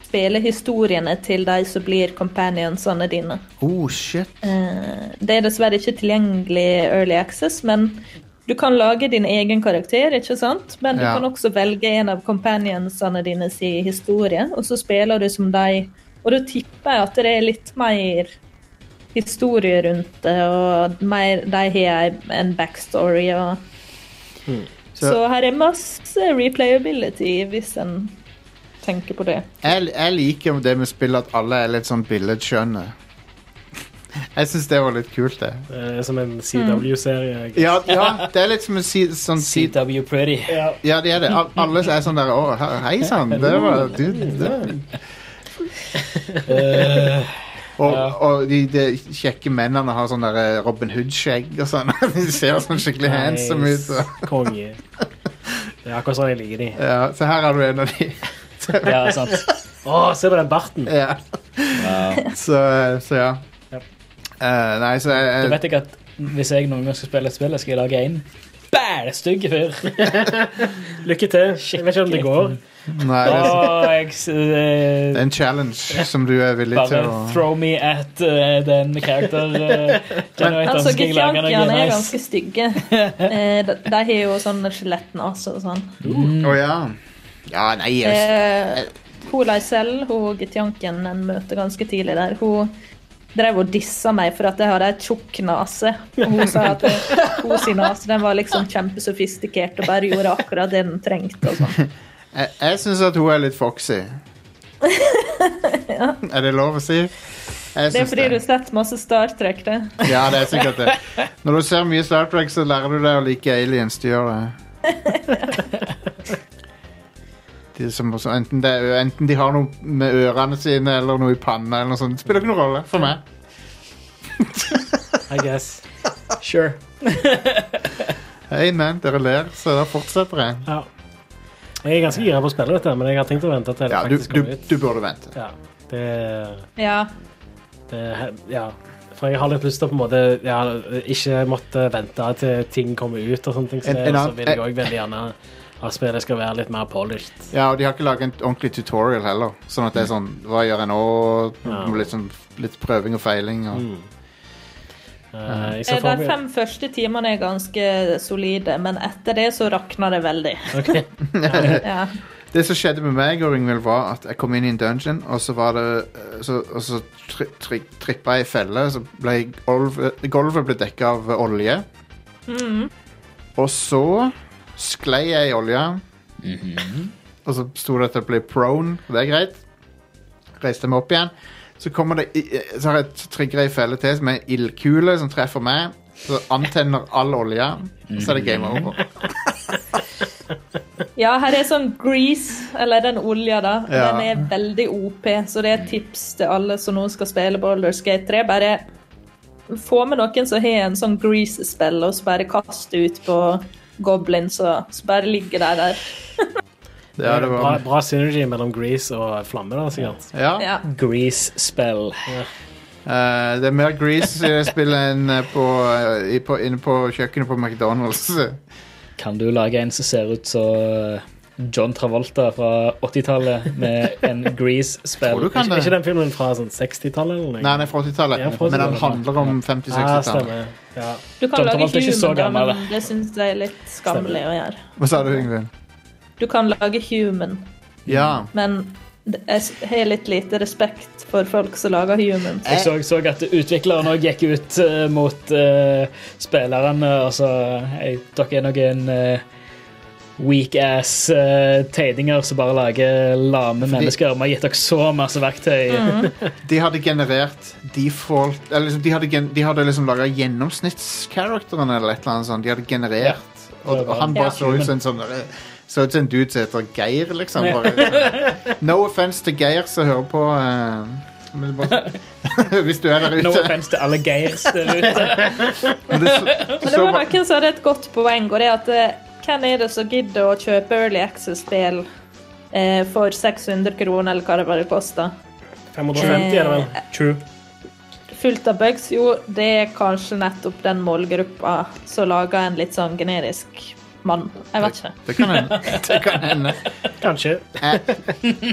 Speaker 8: spille historiene til de som blir companionsene dine.
Speaker 1: Oh, shit.
Speaker 8: Eh, Det er dessverre ikke tilgjengelig i Early Access, men du kan lage din egen karakter, ikke sant? Men du
Speaker 1: Ja.
Speaker 8: kan også velge en av companionsene dine si historie, og så spiller du som de. Og da tipper jeg at det er litt mer historie rundt det, og mer, de har en- en backstory og
Speaker 1: Så-
Speaker 8: så, her er masse replayability, hvis en tenker på det.
Speaker 1: jeg, jeg liker jo det med spill at alle er litt sånn billedskjønne. Jeg syns det var litt kult, det.
Speaker 2: eh, Som
Speaker 8: Mm.
Speaker 2: en CW-serie.
Speaker 1: Ja, ja det er litt som en si, sånn si,
Speaker 3: CW Pretty.
Speaker 1: Ja, de er det. Al- Alle er sånn der Å, he- hei sann, det var du det.
Speaker 3: Eh,
Speaker 1: Og, og de, de kjekke mennene har sånn der eh, Robin Hood-skjegg og sånn. De ser sånn skikkelig handsome ut. og-
Speaker 2: Konge. Det er akkurat sånn jeg liker de.
Speaker 1: Ja, så her har du en av de.
Speaker 3: Ja, sant.
Speaker 2: Å, se på den barten!
Speaker 1: Ja. Så, så ja.
Speaker 2: Yep.
Speaker 1: Eh, nei, så jeg,
Speaker 3: Du
Speaker 1: jeg
Speaker 3: vet ikke at hvis jeg noen gang skal spille et spill, jeg skal jeg lage en bælstygg fyr.
Speaker 2: Lykke til. Jeg vet ikke om det går.
Speaker 1: Nei, det er,
Speaker 3: Og jeg s- eh,
Speaker 1: det er en challenge som du er villig
Speaker 3: bare
Speaker 1: til å
Speaker 3: throw me at eh, den character eh, generatoren.
Speaker 8: Altså,
Speaker 3: så skal jeg lage noe
Speaker 8: Gefialkene er
Speaker 3: nice.
Speaker 8: ganske stygge. Eh, De de har jo sånne skjelettnaser og sånn.
Speaker 1: Å ja. Ja, nei jeg,
Speaker 8: Eh, hun Leisel, hun Gitjanken en møter ganske tidlig der, hun drev og dissa meg for at jeg hadde ei tjukk nese. Og hun sa at hun sin nase den var liksom kjempesofistikert og bare gjorde akkurat det den trengte. og sånn.
Speaker 1: jeg, jeg syns at hun er litt foxy. Er det lov å si? Jeg
Speaker 8: Det er
Speaker 1: syns
Speaker 8: fordi du har sett masse Star Trek, det.
Speaker 1: Ja, det er sikkert det. Når du ser mye Star Trek, så lærer du deg å like aliens. Du gjør det. De som også, enten, det, er- enten de har noe med ørene sine eller noe i panna, eller noe sånt. Det spiller ikke noen rolle for meg.
Speaker 2: I guess.
Speaker 3: Sure.
Speaker 1: Hey man, dere ler, så da fortsetter jeg.
Speaker 2: Ja. Jeg er ganske gira på å spille dette, men jeg har tenkt å vente til det
Speaker 1: Ja, du,
Speaker 2: faktisk
Speaker 1: du,
Speaker 2: kommer ut.
Speaker 1: du burde vente.
Speaker 2: Ja, det,
Speaker 8: Ja.
Speaker 2: det, ja. For jeg har litt lyst til å på en måte ja, ikke måtte vente til ting kommer ut og sånne ting. Så,
Speaker 1: En-
Speaker 2: det,
Speaker 1: en
Speaker 2: og så
Speaker 1: annen- eh-
Speaker 2: vil jeg òg veldig gjerne at spillet skal være litt mer polished.
Speaker 1: Ja, og de har ikke laget en ordentlig tutorial heller. Sånn at det er sånn Hva gjør jeg nå?
Speaker 2: Ja.
Speaker 1: Litt, sånn, litt prøving og feiling. Og.
Speaker 2: Eh, jeg
Speaker 8: Eh,
Speaker 2: ser
Speaker 8: De
Speaker 2: for meg
Speaker 8: fem første timene er ganske solide, men etter det så rakner det veldig.
Speaker 2: Ok.
Speaker 8: Ja.
Speaker 1: Det som skjedde med meg og Yngvild, var at jeg kom inn i en dungeon, og så var det eh, så, Og så tri, tri, trippa jeg i felle, så ble golvet, golvet ble dekka av olje. Og så sklei jeg i olja, og så sto det at jeg ble prone. og Det er greit. Reiste meg opp igjen. Så kommer det i- eh, Så har jeg trigger ei felle til som er en ildkule som treffer meg. Så antenner all olja, og så er det game over.
Speaker 8: Ja, her er sånn grease, eller den olja, da.
Speaker 1: Ja.
Speaker 8: Den er veldig OP, så det er et tips til alle som nå skal spille Baldur's Gate 3. Bare få med noen som har en sånn grease-spill, og så bare kast det ut på goblins, og så bare ligger de der.
Speaker 1: Ja, det
Speaker 2: bra,
Speaker 1: var
Speaker 2: bra synergy mellom Grease og Flamme, da, sikkert.
Speaker 1: Ja.
Speaker 8: Ja.
Speaker 3: Grease spell.
Speaker 1: Eh, det er mer grease i det spillet enn eh, på, eh, i, på, inne på kjøkkenet på McDonald's.
Speaker 3: Kan du lage en som ser ut som John Travolta fra 80-tallet med en grease
Speaker 1: Tror du
Speaker 3: spell?
Speaker 1: kan
Speaker 2: Er
Speaker 1: det?
Speaker 2: ikke den filmen fra sånn 60-tallet? eller noe?
Speaker 1: Nei, den er fra
Speaker 2: Ja,
Speaker 1: 80-tallet,
Speaker 2: fra
Speaker 1: men den
Speaker 2: 80-tallet.
Speaker 1: handler om
Speaker 2: ah,
Speaker 1: 50-60-tallet.
Speaker 2: stemmer. Ja.
Speaker 8: Du kan
Speaker 3: Tom
Speaker 8: lage
Speaker 3: Tomalt er ikke så
Speaker 8: human, da,
Speaker 3: gammel,
Speaker 8: men det syns jeg er litt skammelig å gjøre.
Speaker 1: Hva sa du, Yngvild?
Speaker 8: Du kan lage human,
Speaker 1: Ja.
Speaker 8: men det- jeg s- har litt lite respekt for folk som lager human.
Speaker 3: Jeg så, så at utvikleren òg gikk ut eh, mot eh, spillerne og så «Hei, Dere er noen eh, weak-ass eh, teidinger som bare lager lame mennesker. Vi har gitt dere så masse verktøy.
Speaker 1: De hadde generert default Eller liksom, de hadde, gen, de hadde liksom laga gjennomsnittskarakteren eller et eller annet sånt. De hadde generert, og, og han
Speaker 8: Ja.
Speaker 1: bare så ut som en sånn eh, Så ut som en dude som heter Geir, liksom. Bare, no offense til Geir som hører på. eh, men bare, hvis du er der ute.
Speaker 3: No offense til alle Geirs der ute.
Speaker 1: Men det, så,
Speaker 8: Men det
Speaker 1: så,
Speaker 8: var noen som hadde et godt poeng, og det er at eh, hvem er det som gidder å kjøpe Early Access-spill eh, for 600 kroner, eller hva det var det kosta?
Speaker 2: 550 er det vel.
Speaker 4: Eh,
Speaker 3: True.
Speaker 8: Fullt av bugs? Jo, det er kanskje nettopp den målgruppa som lager en litt sånn generisk mann. Jeg vet ikke.
Speaker 1: det kan hende. Det kan hende.
Speaker 2: Kanskje.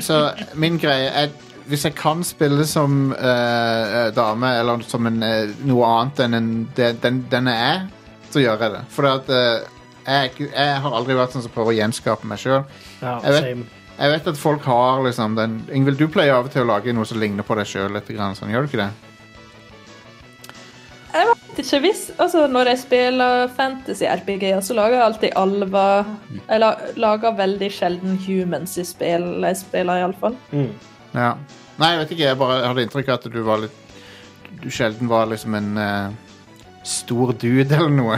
Speaker 1: Så min greie er hvis jeg kan spille som eh, eh, dame eller som en, eh, noe annet enn en, det- den, den jeg er, så gjør jeg det. For at, eh, jeg, er ikke- jeg har aldri vært sånn som prøver å gjenskape meg sjøl.
Speaker 2: Ja,
Speaker 1: Jeg vet.
Speaker 2: same.
Speaker 1: Jeg vet at folk har liksom den Ingvild, du pleier av og til å lage noe som ligner på deg sjøl litt. Grann, sånn. Gjør du ikke det?
Speaker 8: Jeg vet ikke hvis, altså Når jeg spiller fantasy-RPG-er, så lager jeg alltid alver. Jeg la- lager veldig sjelden humans i spill jeg spiller, iallfall.
Speaker 2: Mm.
Speaker 1: Ja. Nei, jeg vet ikke. Jeg bare hadde inntrykk av at du var litt Du sjelden var liksom en eh, stor dude eller noe.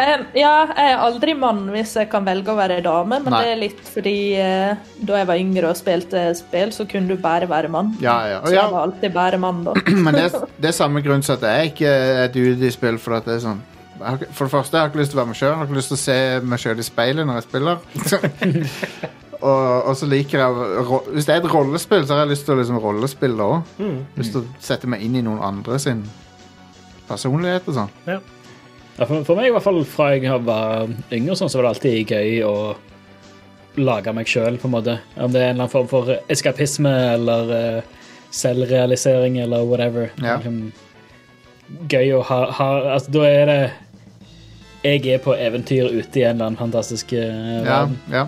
Speaker 8: Em, ja, jeg er aldri mann hvis jeg kan velge å være dame, men
Speaker 1: Nei.
Speaker 8: det er litt fordi eh, da jeg var yngre og spilte spill, så kunne du bare være mann.
Speaker 1: Ja, ja. Og
Speaker 8: Så
Speaker 1: ja,
Speaker 8: jeg var alltid bare mann, da.
Speaker 1: Men det, er- det er samme grunn til at jeg ikke er dude i spill. For, at det er sånn, jeg har, ikke- for det første, jeg har ikke lyst til å være meg sjøl. Jeg har ikke lyst til å se meg sjøl i speilet når jeg spiller. og, og så liker jeg ro- Hvis det er et rollespill, så har jeg lyst til å liksom rollespille òg.
Speaker 4: Mm.
Speaker 1: Lyst til å sette meg inn i noen andre sin personlighet og sånn.
Speaker 2: Ja.
Speaker 4: Ja, for, for meg, i hvert fall fra jeg var yngre, og sånn, så var det alltid gøy å lage meg sjøl, på en måte. Om det er en eller annen form for eskapisme eller eh, selvrealisering eller whatever.
Speaker 1: Ja.
Speaker 4: Liksom, gøy å ha, ha altså, Da er det Jeg er på eventyr ute i en eller annen fantastisk eh,
Speaker 1: Ja,
Speaker 4: verden.
Speaker 1: ja.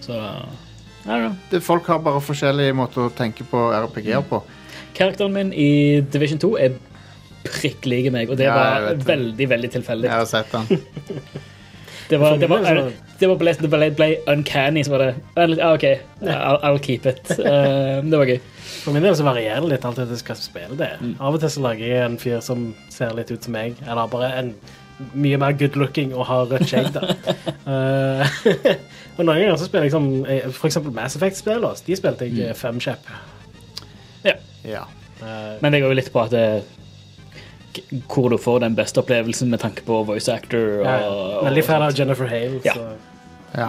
Speaker 4: Så I don't know.
Speaker 1: Det, folk har bare forskjellige måter å tenke på RPG-er på.
Speaker 4: Karakteren min i Division 2 er prikk lik meg, og det
Speaker 1: Ja,
Speaker 4: var
Speaker 1: jeg vet det.
Speaker 4: veldig, veldig tilfeldig.
Speaker 1: Jeg har sett den.
Speaker 4: Det var, det var,
Speaker 2: For min del så-
Speaker 4: det var ble, det ble, ble uncanny, så var det "Ah, litt- ah, OK, I'll, I'll keep it. Eh, det var gøy.
Speaker 2: For min del så varierer det litt alt etter hva slags spill det er.
Speaker 4: Mm.
Speaker 2: Av og til så lager jeg en fyr som ser litt ut som meg, eller bare en mye mer good looking og har rødt skjegg, da. Eh, og noen ganger så spiller jeg som eh, for eksempel Mass Effect-spillene. De spilte
Speaker 4: Mm.
Speaker 2: jeg eh, fem kjepp.
Speaker 1: Ja.
Speaker 2: Eh,
Speaker 4: Men det går jo litt på at det, hvor du får den beste opplevelsen med tanke på voice actor. Og,
Speaker 2: ja, ja. Veldig fan av
Speaker 4: og sånt.
Speaker 2: Jennifer Hale.
Speaker 4: Ja.
Speaker 2: Så.
Speaker 1: ja.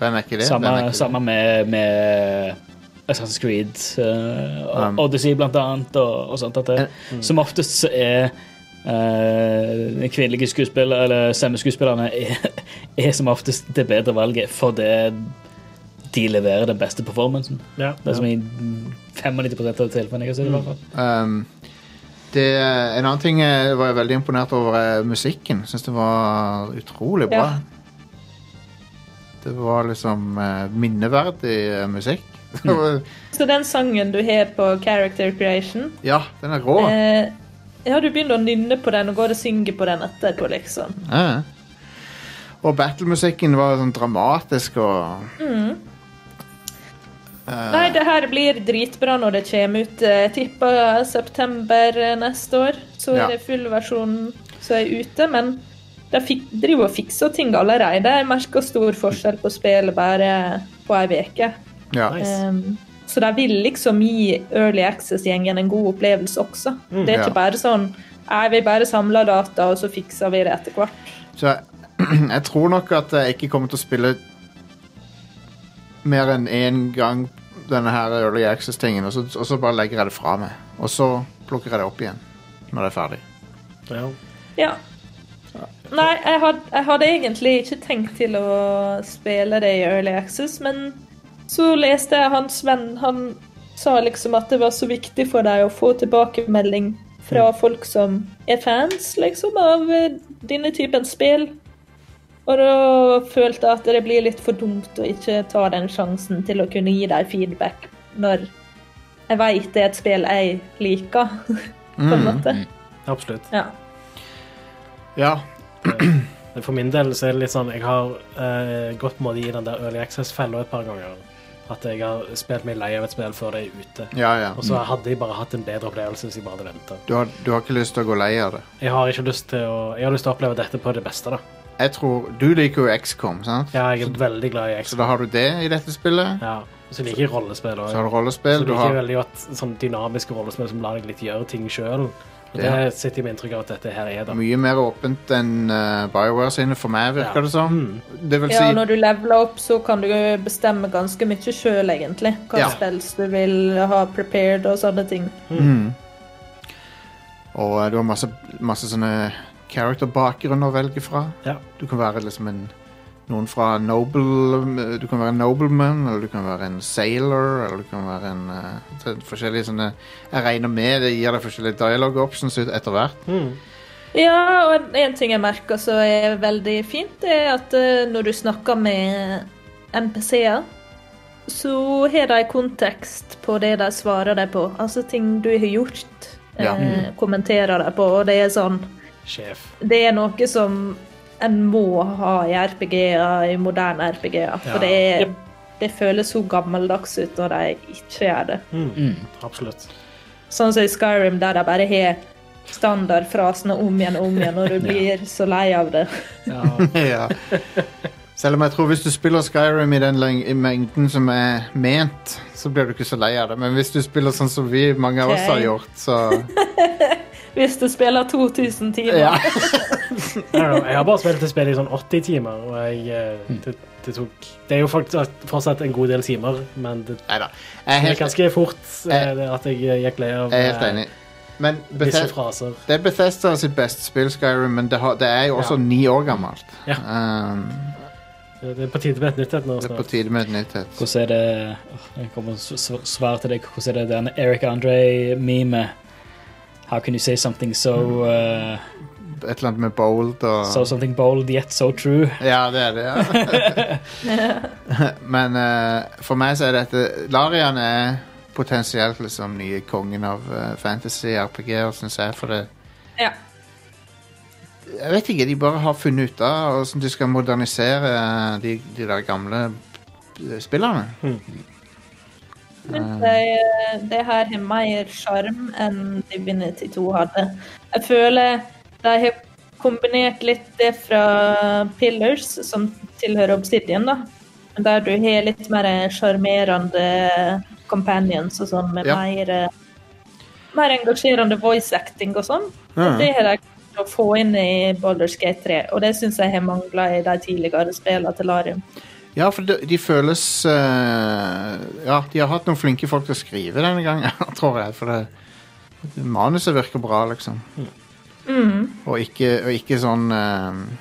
Speaker 1: Den er ikke det. Den er
Speaker 4: Samme,
Speaker 1: ikke
Speaker 4: samme med, med Assassin's Creed eh, og
Speaker 1: Um.
Speaker 4: Odyssey, blant annet, og, og sånt. At det, som oftest så er eh, de kvinnelige skuespillere, eller stemmeskuespillerne, er, er som oftest det bedre valget fordi de leverer den beste performancen.
Speaker 2: Ja.
Speaker 4: Det er som i 95 av tilfellene jeg har sett. i hvert fall.
Speaker 1: Um, det, en annen ting jeg var jeg veldig imponert over, er musikken. Syns det var utrolig bra.
Speaker 8: Ja.
Speaker 1: Det var liksom eh, minneverdig eh, musikk.
Speaker 8: Mm. Så den sangen du har på Character Creation
Speaker 1: ja, den er rå.
Speaker 8: eh, Ja, du begynner å nynne på den og går og synger på den etterpå, liksom.
Speaker 1: Ja, ja. Og battlemusikken var sånn dramatisk og
Speaker 8: Nei, det her blir dritbra når det kommer ut. Eh, Jeg tipper september eh, neste år. Så
Speaker 1: Ja.
Speaker 8: er det fullversjonen som er ute. Men de fik, driver og fikser ting allerede. Jeg merker stor forskjell på spillet bare på ei uke. Ehm,
Speaker 1: Ja.
Speaker 8: Eh.
Speaker 2: Nice.
Speaker 8: så de vil liksom gi Early Access-gjengen en god opplevelse også. det er
Speaker 1: Mm. ja.
Speaker 8: ikke bare sånn Nei, vi bare samler data, og så fikser vi det etter hvert.
Speaker 1: Så jeg, jeg tror nok at jeg ikke kommer til å spille mer enn én gang denne her Early Access-tingen, og, så- og så bare legger jeg det fra meg. Og så plukker jeg det opp igjen når det er ferdig.
Speaker 2: Ja.
Speaker 8: Ja. Nei, jeg hadde, jeg hadde egentlig ikke tenkt til å spille det i Early Access, men så leste jeg hans venn. Han sa liksom at det var så viktig for deg å få tilbakemelding fra folk som er fans, liksom, av eh, denne typen spill. Og da følte jeg at det blir litt for dumt å ikke ta den sjansen til å kunne gi deg feedback når jeg veit det er et spill jeg liker, på en måte.
Speaker 2: Absolutt.
Speaker 8: Ja.
Speaker 1: Ja.
Speaker 2: For min del så er det litt sånn Jeg har eh, gått måte i den der Early Access-fella et par ganger. At jeg har spilt meg lei av et spill før det er ute.
Speaker 1: Ja, ja.
Speaker 2: Og så hadde jeg bare hatt en bedre opplevelse hvis jeg bare hadde venta.
Speaker 1: Du har, du har ikke lyst til å gå lei av det.
Speaker 2: Jeg har ikke lyst til å Jeg har lyst til å oppleve dette på det beste, da.
Speaker 1: Jeg tror, Du liker jo XCOM, sant?
Speaker 2: Ja, jeg er veldig glad i
Speaker 1: Så
Speaker 2: X.
Speaker 1: da har du det i dette spillet.
Speaker 2: Ja. og Så liker jeg rollespill
Speaker 1: Så har
Speaker 2: òg.
Speaker 1: du
Speaker 2: Så
Speaker 1: rollespill. Du
Speaker 2: liker jeg
Speaker 1: har,
Speaker 2: veldig godt sånn dynamiske rollespill som lar deg litt gjøre ting sjøl. Og det
Speaker 1: Ja.
Speaker 2: sitter jeg med inntrykk av at dette her er, da.
Speaker 1: mye mer åpent enn eh, BioWare sine, for meg, virker
Speaker 2: Ja.
Speaker 1: det
Speaker 2: Mm.
Speaker 1: som. Det vil
Speaker 8: Ja,
Speaker 1: si
Speaker 8: når du leveler opp, så kan du bestemme ganske mye sjøl, egentlig. Hva
Speaker 1: Ja.
Speaker 8: spills du vil ha prepared og sånne ting.
Speaker 1: Mm. Og eh, du har masse, masse sånne character-bakgrunner å velge fra.
Speaker 2: Ja.
Speaker 1: Du kan være liksom en noen fra noble Du kan være en nobleman, eller du kan være en sailor, eller du kan være en eh, så- Forskjellige sånne Jeg regner med det gir deg forskjellige dialogue options ut etter hvert.
Speaker 8: Ja, og en ting jeg merker som er veldig fint, det er at eh, når du snakker med NPC-er, så har de kontekst på det de svarer deg på. Altså ting du har gjort,
Speaker 1: Ja.
Speaker 8: eh, kommenterer deg på, og det er sånn
Speaker 2: Sjef.
Speaker 8: det er noe som en må ha i RPG-er, i moderne RPG-er. For
Speaker 2: Ja.
Speaker 8: det, er, det føles så gammeldags ut når de ikke gjør det.
Speaker 2: Absolutt.
Speaker 8: Sånn som i Skyrim, der de bare har standardfrasene om igjen og om igjen, og du blir så lei av det.
Speaker 1: ja. Selv om jeg tror hvis du spiller Skyrim i den leng- i mengden som er ment, så blir du ikke så lei av det. Men hvis du spiller sånn som vi, mange av oss har
Speaker 8: Ok.
Speaker 1: gjort, så
Speaker 8: Hvis du spiller 2000 timer.
Speaker 1: Ja.
Speaker 2: I don't know, Jeg har bare spilt det spillet i sånn 80 timer, og jeg eh,
Speaker 1: Mm.
Speaker 2: det, det tok Det er jo faktisk fortsatt en god del timer, men det
Speaker 1: Nei da. Jeg er
Speaker 2: gikk
Speaker 1: helt,
Speaker 2: ganske fort eh,
Speaker 1: Jeg-
Speaker 2: det at jeg eh, gikk lei av
Speaker 1: jeg er helt
Speaker 2: eh,
Speaker 1: enig. Men
Speaker 2: Disse
Speaker 1: Bethe-
Speaker 2: fraser.
Speaker 1: det er Bethesda sitt beste spill, Skyrim, men det, har, det er jo også
Speaker 2: Ja.
Speaker 1: ni år gammelt.
Speaker 2: Ja.
Speaker 1: Um,
Speaker 2: Det er på tide med et nytt et nå
Speaker 1: det er på
Speaker 2: snart.
Speaker 1: tide med et nytt et.
Speaker 4: Hvordan er det Åh, Jeg kommer s- s- svar til deg. Hvordan er det den Eric Andre-memet? How can you say something so uh,
Speaker 1: Et eller annet med Bold og
Speaker 4: So something bold yet so true?
Speaker 1: Ja, det er det, ja. Men eh, for meg så er dette Larian er potensielt liksom nye kongen av eh, fantasy-RPG-er, syns jeg, for sånn det
Speaker 8: Ja.
Speaker 1: Jeg vet ikke, de bare har funnet ut av hvordan de skal modernisere eh, de, de der gamle eh, spillerne.
Speaker 2: Hmm.
Speaker 1: Eh.
Speaker 8: Men eh, Det, det her har mer sjarm enn Divinity 2 hadde. Jeg føler de har kombinert litt det fra Pillars, som tilhører Obsidian, da. Men Der du har litt mer sjarmerende companions og sånn, med
Speaker 1: Ja.
Speaker 8: mer, eh, mer engasjerende voice acting og sånn.
Speaker 1: Mhm.
Speaker 8: Det har de klart å få inn i Baldur's Gate 3, og det syns jeg har mangla i de tidligere spillene til Larium.
Speaker 1: Ja, for de, de føles eh, Ja, de har hatt noen flinke folk til å skrive denne gangen, tror jeg. For det, manuset virker bra, liksom. Og, ikke, og ikke sånn eh,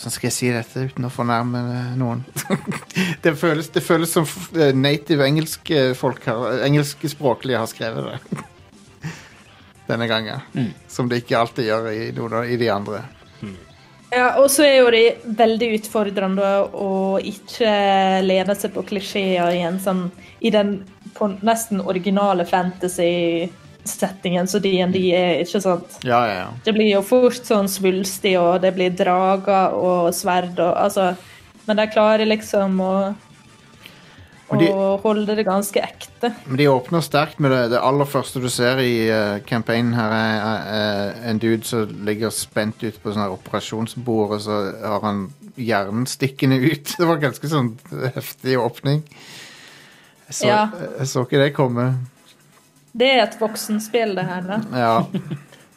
Speaker 1: Hvordan skal jeg si dette uten å fornærme eh, noen? det, føles, det føles som f- eh, native engelske folk har, engelskspråklige har skrevet det. denne gangen. Som de ikke alltid gjør i, noen av- i de andre.
Speaker 8: Ja, og så er jo det veldig utfordrende å ikke lene seg på klisjeer igjen, sånn i den på nesten originale fantasy-settingen som D&D er, ikke sant?
Speaker 1: Ja, ja, ja.
Speaker 8: Det blir jo fort sånn svulstig, og det blir drager og sverd og altså Men de klarer liksom å,
Speaker 1: Men de-
Speaker 8: å holde det ganske ekte.
Speaker 1: Men de åpner sterkt med det. Det aller første du ser i eh, campaignen her, er eh, en dude som ligger spent ute på sånn her operasjonsbord, og så har han hjernen stikkende ut. Det var ganske sånn heftig åpning. Jeg så,
Speaker 8: Ja.
Speaker 1: jeg så ikke det komme.
Speaker 8: Det er et voksenspill, det her. Da.
Speaker 1: Ja,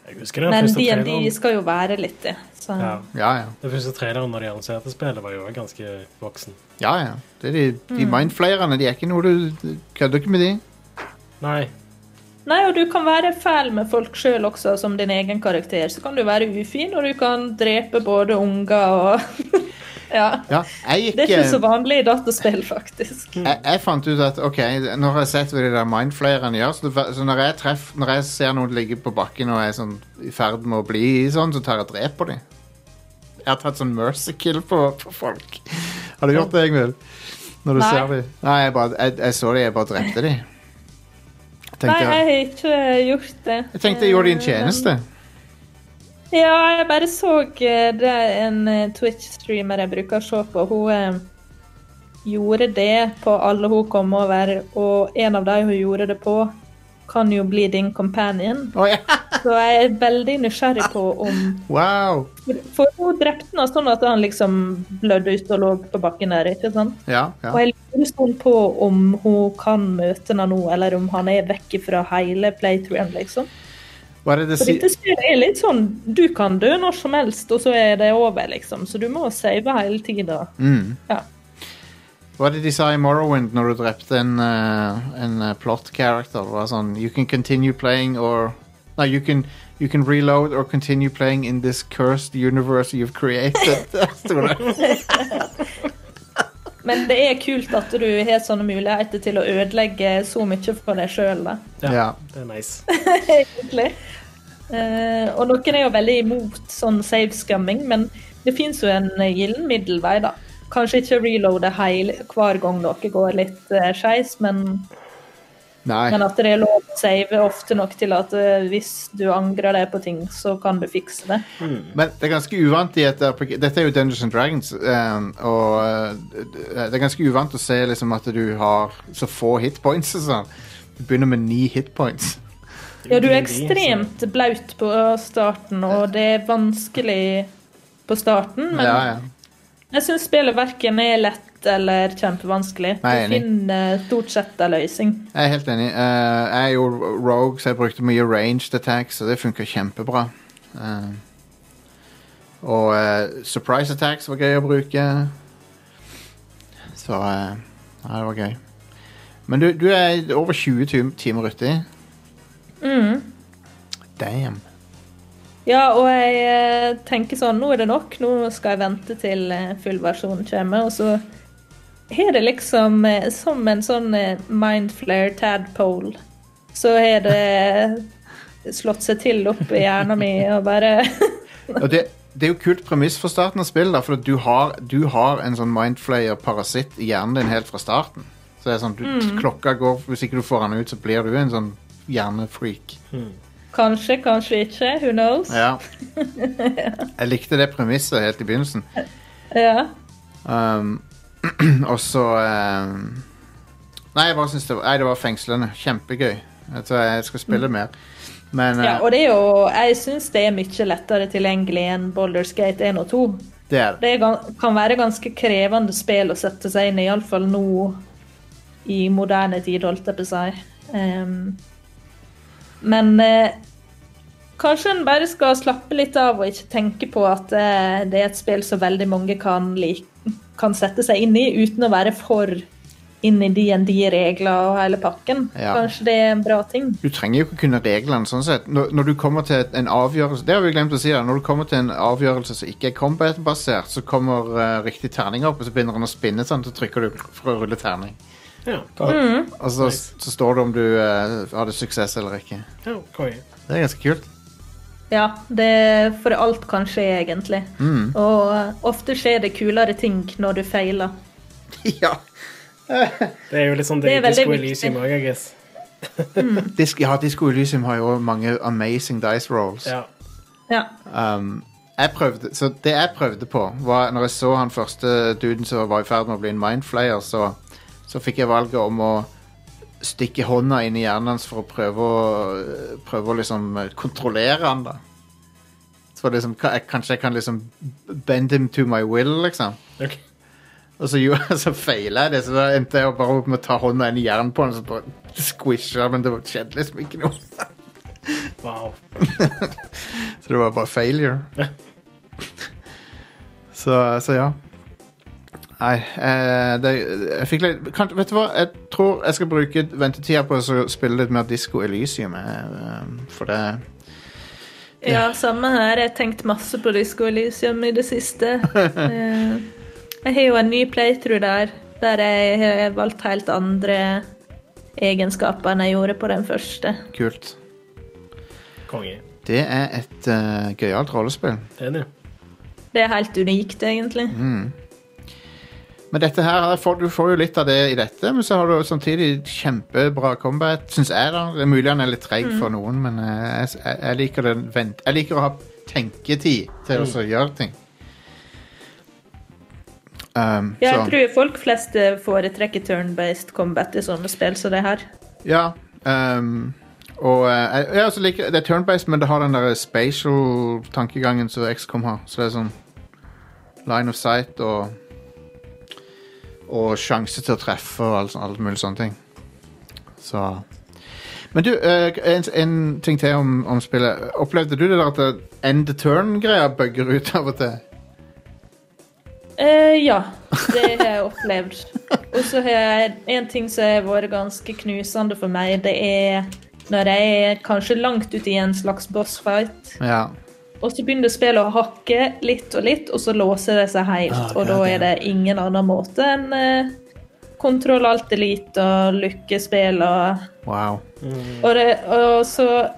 Speaker 2: Jeg husker den
Speaker 8: Men
Speaker 2: første
Speaker 8: D&D
Speaker 2: traileren.
Speaker 8: skal jo være litt det. Så.
Speaker 2: Ja.
Speaker 1: ja. ja.
Speaker 2: Den første traileren når de annonserte spillet, var jo også ganske voksen.
Speaker 1: ja, ja. Det er de,
Speaker 8: Mm.
Speaker 1: de mindflayerne, de er ikke noe du du kødder ikke med de.
Speaker 2: Nei.
Speaker 8: Nei, og du kan være fæl med folk sjøl også, som din egen karakter. Så kan du være ufin, og du kan drepe både unger og Ja.
Speaker 1: Ja, jeg gikk
Speaker 8: Det er ikke så
Speaker 1: eh,
Speaker 8: vanlig i dataspill, faktisk.
Speaker 1: jeg, jeg fant ut at ok, nå har jeg sett hva de der mindflayerne gjør, så, det, så når, jeg treff, når jeg ser noen ligge på bakken og er sånn, i ferd med å bli sånn, så tar jeg og dreper dem. Jeg har tatt sånn mercy kill på, på folk. Har du gjort det, Ingvild? Når du
Speaker 8: Nei.
Speaker 1: ser dem? Nei, jeg, bare, jeg, jeg så dem, jeg bare drepte dem. Jeg
Speaker 8: Nei,
Speaker 1: tenkte,
Speaker 8: jeg har ikke gjort det.
Speaker 1: jeg tenkte jeg gjorde dem en tjeneste.
Speaker 8: Ja, jeg bare så eh, det er en eh, Twitch-streamer jeg bruker å se på. Hun eh, gjorde det på alle hun kom over, og en av de hun gjorde det på, kan jo bli din companion.
Speaker 1: Å, ja.
Speaker 8: Så jeg er veldig nysgjerrig på om
Speaker 1: Wow!
Speaker 8: For hun drepte han sånn at han liksom blødde ut og lå på bakken der, ikke sant?
Speaker 1: Ja,
Speaker 8: Og
Speaker 1: ja.
Speaker 8: jeg lurer sånn på om hun kan møte henne nå, eller om han er vekk fra hele playthroughen, liksom.
Speaker 1: Hva er det det
Speaker 8: For
Speaker 1: sier?
Speaker 8: dette spillet er litt sånn, du kan dø når som helst, og så er det over, liksom. Så du må save hele tida.
Speaker 1: Mm.
Speaker 8: Ja.
Speaker 1: Hva er det de sa i Morrowind når du drepte en, eh, en eh, plot character? Det var sånn You can continue playing or Nei, you can, you can reload or continue playing in this cursed universe you've created. Sto det.
Speaker 8: Men det er kult at du har sånne muligheter til å ødelegge så mye for deg sjøl, da.
Speaker 2: Ja.
Speaker 1: ja.
Speaker 2: Det er nice.
Speaker 8: egentlig. Eh, og noen er jo veldig imot sånn save-scamming, men det fins jo en eh, gyllen middelvei, da. Kanskje ikke reloade hele, hver gang noe går litt uh, skeis, men,
Speaker 1: Nei.
Speaker 8: men at det er lov å save ofte nok til at eh, hvis du angrer deg på ting, så kan du fikse det.
Speaker 1: Men det er ganske uvant i et RPG Dette er jo Dungeons and Dragons, ehm, og eh, det er ganske uvant å se liksom at du har så få hitpoints og sånn. Du begynner med ni hitpoints.
Speaker 8: Ja, du
Speaker 2: D&D,
Speaker 8: er
Speaker 2: så-
Speaker 8: ekstremt blaut på starten, og det er vanskelig på starten, men
Speaker 1: Ja, ja.
Speaker 8: jeg syns spillet verken er lett eller kjempevanskelig.
Speaker 1: Nei,
Speaker 8: Du
Speaker 1: enig.
Speaker 8: finner stort sett en løsning.
Speaker 1: Jeg er helt enig. Eh, jeg er jo rogue, så jeg brukte mye ranged attacks, og det funka kjempebra. Eh, og eh, surprise attacks var gøy å bruke. Så eh, Ja, det var gøy. Men du, du er over 20 tim- timer uti.
Speaker 8: Mm.
Speaker 1: Damn.
Speaker 8: Ja, og jeg eh, tenker sånn, nå er det nok, nå skal jeg vente til eh, fullversjonen kommer, og så har det liksom eh, som en sånn eh, mindflare tadpole, så har det slått seg til opp i hjernen min og bare
Speaker 1: Og det, det er jo kult premiss for starten av spillet, da, for at du har, du har en sånn mindflayer-parasitt i hjernen din helt fra starten. Så det er sånn, du, klokka går, Hvis ikke du får den ut, så blir du en sånn hjernefreak.
Speaker 8: Kanskje, kanskje ikke, who knows?
Speaker 1: Ja. Jeg likte det premisset helt i begynnelsen.
Speaker 8: Ja.
Speaker 1: Um, og så um, Nei, jeg bare synes det var, nei, det var fengslende. Kjempegøy. Jeg tror jeg skal spille mer. Men
Speaker 8: Mm. ja.
Speaker 1: eh,
Speaker 8: Og det er jo Jeg syns det er mye lettere tilgjengelig enn Baldur's Gate 1 og 2.
Speaker 1: det er det.
Speaker 8: Det er gan- kan være ganske krevende spill å sette seg inn i, iallfall nå i moderne tid, holdt jeg på å si. Ehm, men eh, kanskje en bare skal slappe litt av og ikke tenke på at eh, det er et spill som veldig mange kan, like, kan sette seg inn i, uten å være for inn i DND-regler og hele pakken.
Speaker 1: Ja.
Speaker 8: Kanskje det er en bra ting.
Speaker 1: Du trenger jo ikke kunne reglene sånn sett. Når, når du kommer til et- en avgjørelse Det har vi glemt å si, da. Når du kommer til en avgjørelse som ikke er combat-basert, så kommer eh, riktig terning opp, og så begynner den å spinne sånn, så trykker du for å rulle terning.
Speaker 2: Ja,
Speaker 1: Og
Speaker 8: Mm.
Speaker 1: så, så står det om du eh, hadde suksess eller ikke.
Speaker 2: ja konge.
Speaker 1: Det er ganske kult.
Speaker 8: Ja, det, for alt kan skje, egentlig. Og eh, ofte skjer det kulere ting når du feiler.
Speaker 1: ja.
Speaker 2: Det er jo litt sånn det,
Speaker 8: Det er
Speaker 2: det er
Speaker 8: veldig
Speaker 2: Disco Elysium òg, I guess.
Speaker 1: Disk, ja, Disco Elysium har jo mange amazing dice rolls.
Speaker 2: Ja.
Speaker 8: Ja.
Speaker 1: Um, jeg prøvde, så det jeg prøvde på, var når jeg så han første duden som var i ferd med å bli en mindflayer, så, så fikk jeg valget om å stikke hånda inn i hjernen hans for å prøve å, prøve å liksom kontrollere han da. Så liksom, ka- jeg, kanskje jeg kan liksom bend him to my will, liksom.
Speaker 2: Ok.
Speaker 1: Og så, gjorde- så feilet jeg det, så da endte jeg bare opp med å ta hånda inn i hjernen på han, så bare squisher, men det var- skjedde liksom ikke noe.
Speaker 2: Wow.
Speaker 1: Så det var bare failure. så, så ja. Nei, eh, det, jeg fikk litt kan, Vet du hva, jeg tror jeg skal bruke ventetida på å spille litt mer Disco Elysium. eh, eh, For det
Speaker 8: Ja, samme her. Jeg har tenkt masse på Disco Elysium i det siste. Eh, Jeg har jo en ny playthrough der, der jeg har valgt helt andre egenskaper enn jeg gjorde på den første.
Speaker 1: er kult.
Speaker 2: Konge.
Speaker 1: Det er et eh, gøyalt rollespill.
Speaker 2: Det er det.
Speaker 8: Det er helt unikt, egentlig.
Speaker 1: Men dette her, her får, du får jo litt av det i dette, men så har du samtidig kjempebra combat, syns jeg, da. Det er mulig han er litt treig
Speaker 8: Mm.
Speaker 1: for noen, men eh, jeg, jeg, jeg, liker den vent, jeg liker å ha tenketid
Speaker 8: Mm.
Speaker 1: til å gjøre ting. Um,
Speaker 8: Ja, jeg
Speaker 1: så-
Speaker 8: tror folk flest eh, foretrekker turn-based combat i sånne spill som det her.
Speaker 1: Ja. ehm, og eh, jeg, jeg også liker, det er turn-based, men det har den der spatial tankegangen som XCOM har. Så det er sånn line of sight og Og sjanse til å treffe og alt, sånt- alt mulig sånne ting. Så Men du, eh, en, en ting til om, om spillet. Opplevde du det der at det end the turn-greia bugger ut av og til?
Speaker 8: Eh, ja, det har jeg opplevd. Og så har jeg en ting som har vært ganske knusende for meg. Det er når jeg er kanskje langt ute i en slags bossfight,
Speaker 1: Ja.
Speaker 8: og så begynner spillet å hakke litt og litt, og så låser Ah, det seg helt. og da er det ingen annen måte enn eh, kontroll alt elite og lykkespill og
Speaker 1: Wow.
Speaker 8: og, det, og så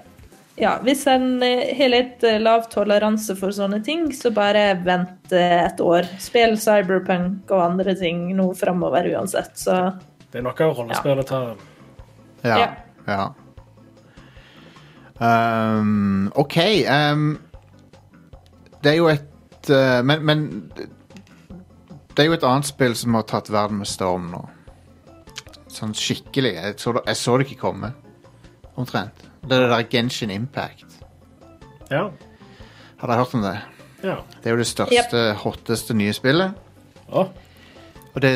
Speaker 8: Ja, hvis en eh, har litt eh, lav toleranse for sånne ting, så bare vent eh, et år. Spill Cyberpunk og andre ting nå framover uansett, så
Speaker 2: Det er nok av rollespill å ta.
Speaker 1: Ja.
Speaker 8: Ja.
Speaker 1: ja. Ehm, OK. ehm, det er jo et eh, men, men det er jo et annet spill som har tatt verden med storm nå. Sånn skikkelig. Jeg så det, jeg så det ikke komme, omtrent. Det er det der Genshin Impact.
Speaker 2: Ja.
Speaker 1: Har dere hørt om det?
Speaker 2: ja.
Speaker 1: Det er jo det største, hotteste nye spillet.
Speaker 2: Å.
Speaker 1: Og det,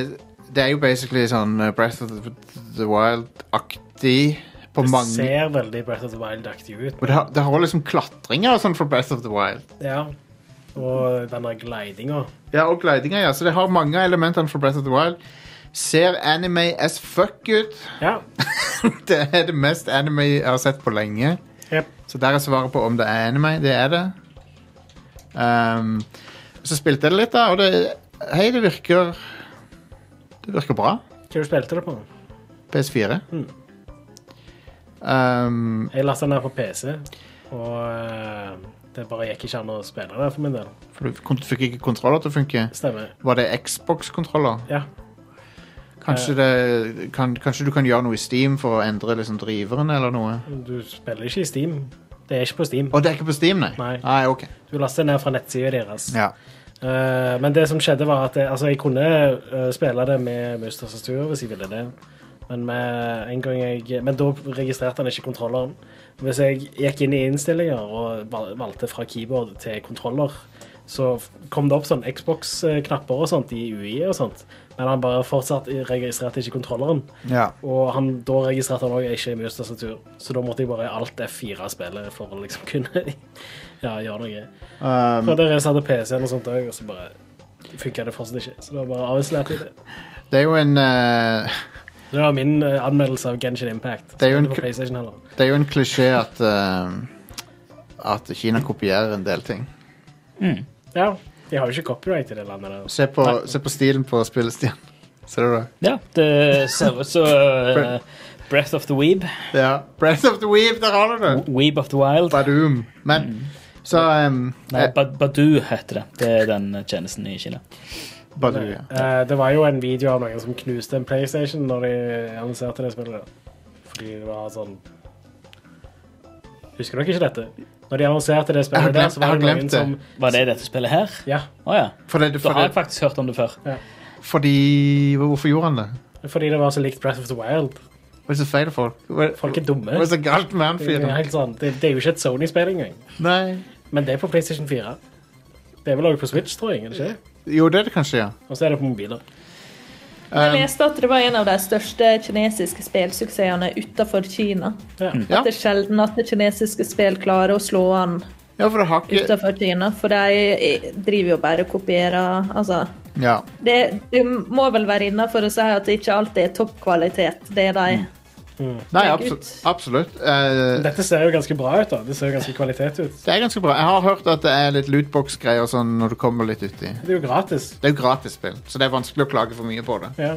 Speaker 1: det er jo basically sånn eh, Breath of the- the Wild-aktig på
Speaker 2: Det
Speaker 1: mange
Speaker 2: ser veldig Breath of the Wild-aktig ut.
Speaker 1: Og det har, det har liksom klatringer og sånn fra Breath of the Wild.
Speaker 2: Ja. Og den der glidinga.
Speaker 1: Ja, og glidinger, ja. Så det har mange av elementene fra Breath of the Wild. Ser anime as fuck ut.
Speaker 2: Ja.
Speaker 1: Det er det mest anime jeg har sett på lenge.
Speaker 2: Jep.
Speaker 1: Så der er svaret på om det er anime. Det er det. Ehm, så spilte jeg det litt, da, og det Hei, det virker Det virker bra.
Speaker 2: Hva du spilte du på?
Speaker 1: PS4.
Speaker 2: Mm.
Speaker 1: Ehm,
Speaker 2: Jeg lastet den ned på PC, og eh, det bare gikk ikke an å spille det for min del.
Speaker 1: for du kon- fikk ikke kontroller til å funke.
Speaker 2: Stemmer.
Speaker 1: Var det Xbox-kontroller?
Speaker 2: Ja.
Speaker 4: Eh.
Speaker 1: Kanskje, det- kan, kanskje du kan gjøre noe i Steam for å endre liksom, driveren eller noe?
Speaker 2: Du spiller ikke i Steam. Det er ikke på Steam.
Speaker 1: Og det er ikke på Steam, nei?
Speaker 2: Nei.
Speaker 1: nei ok.
Speaker 2: Du laster ned fra nettsida deres.
Speaker 1: Ja.
Speaker 2: Eh, men det som skjedde, var at jeg, altså, jeg kunne eh, spille det med mus og tastatur hvis jeg ville det. Men, med en gang jeg, men da registrerte han ikke kontrolleren. Hvis jeg gikk inn i innstillinger og val- valgte fra keyboard til kontroller, så f- kom det opp sånn Xbox-knapper og sånt i UI og sånt. Men han bare fortsatt registrerte ikke kontrolleren.
Speaker 1: ja.
Speaker 2: Og han, da registrerte han òg ikke mus og tastatur, så da måtte jeg bare alt F4-spillet for å liksom kunne ja, gjøre noe.
Speaker 1: Ehm,
Speaker 2: Prøvde å reise til PC-en og sånt òg, og så bare funka det fortsatt ikke. Så det var bare avslørt i det.
Speaker 1: det er jo en eh,
Speaker 2: Det var min eh, anmeldelse av Genshin Impact.
Speaker 1: Det er jo en
Speaker 2: Ikke
Speaker 1: ku-
Speaker 2: på PlayStation heller.
Speaker 1: Det er jo en klisjé at eh, At Kina kopierer en del ting.
Speaker 2: Ja, de har jo ikke copyright i det landet der. altså.
Speaker 1: Se på, se på stilen på spillet, Stian. Ser du det?
Speaker 4: Ja, det ser ut som eh, Breath of the Weeb.
Speaker 1: Ja. Breath of the Weave, der har du det!
Speaker 4: Weeb of the Wild.
Speaker 1: Badoom. Men så um,
Speaker 4: Mm. Nei, Ba- Badoo heter det. Det er den tjenesten i Kina.
Speaker 1: Badoom, ja.
Speaker 2: Eh, det var jo en video av noen som knuste en PlayStation når de annonserte det spillet. Fordi det var sånn Husker dere ikke dette? Når de annonserte det
Speaker 1: Jeg har
Speaker 2: spillet der,
Speaker 1: glemt-
Speaker 2: så var
Speaker 1: jeg har
Speaker 2: det noen
Speaker 1: glemt det.
Speaker 2: som
Speaker 4: Var det i dette spillet her?
Speaker 2: Ja,
Speaker 4: Å ja.
Speaker 1: Fordi,
Speaker 4: Da har jeg
Speaker 1: fordi,
Speaker 4: faktisk hørt om det før.
Speaker 1: fordi Hvorfor gjorde han det?
Speaker 2: fordi det var så likt Breath of the Wild.
Speaker 1: Hva er det så feil med folk? Hva
Speaker 2: Folk er
Speaker 1: hva
Speaker 2: dumme.
Speaker 1: er det så galt med han
Speaker 2: Det er,
Speaker 1: fyren?
Speaker 2: helt sånn. det, det er jo ikke et Sony-spill engang.
Speaker 1: Nei.
Speaker 2: Men det er på PlayStation 4. Det er vel også på Switch, tror jeg. er det ikke? det?
Speaker 1: Jo, det er det kanskje, ja.
Speaker 2: Og så er det på mobiler.
Speaker 8: Jeg
Speaker 1: Um,
Speaker 8: leste at det var en av de største kinesiske spillsuksessene utenfor Kina.
Speaker 2: Ja.
Speaker 1: Ja.
Speaker 8: At det er sjelden at det kinesiske spill klarer å slå an
Speaker 1: ja, for det har ikke
Speaker 8: utenfor Kina, for de eh, driver jo bare og kopierer. Altså,
Speaker 1: Ja.
Speaker 8: det, det må vel være innenfor å si at det ikke alltid er toppkvalitet, det de
Speaker 1: Mm. Nei,
Speaker 8: Legg
Speaker 1: abso
Speaker 8: ut.
Speaker 1: absolutt. Eh,
Speaker 2: Dette ser jo ganske bra ut. da. Det ser jo ganske kvalitet ut.
Speaker 1: det er ganske bra. Jeg har hørt at det er litt lootbox-greier sånn når du kommer litt uti.
Speaker 2: Det er jo gratis.
Speaker 1: Det er jo gratis spill, så det er vanskelig å klage for mye på det.
Speaker 2: Ja.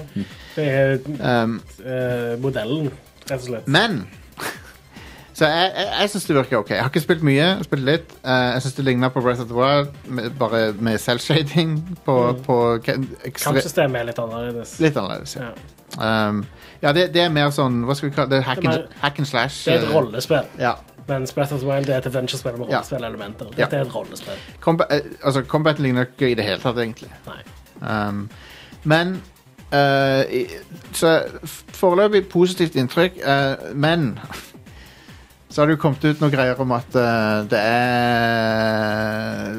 Speaker 2: Det er
Speaker 1: Um,
Speaker 2: eh, modellen, rett og slett.
Speaker 1: men Så jeg, jeg, jeg syns det virker OK. Jeg har ikke spilt mye. Jeg har spilt litt. Eh, jeg syns det ligner på Breath of the Wild, med, bare med selvshading på, på ke- ekstre-
Speaker 2: Kampsystemet er litt annerledes.
Speaker 1: Litt annerledes, ja.
Speaker 2: Ja.
Speaker 1: Um, ja, det, det er mer sånn Hva skal vi kalle det? er Hack
Speaker 2: Det er
Speaker 1: and, hack and slash.
Speaker 2: Det er
Speaker 1: eh,
Speaker 2: et rollespill,
Speaker 1: Ja.
Speaker 2: men Breath of the Wild er et adventure-spill med
Speaker 1: Ja.
Speaker 2: rollespillelementer.
Speaker 1: Ja.
Speaker 2: Dette er et rollespill.
Speaker 1: Combat, eh, altså, combat ligner ikke i det hele tatt, egentlig.
Speaker 2: Nei.
Speaker 1: Um, men eh, i- Så f- foreløpig positivt inntrykk, eh, men så har det jo kommet ut noen greier om at eh, det er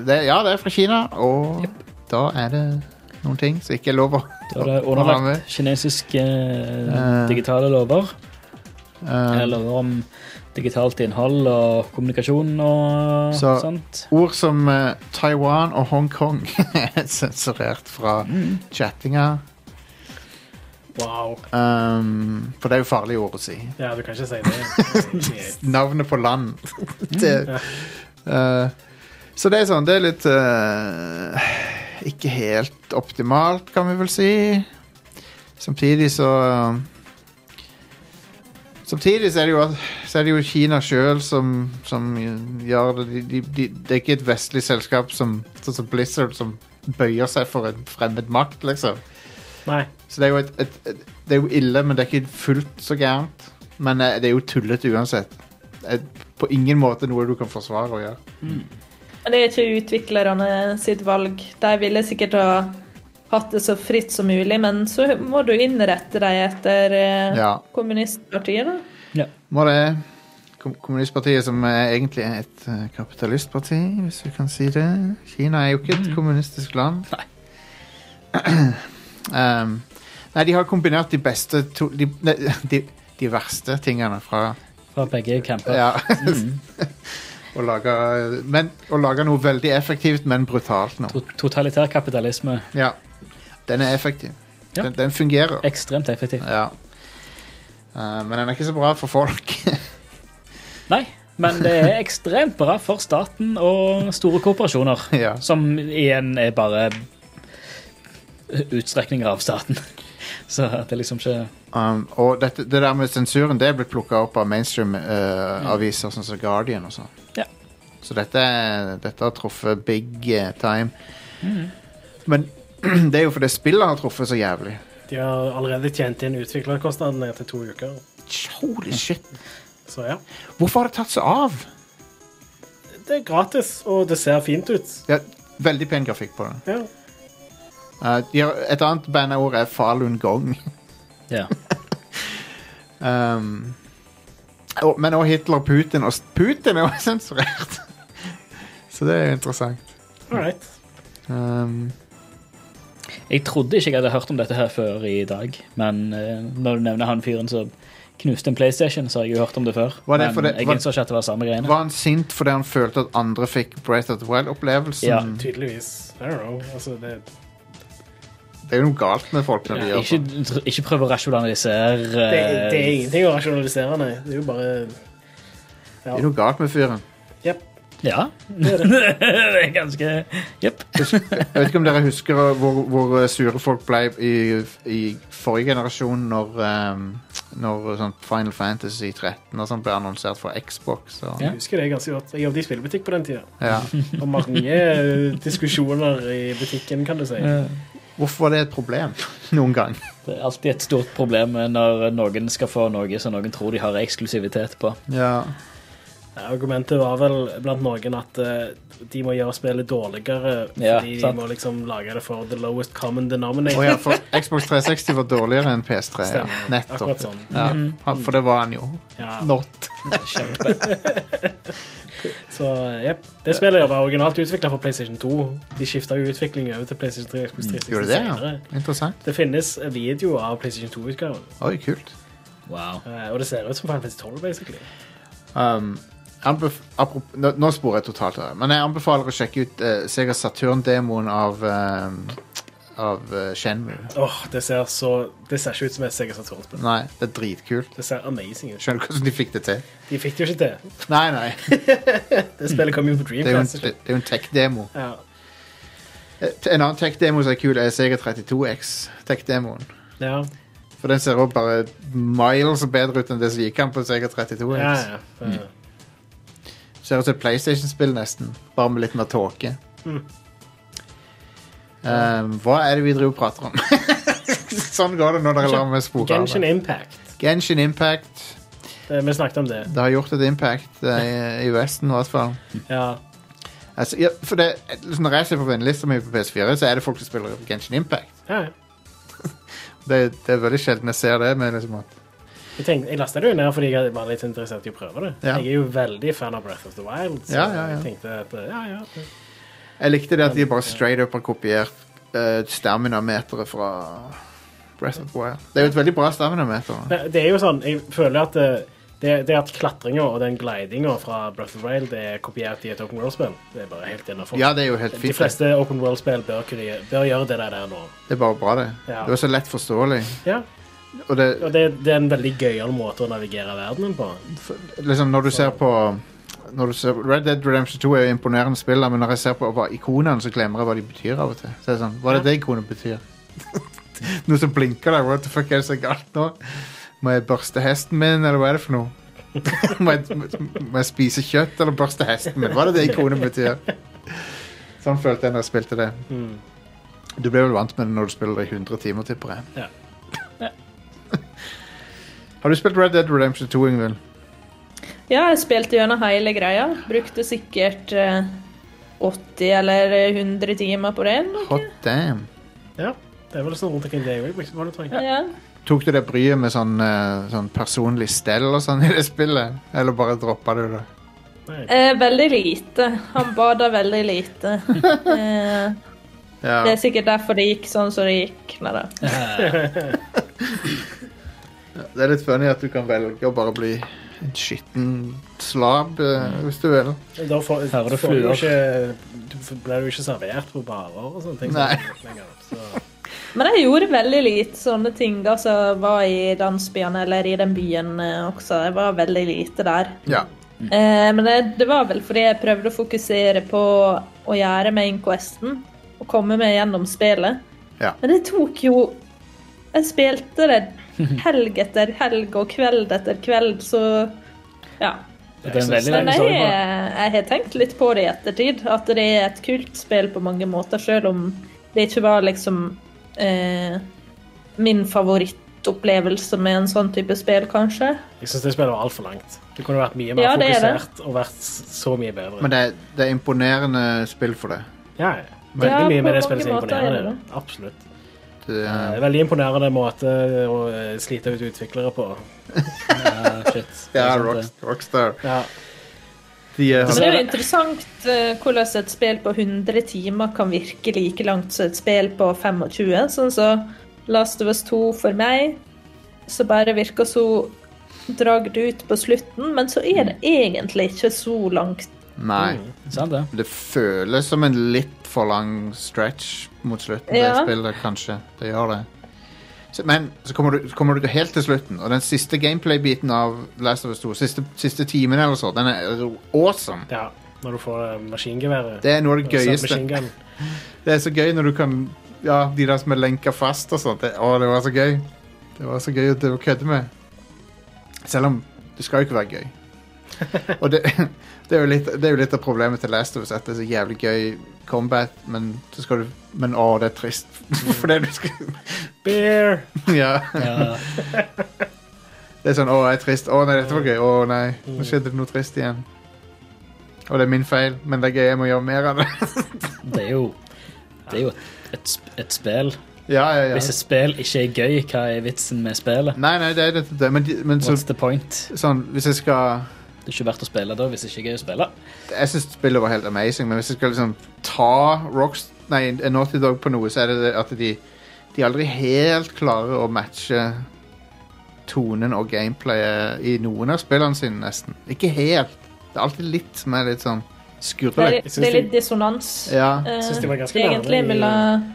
Speaker 1: det, er- Ja, det er fra Kina, og da er det noen ting som ikke er lov å
Speaker 4: Da er det
Speaker 1: Hva var det?
Speaker 4: underlagt kinesiske eh,
Speaker 1: Eh.
Speaker 4: digitale lover.
Speaker 1: eh,
Speaker 4: Eller om digitalt innhold og kommunikasjon og
Speaker 1: Så-
Speaker 4: sånt.
Speaker 1: Ord som eh, Taiwan og Hongkong er sensurert fra chattinga.
Speaker 2: Wow.
Speaker 1: Um, for det er jo farlige ord å si.
Speaker 2: Ja, du kan ikke si det.
Speaker 1: Navnet på land. det, uh, så det er sånn, det er litt uh, Ikke helt optimalt, kan vi vel si. Samtidig så eh, Samtidig så er det jo, at- så er det jo Kina sjøl som, som gjør det. De, de, de, det er ikke et vestlig selskap som, sånn som Blizzard som bøyer seg for en fremmed makt, liksom.
Speaker 2: Nei.
Speaker 1: Så det er jo, et, et, et, det er jo ille, men det er ikke fullt så gærent. Men eh, det er jo tullete uansett. Eh, På ingen måte noe du kan forsvare å gjøre.
Speaker 8: Men det er ikke utviklerne sitt valg. De ville sikkert ha hatt det så fritt som mulig, men så må du innrette deg etter eh,
Speaker 1: Ja,
Speaker 8: kommunistpartiet, da.
Speaker 1: må det. Kom- Kommunistpartiet som er egentlig er et eh, kapitalistparti, hvis vi kan si det. Kina er jo ikke et kommunistisk land. um, nei, de har kombinert de beste to, de, ne, de, de verste tingene fra
Speaker 4: Fra begge camper.
Speaker 1: Ja. og laga men- og laga noe veldig effektivt, men brutalt nå.
Speaker 4: To- Totalitær kapitalisme.
Speaker 1: Ja. Den er effektiv.
Speaker 4: Ja.
Speaker 1: Den, den fungerer.
Speaker 4: Ekstremt effektivt.
Speaker 1: Ja. Eh, men den er ikke så bra for folk.
Speaker 4: Nei, Men det er ekstremt bra for staten og store korporasjoner,
Speaker 1: Ja.
Speaker 4: som igjen er bare utstrekninger av staten. Så det er liksom ikke
Speaker 1: Um, og dette, det der med sensuren Det er blitt plukka opp av mainstream-aviser sånn som Guardian og sånn.
Speaker 4: Ja.
Speaker 1: Så dette, er- dette har truffet big eh, time. Mm. Men det er jo fordi spillet har truffet så jævlig.
Speaker 2: De har allerede tjent inn utviklerkostnadene til to uker.
Speaker 1: Holy shit.
Speaker 2: Så ja.
Speaker 1: Hvorfor har det tatt seg av?
Speaker 2: Det er gratis, og det ser fint ut.
Speaker 1: Ja, veldig pen grafikk på det.
Speaker 2: Ja.
Speaker 1: Eh, de har- et annet bandeord er Falun Gong.
Speaker 4: Ja.
Speaker 1: Um, og, men også Hitler og Putin. Og s- Putin er jo sensurert! Så det er jo interessant.
Speaker 2: All right.
Speaker 1: Um,
Speaker 4: Jeg trodde ikke jeg hadde hørt om dette her før i dag, men eh, når du nevner han fyren som knuste en PlayStation, så har jeg jo hørt om det før.
Speaker 1: Var det
Speaker 4: men
Speaker 1: for det-
Speaker 4: jeg
Speaker 1: var-
Speaker 4: innså ikke at det var samme greiene.
Speaker 1: Var han sint fordi han følte at andre fikk Breath of the Wild-opplevelsen?
Speaker 4: Ja.
Speaker 2: Tydeligvis. I don't know. Altså, det,
Speaker 1: Det er jo noe galt med folk når de gjør
Speaker 4: Ikke,
Speaker 1: sånn.
Speaker 4: ikke prøv å rasjonalisere
Speaker 2: det,
Speaker 4: eh,
Speaker 2: det er ingenting å rasjonalisere, nei. Det er jo bare
Speaker 1: Det er noe galt med fyren.
Speaker 2: Jepp.
Speaker 4: Ja. Det er ganske Jepp.
Speaker 1: Jeg vet ikke om dere husker hvor, hvor eh, sure folk ble i, i forrige generasjon når, ehm, når sånn Final Fantasy 13 og sånt ble annonsert for Xbox. Og,
Speaker 4: Ja.
Speaker 2: Jeg husker det ganske godt. Jeg jobbet i spillbutikk på den tida.
Speaker 1: ja.
Speaker 2: Og mange eh, diskusjoner i butikken, kan du si.
Speaker 1: Hvorfor var det et problem noen gang?
Speaker 4: Det er alltid et stort problem når noen skal få noe som noen tror de har eksklusivitet på.
Speaker 1: Ja.
Speaker 2: Argumentet var vel blant noen at eh, de må gjøre spillet dårligere
Speaker 4: Ja,
Speaker 2: fordi de
Speaker 4: sant.
Speaker 2: må liksom lage det for the lowest common
Speaker 1: Og
Speaker 2: denominator.
Speaker 1: ja, for Xbox 360 var dårligere enn PS3. Ja.
Speaker 2: Stemmer. Akkurat
Speaker 1: Nettopp.
Speaker 2: sånn.
Speaker 1: Ja. Han- For det var han jo.
Speaker 2: Ja.
Speaker 1: Not.
Speaker 2: Så jepp. Det spillet var originalt utvikla for PlayStation 2. De skifta jo utvikling over til PlayStation 3 og Xbox 360
Speaker 1: Gjorde det, ja?
Speaker 2: senere.
Speaker 1: Interessant.
Speaker 2: Det finnes video av PlayStation 2-utgaven,
Speaker 1: Oi, kult.
Speaker 4: Wow.
Speaker 2: Eh, og det ser ut som Final Fantasy 12, basically.
Speaker 1: Um, anbef aprop- nå, nå sporer jeg totalt her, men jeg anbefaler å sjekke ut eh, Sega Saturn-demoen av, eh, av eh, Shenmue.
Speaker 2: Åh, Det ser så Det ser ikke ut som et Sega Saturn-spill.
Speaker 1: Nei, det er dritkult.
Speaker 2: Det ser amazing ut.
Speaker 1: Skjønner du hvordan de fikk det til?
Speaker 2: De fikk det jo ikke til.
Speaker 1: Nei, nei.
Speaker 2: Det spillet kom jo på
Speaker 1: Det er jo en,
Speaker 2: Dreamcast.
Speaker 1: det
Speaker 2: ikke?
Speaker 1: er jo en tech-demo.
Speaker 2: Ja.
Speaker 1: Eh, En annen tech-demo som er kul, er Sega 32X. Tech-demoen.
Speaker 2: Ja.
Speaker 1: For den ser også bare miles bedre ut enn det som gikk an på Sega 32X.
Speaker 2: ja, ja. Det-
Speaker 1: Ser ut som et PlayStation-spill nesten, bare med litt mer tåke.
Speaker 2: Mm.
Speaker 1: Um, hva er det vi driver og prater om? sånn går det når dere lar meg spore av.
Speaker 2: Genshin
Speaker 1: det.
Speaker 2: Impact.
Speaker 1: Genshin Impact.
Speaker 2: Det, vi snakket om det.
Speaker 1: Det har gjort et impact eh, i, i Vesten, i hvert fall.
Speaker 2: Ja.
Speaker 1: Altså, ja, for det, liksom, når jeg ser på vennelista mi på PS4, så er det folk som spiller Genshin Impact.
Speaker 2: ja. ja.
Speaker 1: Det, det er veldig sjelden jeg ser det. Men liksom at,
Speaker 2: Jeg, tenkte, jeg lastet det jo ned fordi jeg var litt interessert i å prøve det.
Speaker 1: Ja.
Speaker 2: Jeg er jo veldig fan av Breath of the Wild, så
Speaker 1: Ja, ja, ja.
Speaker 2: jeg tenkte at eh, ja, ja.
Speaker 1: jeg likte det at de bare straight up har kopiert uh, staminameteret fra Breath of the Wild. Det er jo et veldig bra staminameter.
Speaker 2: Det, det er jo sånn, jeg føler at det, det, det at klatringa og den glidinga fra Breath of the Wild er kopiert i et Open World-spill, det er bare helt innafor.
Speaker 1: Ja, det er jo helt
Speaker 2: De
Speaker 1: fint. det.
Speaker 2: fleste Open World-spill bør, kunne- bør gjøre det der, der nå.
Speaker 1: Det er bare bra, det.
Speaker 2: Ja.
Speaker 1: Det var så lett forståelig.
Speaker 2: Ja,
Speaker 1: Og det,
Speaker 2: og det, det er en veldig gøyal måte å navigere verdenen på.
Speaker 1: liksom, når du ser på når du ser, Red Dead Redemption 2 er jo imponerende spill, da, men når jeg ser på hva ikonene, så glemmer jeg hva de betyr av og til. Så er det sånn, Hva er det det ikonet betyr? noe som blinker der. What the fuck er det så galt nå? Må jeg børste hesten min, eller hva er det for noe? må, jeg, må jeg spise kjøtt eller børste hesten min? Hva er det det ikonet betyr? Sånn følte jeg når jeg spilte det. Du blir vel vant med det når du spiller det i 100 timer, tipper jeg.
Speaker 2: Ja.
Speaker 1: Har du spilt Red Dead Redemption 2, Ingvild?
Speaker 8: Ja, jeg spilte gjennom hele greia. Brukte sikkert eh, 80 eller 100 timer på det. eller?
Speaker 1: Hot damn.
Speaker 2: Ja, det er vel sånn rundt omkring det òg. Hva du trenger.
Speaker 8: Ja.
Speaker 1: Tok du det bryet med sånn, eh, sånn personlig stell og sånn i det spillet? Eller bare droppa du det?
Speaker 8: Eh, veldig lite. Han bada veldig lite. Eh,
Speaker 1: Ja.
Speaker 8: det er sikkert derfor det gikk sånn som det gikk. Nei da.
Speaker 1: Det er litt funny at du kan velge å bare bli en skitten slab, eh,
Speaker 4: Mm.
Speaker 1: hvis du vil.
Speaker 2: Da får,
Speaker 4: Her er det
Speaker 2: får du jo
Speaker 4: fluer.
Speaker 2: ikke Du f- blir jo ikke servert på barer og sånne ting.
Speaker 1: Nei.
Speaker 2: Lenger, så.
Speaker 8: Men jeg gjorde veldig lite sånne ting da som var i landsbyene eller i den byen eh, også. Jeg var veldig lite der.
Speaker 1: Ja.
Speaker 8: Eh, men det, det var vel fordi jeg prøvde å fokusere på å gjøre main questen og komme meg gjennom spillet.
Speaker 1: Ja.
Speaker 8: Men det tok jo Jeg spilte det helg etter helg og kveld etter kveld, så ja.
Speaker 4: Det er en veldig
Speaker 8: Men
Speaker 4: lang
Speaker 8: jeg, eh,
Speaker 4: story. bak.
Speaker 8: jeg har tenkt litt på det i ettertid, at det er et kult spill på mange måter, selv om det ikke var liksom eh, min favorittopplevelse med en sånn type spill, kanskje.
Speaker 2: Jeg syns det spillet var altfor langt. Det kunne vært mye mer
Speaker 8: Ja, det er det.
Speaker 2: fokusert og vært så mye bedre.
Speaker 1: Men det, er- det er imponerende spill for det.
Speaker 2: ja, ja. veldig
Speaker 8: Ja,
Speaker 2: mye
Speaker 8: på
Speaker 2: med det spillet som er
Speaker 8: mange måter er det
Speaker 2: imponerende. Absolutt.
Speaker 1: det
Speaker 2: Eh,
Speaker 1: er,
Speaker 2: Veldig imponerende måte å eh, slite ut utviklere på.
Speaker 4: Ja, shit. Det er
Speaker 1: ja,
Speaker 4: sant, det.
Speaker 1: rock, Rockstar.
Speaker 2: Ja.
Speaker 1: De, eh, har,
Speaker 8: Men det er
Speaker 2: Altså-
Speaker 8: jo interessant eh, hvordan et spill på 100 timer kan virke like langt som et spill på 25. Sånn som Last of Us 2 for meg, så bare virker så dragd ut på slutten, men så er det
Speaker 2: Mm.
Speaker 8: egentlig ikke så langt.
Speaker 1: nei.
Speaker 4: Sant det.
Speaker 1: Det føles som en litt for lang stretch mot slutten.
Speaker 8: Ja.
Speaker 1: Det spillet, kanskje. Det gjør det. Så, men så kommer, du, så kommer du helt til slutten, og den siste gameplay-biten av Last of Us 2, siste, siste timen eller så, den er awesome.
Speaker 2: ja. Når du får eh, maskingeværet.
Speaker 1: Det er noe av det gøyeste.
Speaker 2: Submachine gun.
Speaker 1: Det er så gøy når du kan Ja, de der som er lenka fast og sånt. Det, å, det var så gøy. Det var så gøy å å kødde med. Selv om det skal jo ikke være gøy. Og det, det, er jo litt, det er jo litt av problemet til Last of Us, at det er så jævlig gøy combat, men så skal du Men å, det er trist. Fordi du skal
Speaker 2: Beer!
Speaker 1: Ja.
Speaker 4: Ja.
Speaker 1: Det er sånn Å, jeg er trist. Å nei, dette var gøy. Å nei, nå skjedde det noe trist igjen. Og det er min feil, men det er gøy. Jeg må gjøre mer av det.
Speaker 4: Det er jo Det er jo et, et, sp- et spill.
Speaker 1: Ja, ja,
Speaker 4: Hvis
Speaker 1: ja.
Speaker 4: et spill ikke er gøy, hva er vitsen med spillet?
Speaker 1: Nei, nei, det er det. det- Men, de- men så,
Speaker 4: What's the point?
Speaker 1: sånn, hvis jeg skal
Speaker 4: Det er ikke verdt å spille da hvis det ikke er gøy å spille.
Speaker 1: jeg syns spillet var helt amazing, men hvis jeg skal liksom ta Rocks, nei, eh, Naughty Dog på noe, så er det det at de, de aldri helt klarer å matche tonen og gameplayet i noen av spillene sine, nesten. Ikke helt. Det er alltid litt som er litt sånn
Speaker 8: Det er,
Speaker 1: skurrelett.
Speaker 2: Jeg synes
Speaker 8: det er
Speaker 2: de-
Speaker 8: litt dissonans.
Speaker 1: Ja.
Speaker 8: Eh,
Speaker 2: synes de var ganske
Speaker 8: Egentlig
Speaker 2: nærme i-
Speaker 8: mellom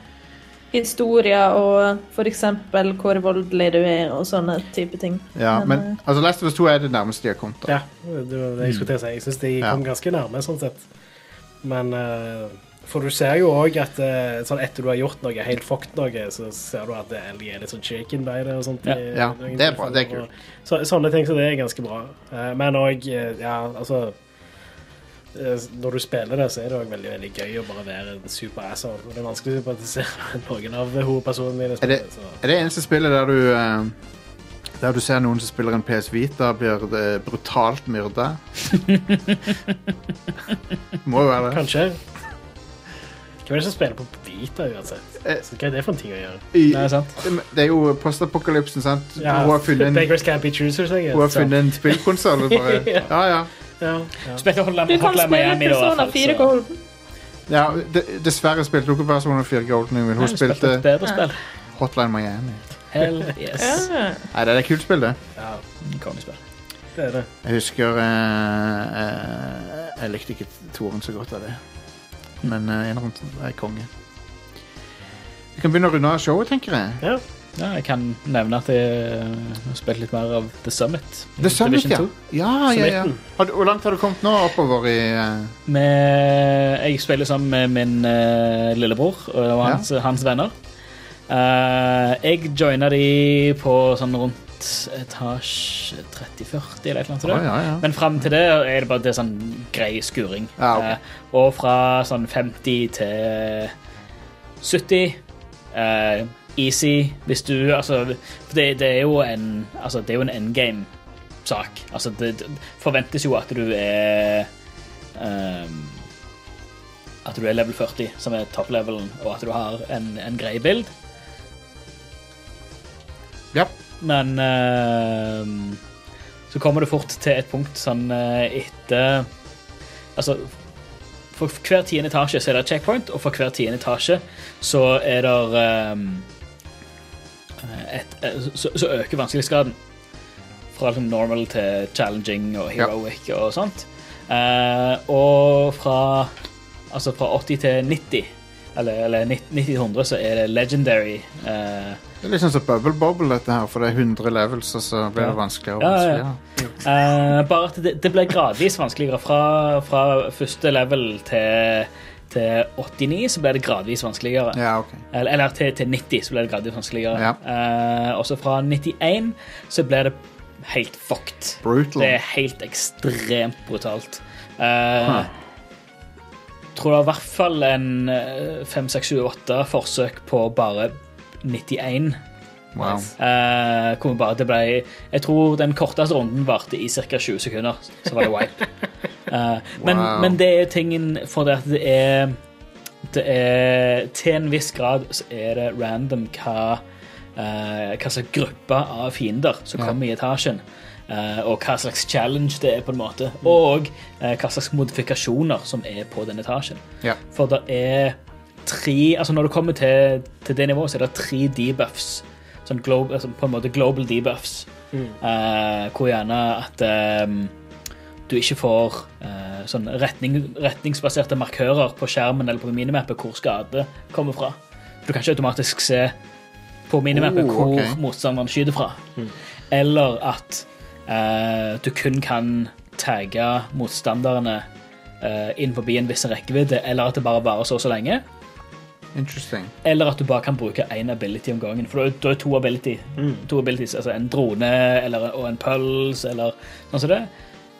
Speaker 8: historier og for eksempel hvor voldelig du er og sånne type ting.
Speaker 1: ja. Men altså, Last of Us 2 er det nærmeste de har kommet. da.
Speaker 2: Ja, det var det jeg skulle til å si. Jeg syns de kom ganske nærme, sånn sett. Men eh, For du ser jo òg at eh, sånn etter du har gjort noe, helt fucked noe, så ser du at det de er litt sånn shaken by det og sånt. i
Speaker 1: Ja,
Speaker 2: noen
Speaker 1: det er bra,
Speaker 2: tilfeller.
Speaker 1: det er kult.
Speaker 2: Så, sånne ting, så det er ganske bra. Eh, men òg, ja, altså eh, når du spiller det, så er det òg veldig veldig gøy å bare være en super asshole. Og Det er vanskelig å sympatisere med noen av hovedpersonene i det
Speaker 1: Er det,
Speaker 2: spillet. Så.
Speaker 1: er det eneste spillet der du eh, der du ser noen som spiller en PS Vita, blir det brutalt myrda? Må jo være det.
Speaker 2: Kanskje. Hvem er det som spiller på Vita uansett?
Speaker 1: Eh.
Speaker 2: Så Hva er det for en ting å gjøre?
Speaker 1: I-
Speaker 4: Nei, sant?
Speaker 1: Det det er jo postapokalypsen, sant? Hun har funnet en,
Speaker 2: Beggars can't be choosers, jeg.
Speaker 1: hun har funnet en spillkonsoll. og bare- Ja, ja.
Speaker 2: Ja, ja.
Speaker 4: Spilte Hotline
Speaker 8: Du kan
Speaker 4: Hotline
Speaker 8: spille
Speaker 4: Miami, da, i hvert
Speaker 8: Persona
Speaker 4: fall,
Speaker 8: 4
Speaker 4: så-
Speaker 8: Golden.
Speaker 1: ja de- dessverre spilte hun ikke Persona 4 Golden, men hun
Speaker 4: Nei, spilte et
Speaker 1: spilte
Speaker 4: bedre spill.
Speaker 1: Hotline Miami.
Speaker 4: Hell yes.
Speaker 8: Ja.
Speaker 1: Nei, det er et kult spill, det.
Speaker 4: Kongespill.
Speaker 2: det er det.
Speaker 1: Jeg husker eh, eh, Jeg likte ikke Toren så godt av det. Men eh, en rundt er konge. Vi kan begynne å runde av showet, tenker jeg.
Speaker 2: Ja.
Speaker 4: Ja, jeg kan nevne at jeg eh, har spilt litt mer av The Summit.
Speaker 1: The Summit,
Speaker 4: Division
Speaker 1: ja.
Speaker 4: 2.
Speaker 1: ja, ja, ja. Har du- Hvor langt har du kommet nå oppover i eh,
Speaker 4: Med, jeg spiller sammen med min eh, lillebror og hans, hans venner. Eh, jeg joina de på sånn rundt etasje 30-40 eller et eller annet. sånt.
Speaker 1: Å, ja, ja.
Speaker 4: Men fram til det er det bare det er sånn grei skuring.
Speaker 1: Ja, ok.
Speaker 4: Eh, og fra sånn 50 til 70 eh, Easy, hvis du Altså, for det, det er jo en Altså, det er jo en endgame-sak. Altså, det, det forventes jo at du er ehm, At du er level 40, som er top-levelen, og at du har en, en grei bild.
Speaker 1: Ja.
Speaker 4: Men ehm, så kommer det fort til et punkt sånn eh, etter Altså, for hver tiende etasje så er det et checkpoint, og for hver tiende etasje så er det ehm, et, eh, så, så øker vanskelighetsgraden. Fra liksom normal til challenging og heroic og sånt. Eh, og fra, altså fra 80 til 90, eller, eller 90-100, så er det legendary. eh,
Speaker 1: Det er litt sånn som Bubble Bobble, dette her, for det er 100 levels, og så blir det
Speaker 4: Ja.
Speaker 1: vanskeligere og
Speaker 4: Ja, ja, ja.
Speaker 1: vanskeligere.
Speaker 4: Eh, bare at det, det ble gradvis vanskeligere. Fra, fra første level til, til 89 så ble det gradvis vanskeligere.
Speaker 1: Ja, ok.
Speaker 4: Eller, eller til, til 90 så ble det gradvis vanskeligere.
Speaker 1: Ja.
Speaker 4: Eh, også fra 91 så ble det helt fucked.
Speaker 1: Brutal.
Speaker 4: Det er helt ekstremt brutalt. Eh, Tror det var i hvert fall en eh, 5, 6, 7, 8 forsøk på bare 91.
Speaker 1: Wow.
Speaker 4: Eh, kom bare, det ble, jeg tror den korteste runden varte i ca. 20 sekunder. Så var det wipe. Eh, men,
Speaker 1: Wow.
Speaker 4: men det er tingen for det at det er Det er Til en viss grad så er det random hva eh, hva slags gruppe av fiender som
Speaker 1: Ja.
Speaker 4: kommer i etasjen. eh, og hva slags challenge det er, på en måte. Og eh, hva slags modifikasjoner som er på den etasjen.
Speaker 1: Ja.
Speaker 4: For det er tre Altså når du kommer til, til det nivået, så er det tre debuffs. Sånn glo- altså på en måte global debuffs. Eh, hvor gjerne at ehm, du ikke får eh, sånn retning, retningsbaserte markører på skjermen eller på minimappet hvor skade kommer fra. Du kan ikke automatisk se på minimappet
Speaker 1: Oh,
Speaker 4: hvor
Speaker 1: ok. Mm.
Speaker 4: motstanderen skyter fra. Eller at eh, du kun kan tagge motstanderne eh, inn forbi en viss rekkevidde, eller at det bare varer så og så lenge.
Speaker 1: Interesting.
Speaker 4: Eller at du bare kan bruke én ability om gangen. For da er- da er to, ability, to abilities, altså en drone eller, og en pulse eller sånn som det.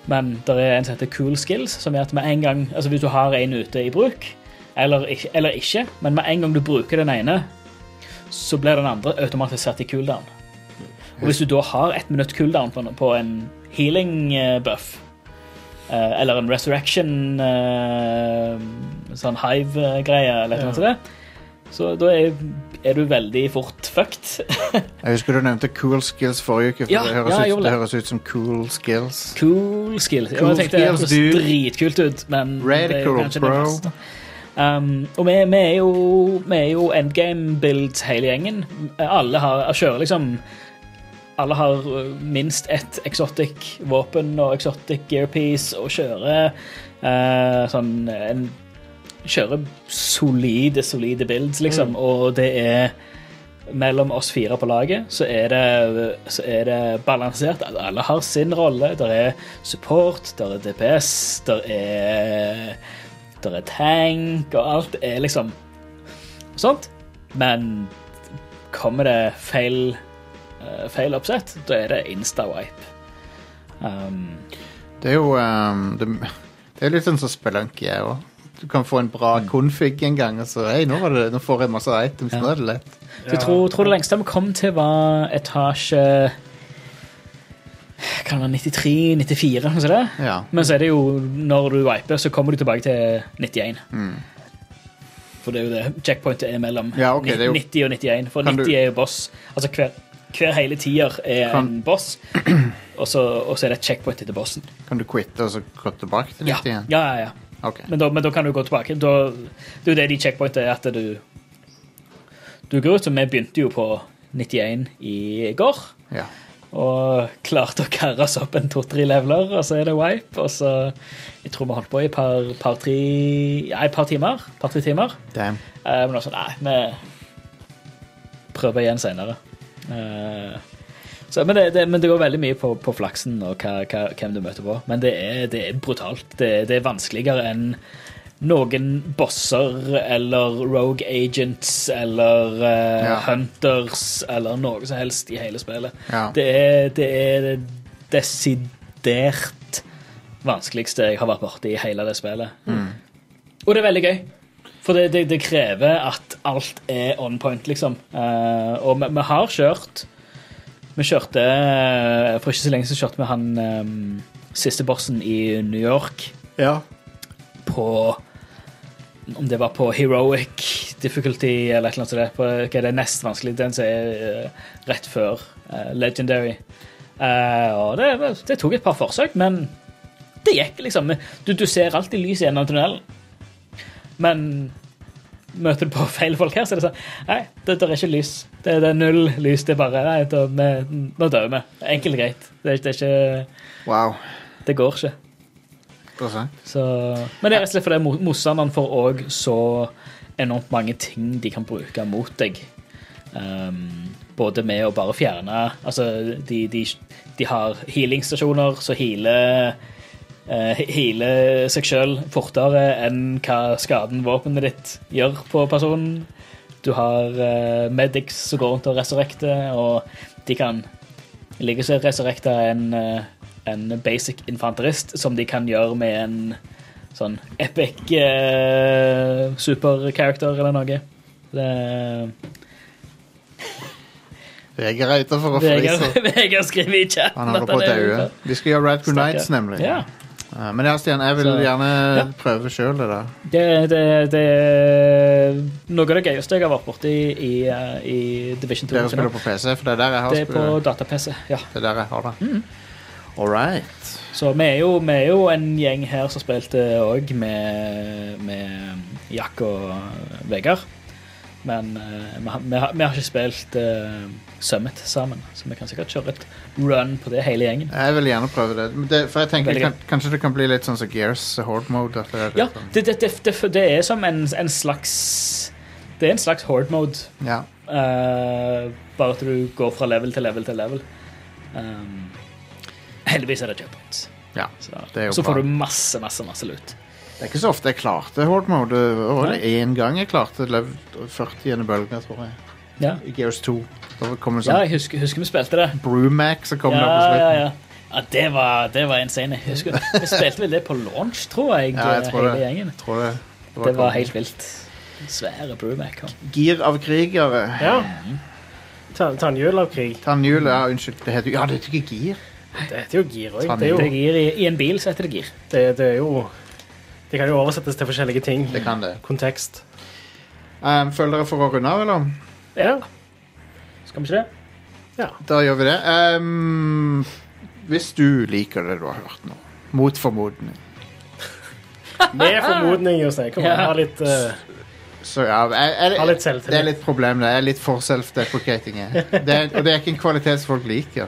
Speaker 4: Men det er en som heter cool skills, som gjør at med en gang, altså hvis du har en ute i bruk, eller, ikke- eller ikke, men med en gang du bruker den ene, så blir den andre automatisk satt i cooldown. Og hvis du da har ett minutt cooldown på en- på en healing eh, buff, eh, eller en resurrection eh, sånn hive-greie, eller noe sånt som det, så da er, er du veldig fort fucked.
Speaker 1: Jeg husker du nevnte cool skills forrige uke, for
Speaker 4: Ja,
Speaker 1: det, høres
Speaker 4: ja, jeg
Speaker 1: ut,
Speaker 4: gjorde
Speaker 1: det
Speaker 4: det.
Speaker 1: høres ut som cool skills.
Speaker 4: Cool skills.
Speaker 1: Cool
Speaker 4: Cool jeg tenkte det
Speaker 1: skills,
Speaker 4: høres
Speaker 1: dude.
Speaker 4: dritkult ut, men det er jo
Speaker 1: Radical,
Speaker 4: kanskje
Speaker 1: bro.
Speaker 4: det beste. Um, og vi, vi er jo, vi er jo endgame-builds hele gjengen. Alle har, kjører liksom Alle har uh, minst ett exotic våpen og exotic gearpiece og kjører uh, sånn en, Kjører solide, solide builds, liksom,
Speaker 1: Mm.
Speaker 4: og det er mellom oss fire på laget, så er det, så er det balansert. At alle har sin rolle. Der er support, der er DPS, der er Der er tank, og alt er liksom sånt. Men kommer det feil eh, feil oppsett, da er det insta-wipe. Um,
Speaker 1: Det er jo ehm, det, det er litt sånn som Spelunky er òg. Du kan få en bra
Speaker 4: Mm.
Speaker 1: config en gang, og så hei, nå, var det, nå får jeg masse items. Nå er det lett.
Speaker 4: Så jeg tror, tror det lengste vi kom til var etasje Kan det være 93, 94, noe sånt? der.
Speaker 1: Ja.
Speaker 4: Men så er det jo, når du wiper, så kommer du tilbake til 91. For det er jo det checkpointet er mellom
Speaker 1: Mm. Ja, ok, det er jo-
Speaker 4: 90 og 91. For
Speaker 1: Kan
Speaker 4: 90
Speaker 1: du-
Speaker 4: er jo boss. Altså hver, hver hele tier er
Speaker 1: Kan-
Speaker 4: en boss, og så, og så er det et checkpoint etter bossen.
Speaker 1: Kan du quitte og så gå tilbake til
Speaker 4: Ja,
Speaker 1: 90
Speaker 4: ja,
Speaker 1: igjen?
Speaker 4: ja. ja.
Speaker 1: Ok.
Speaker 4: Men, da, men da kan du gå tilbake. Da, det er jo det de checkpointet er, at du Du går ut, så vi begynte jo på 91 i går.
Speaker 1: Ja.
Speaker 4: Og klarte å karre oss opp en to-tre leveler, og så er det wipe. Og så Jeg tror vi holdt på i et par, par, tre, ja, et par timer. Par, tre timer.
Speaker 1: Damn.
Speaker 4: Eh, men også, nei, vi prøver igjen senere. Eh, så, men, det, det, men det går veldig mye på, på flaksen og hva, hva, hvem du møter på. Men det er, det er brutalt. Det, er- det er vanskeligere enn noen bosser eller rogue agents eller eh,
Speaker 1: Ja.
Speaker 4: hunters eller noe som helst i hele spillet.
Speaker 1: Ja.
Speaker 4: Det, er, det er det desidert vanskeligste jeg har vært borti i hele det spillet. Og det er veldig gøy. For det, det, det krever at alt er on point, liksom. Eh, og vi, vi har kjørt Vi kjørte eh, For ikke så lenge så kjørte vi han eh, siste bossen i New York
Speaker 1: Ja.
Speaker 4: på Om det var på heroic difficulty eller et eller annet sånt. der, På, hva er det nest vanskelig? Den som er eh, rett før eh, legendary. Eh, og det, det tok et par forsøk, men det gikk, liksom. Du, du ser alltid lys i enden av tunnelen. Men møter du på feil folk her, så er det sånn Nei, det, der er ikke lys. Det, det er null lys. Det er bare Nei, da, vi, nå dør vi. Enkelt og greit. Det, er- det er ikke
Speaker 1: Wow.
Speaker 4: Det går ikke.
Speaker 1: Interessant.
Speaker 4: Så, men det er rett og slett fordi mo- motstanderen får òg så enormt mange ting de kan bruke mot deg. Ehm, både med å bare fjerne Altså, de, de, de har healingstasjoner, så healer eh, healer seg sjøl fortere enn hva skaden våpenet ditt gjør på personen. Du har eh, medics som går rundt og resurrekter, og de kan ligger så resurrekta en, eh, en basic infanterist, som de kan gjøre med en sånn epic eh, supercharacter eller noe. Det,
Speaker 1: Vegard er ute for å fryse.
Speaker 4: Vegard Vegard skriver i chatten
Speaker 1: Han holder på å
Speaker 4: at han er
Speaker 1: daue.
Speaker 4: ute.
Speaker 1: Vi skal gjøre Radcrow
Speaker 4: Stakkar.
Speaker 1: Nights, nemlig.
Speaker 4: Ja.
Speaker 1: Eh, Men ja, Stian, jeg vil
Speaker 4: Så-
Speaker 1: gjerne
Speaker 4: Ja.
Speaker 1: prøve sjøl det der.
Speaker 4: Det, det, det er noe av det gøyeste jeg har vært borti i, eh, i Division 2.
Speaker 1: Dere spiller på PC, for det er der jeg har
Speaker 4: Det er på Mm.
Speaker 1: spill-
Speaker 4: data-PC. Ja.
Speaker 1: Det er der jeg har det. All right.
Speaker 4: Så vi er, jo, vi er jo en gjeng her som spilte òg med, med Jack og Vegard. Men eh, vi, har, vi, har, vi har ikke spilt eh, Summit sammen, så vi kan sikkert kjøre et run på det hele gjengen.
Speaker 1: Jeg vil gjerne prøve det. Men det for jeg tenker
Speaker 4: Veldig
Speaker 1: kan, Kanskje det kan bli litt sånn som Gears Horde Mode. At det er litt
Speaker 4: Ja,
Speaker 1: sånn-
Speaker 4: det, det, det, det, det er som en, en slags Det er en slags horde mode,
Speaker 1: ja.
Speaker 4: eh, bare at du går fra level til level til level. Um, heldigvis er det checkpoints,
Speaker 1: ja.
Speaker 4: så,
Speaker 1: Det er jo
Speaker 4: så får
Speaker 1: bra.
Speaker 4: du masse, masse, masse lut.
Speaker 1: Det er ikke så ofte jeg klarte Horde Mode. Det var vel én gang jeg klarte lev 40. bølge, tror jeg.
Speaker 4: Ja.
Speaker 1: I Gears 2. Da kom en
Speaker 4: Ja,
Speaker 1: sånn
Speaker 4: jeg husker, husker vi spilte det.
Speaker 1: Brumac som kom
Speaker 4: ja,
Speaker 1: der på slutten.
Speaker 4: Ja, ja. ja det, var, det var insane. Jeg husker, vi spilte vel det på launch, tror jeg,
Speaker 1: Ja, jeg tror
Speaker 4: hele
Speaker 1: det.
Speaker 4: gjengen.
Speaker 1: Jeg Tror det, det
Speaker 4: Det var
Speaker 1: kongen.
Speaker 4: helt vilt. Svære Brumac.
Speaker 1: Gir av krigere.
Speaker 2: Ja. Ta- Tannhjul av krig.
Speaker 1: Tannhjul ja, Unnskyld, det heter jo Ja, det heter ikke gir.
Speaker 2: Det heter jo gir òg. Det, er
Speaker 1: Oh.
Speaker 4: Det
Speaker 2: jo-
Speaker 4: gir i, I en bil så heter det gir.
Speaker 2: det, det er jo Det kan jo oversettes til forskjellige ting.
Speaker 1: Det kan det.
Speaker 2: Kontekst.
Speaker 1: Um, føler dere for å runde av, eller?
Speaker 2: Ja.
Speaker 4: Skal vi ikke det?
Speaker 1: Da gjør vi det. Ehm, hvis du liker det du har hørt nå, mot formodning,
Speaker 2: Med formodning, Jostein. Kom an, ha litt, eh,
Speaker 1: så ja jeg, jeg,
Speaker 2: Ha litt
Speaker 1: Det er
Speaker 2: selvtillit.
Speaker 1: litt problem, det. Jeg er litt for self-deprecating. jeg. Det er- Og det er ikke en kvalitet som folk liker.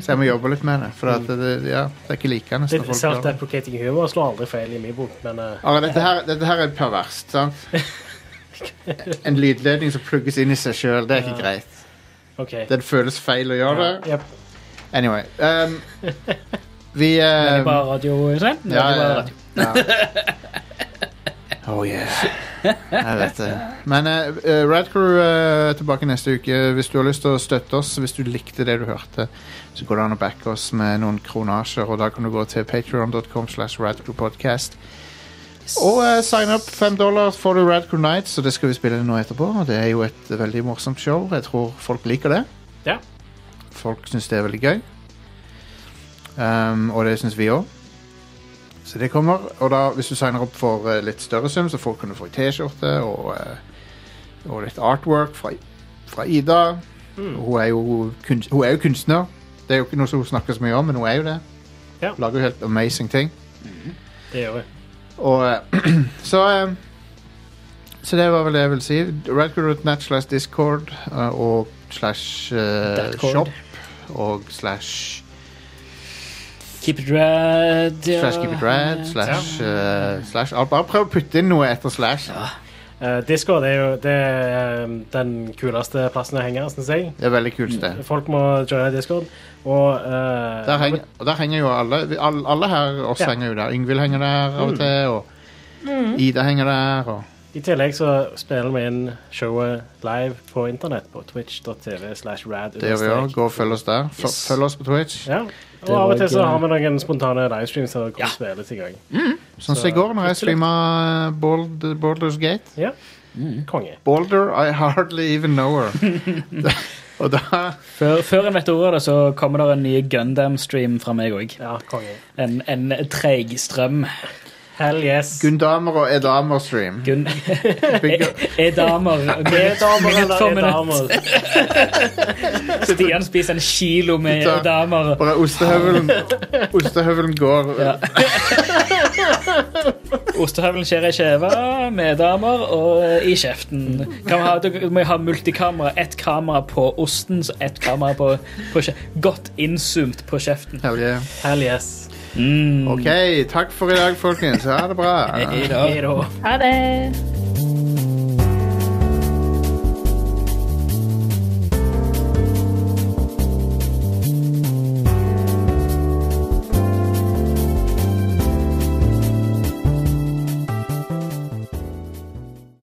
Speaker 1: Så jeg må jobbe litt med det. For at det, det, ja, det er ikke likende.
Speaker 2: litt self-deprecating humor slår aldri feil i min bok, men eh,
Speaker 1: Are, dette, her, dette her er perverst, sant? En lydledning som plugges inn i seg sjøl, det er ikke
Speaker 2: Ja.
Speaker 1: greit.
Speaker 2: OK.
Speaker 1: Det føles feil å gjøre det.
Speaker 2: Ja, jep.
Speaker 1: Anyway. ehm, vi ehm,
Speaker 4: Bare radio, Jostein?
Speaker 1: Ja,
Speaker 4: Veldig bra
Speaker 1: ja,
Speaker 4: radio.
Speaker 1: ja. Oh yeah. Jeg vet det. Men eh, eh, Rad Crew eh, er tilbake neste uke. Hvis du har lyst til å støtte oss, hvis du likte det du hørte, så går det an å backe oss med noen kronasjer, og da kan du gå til patreon.com slash radcrewpodcast. Og eh, sign up. Fem dollar får du Rad Crew Nights, og det skal vi spille nå etterpå. og Det er jo et veldig morsomt show. Jeg tror folk liker det.
Speaker 2: Ja.
Speaker 1: Folk syns det er veldig gøy. Um, og det syns vi òg. Så det kommer. Og da, hvis du signer opp for eh, litt større sum, så får, kan du få ei T-skjorte og, eh, og litt artwork fra, fra Ida. Hun, er jo kunst, hun er jo kunstner. Det er jo ikke noe som hun snakker så mye om, men hun er jo det.
Speaker 2: Ja.
Speaker 1: Lager jo helt amazing ting.
Speaker 2: det gjør vi.
Speaker 1: Og eh, så eh, Så det var vel det jeg ville si. Radcrew.net slash discord eh, og slash eh,
Speaker 4: Datcord.
Speaker 1: shop og slash
Speaker 4: Keep it rad. ja.
Speaker 1: Slash keep it rad, slash, eh, slash alt. Bare prøv å putte inn noe etter slash.
Speaker 2: Eh, Discord er jo det er, eh, den kuleste plassen å henge, syns jeg.
Speaker 1: Det er veldig kult sted.
Speaker 2: Folk må joine Discord. Og eh,
Speaker 1: Der henger, og der henger jo alle. Vi, alle, alle her oss
Speaker 2: Ja.
Speaker 1: henger jo der. Yngvild henger der av og til, og Ida henger der. Og
Speaker 2: I tillegg så spiller vi inn showet live på internett på twitch.tv slash rad.
Speaker 1: det gjør vi òg. Gå og følg oss der. F
Speaker 4: Yes.
Speaker 1: Følg oss på Twitch.
Speaker 2: Ja. Og
Speaker 4: Det
Speaker 2: av
Speaker 4: var
Speaker 2: og til så
Speaker 4: ikke-
Speaker 2: har vi noen spontane livestreams som kommer spilles i gang.
Speaker 1: Sånn som i går, når jeg streama Bold, Boulders Gate.
Speaker 2: Ja.
Speaker 1: Mm.
Speaker 2: Konge.
Speaker 1: Boulder I hardly even know her. og da
Speaker 4: Før, før en vet ordet av det, så kommer det en ny Gundam-stream fra meg òg.
Speaker 2: Ja, konge.
Speaker 4: En, en treig strøm.
Speaker 2: Hell yes.
Speaker 1: Gundamer og Edamer-stream.
Speaker 4: Gun
Speaker 1: Big,
Speaker 2: Damer
Speaker 4: E-damer. Minutt
Speaker 2: eller
Speaker 4: for minutt.
Speaker 2: damer.
Speaker 4: Stian spiser en kilo med
Speaker 1: Gutta.
Speaker 4: damer.
Speaker 1: Bare ostehøvelen Ostehøvelen går
Speaker 4: Ja. Ostehøvelen skjer i kjeva, med damer og i kjeften. Kan vi ha, du må ha multikamera. Ett kamera på osten, så ett kamera på, på kje- Godt innzoomt på kjeften.
Speaker 1: Hell yeah.
Speaker 2: Hell yes.
Speaker 1: Mm. OK, takk for i dag, folkens. Ha det bra.
Speaker 4: I dag.
Speaker 8: Ha det.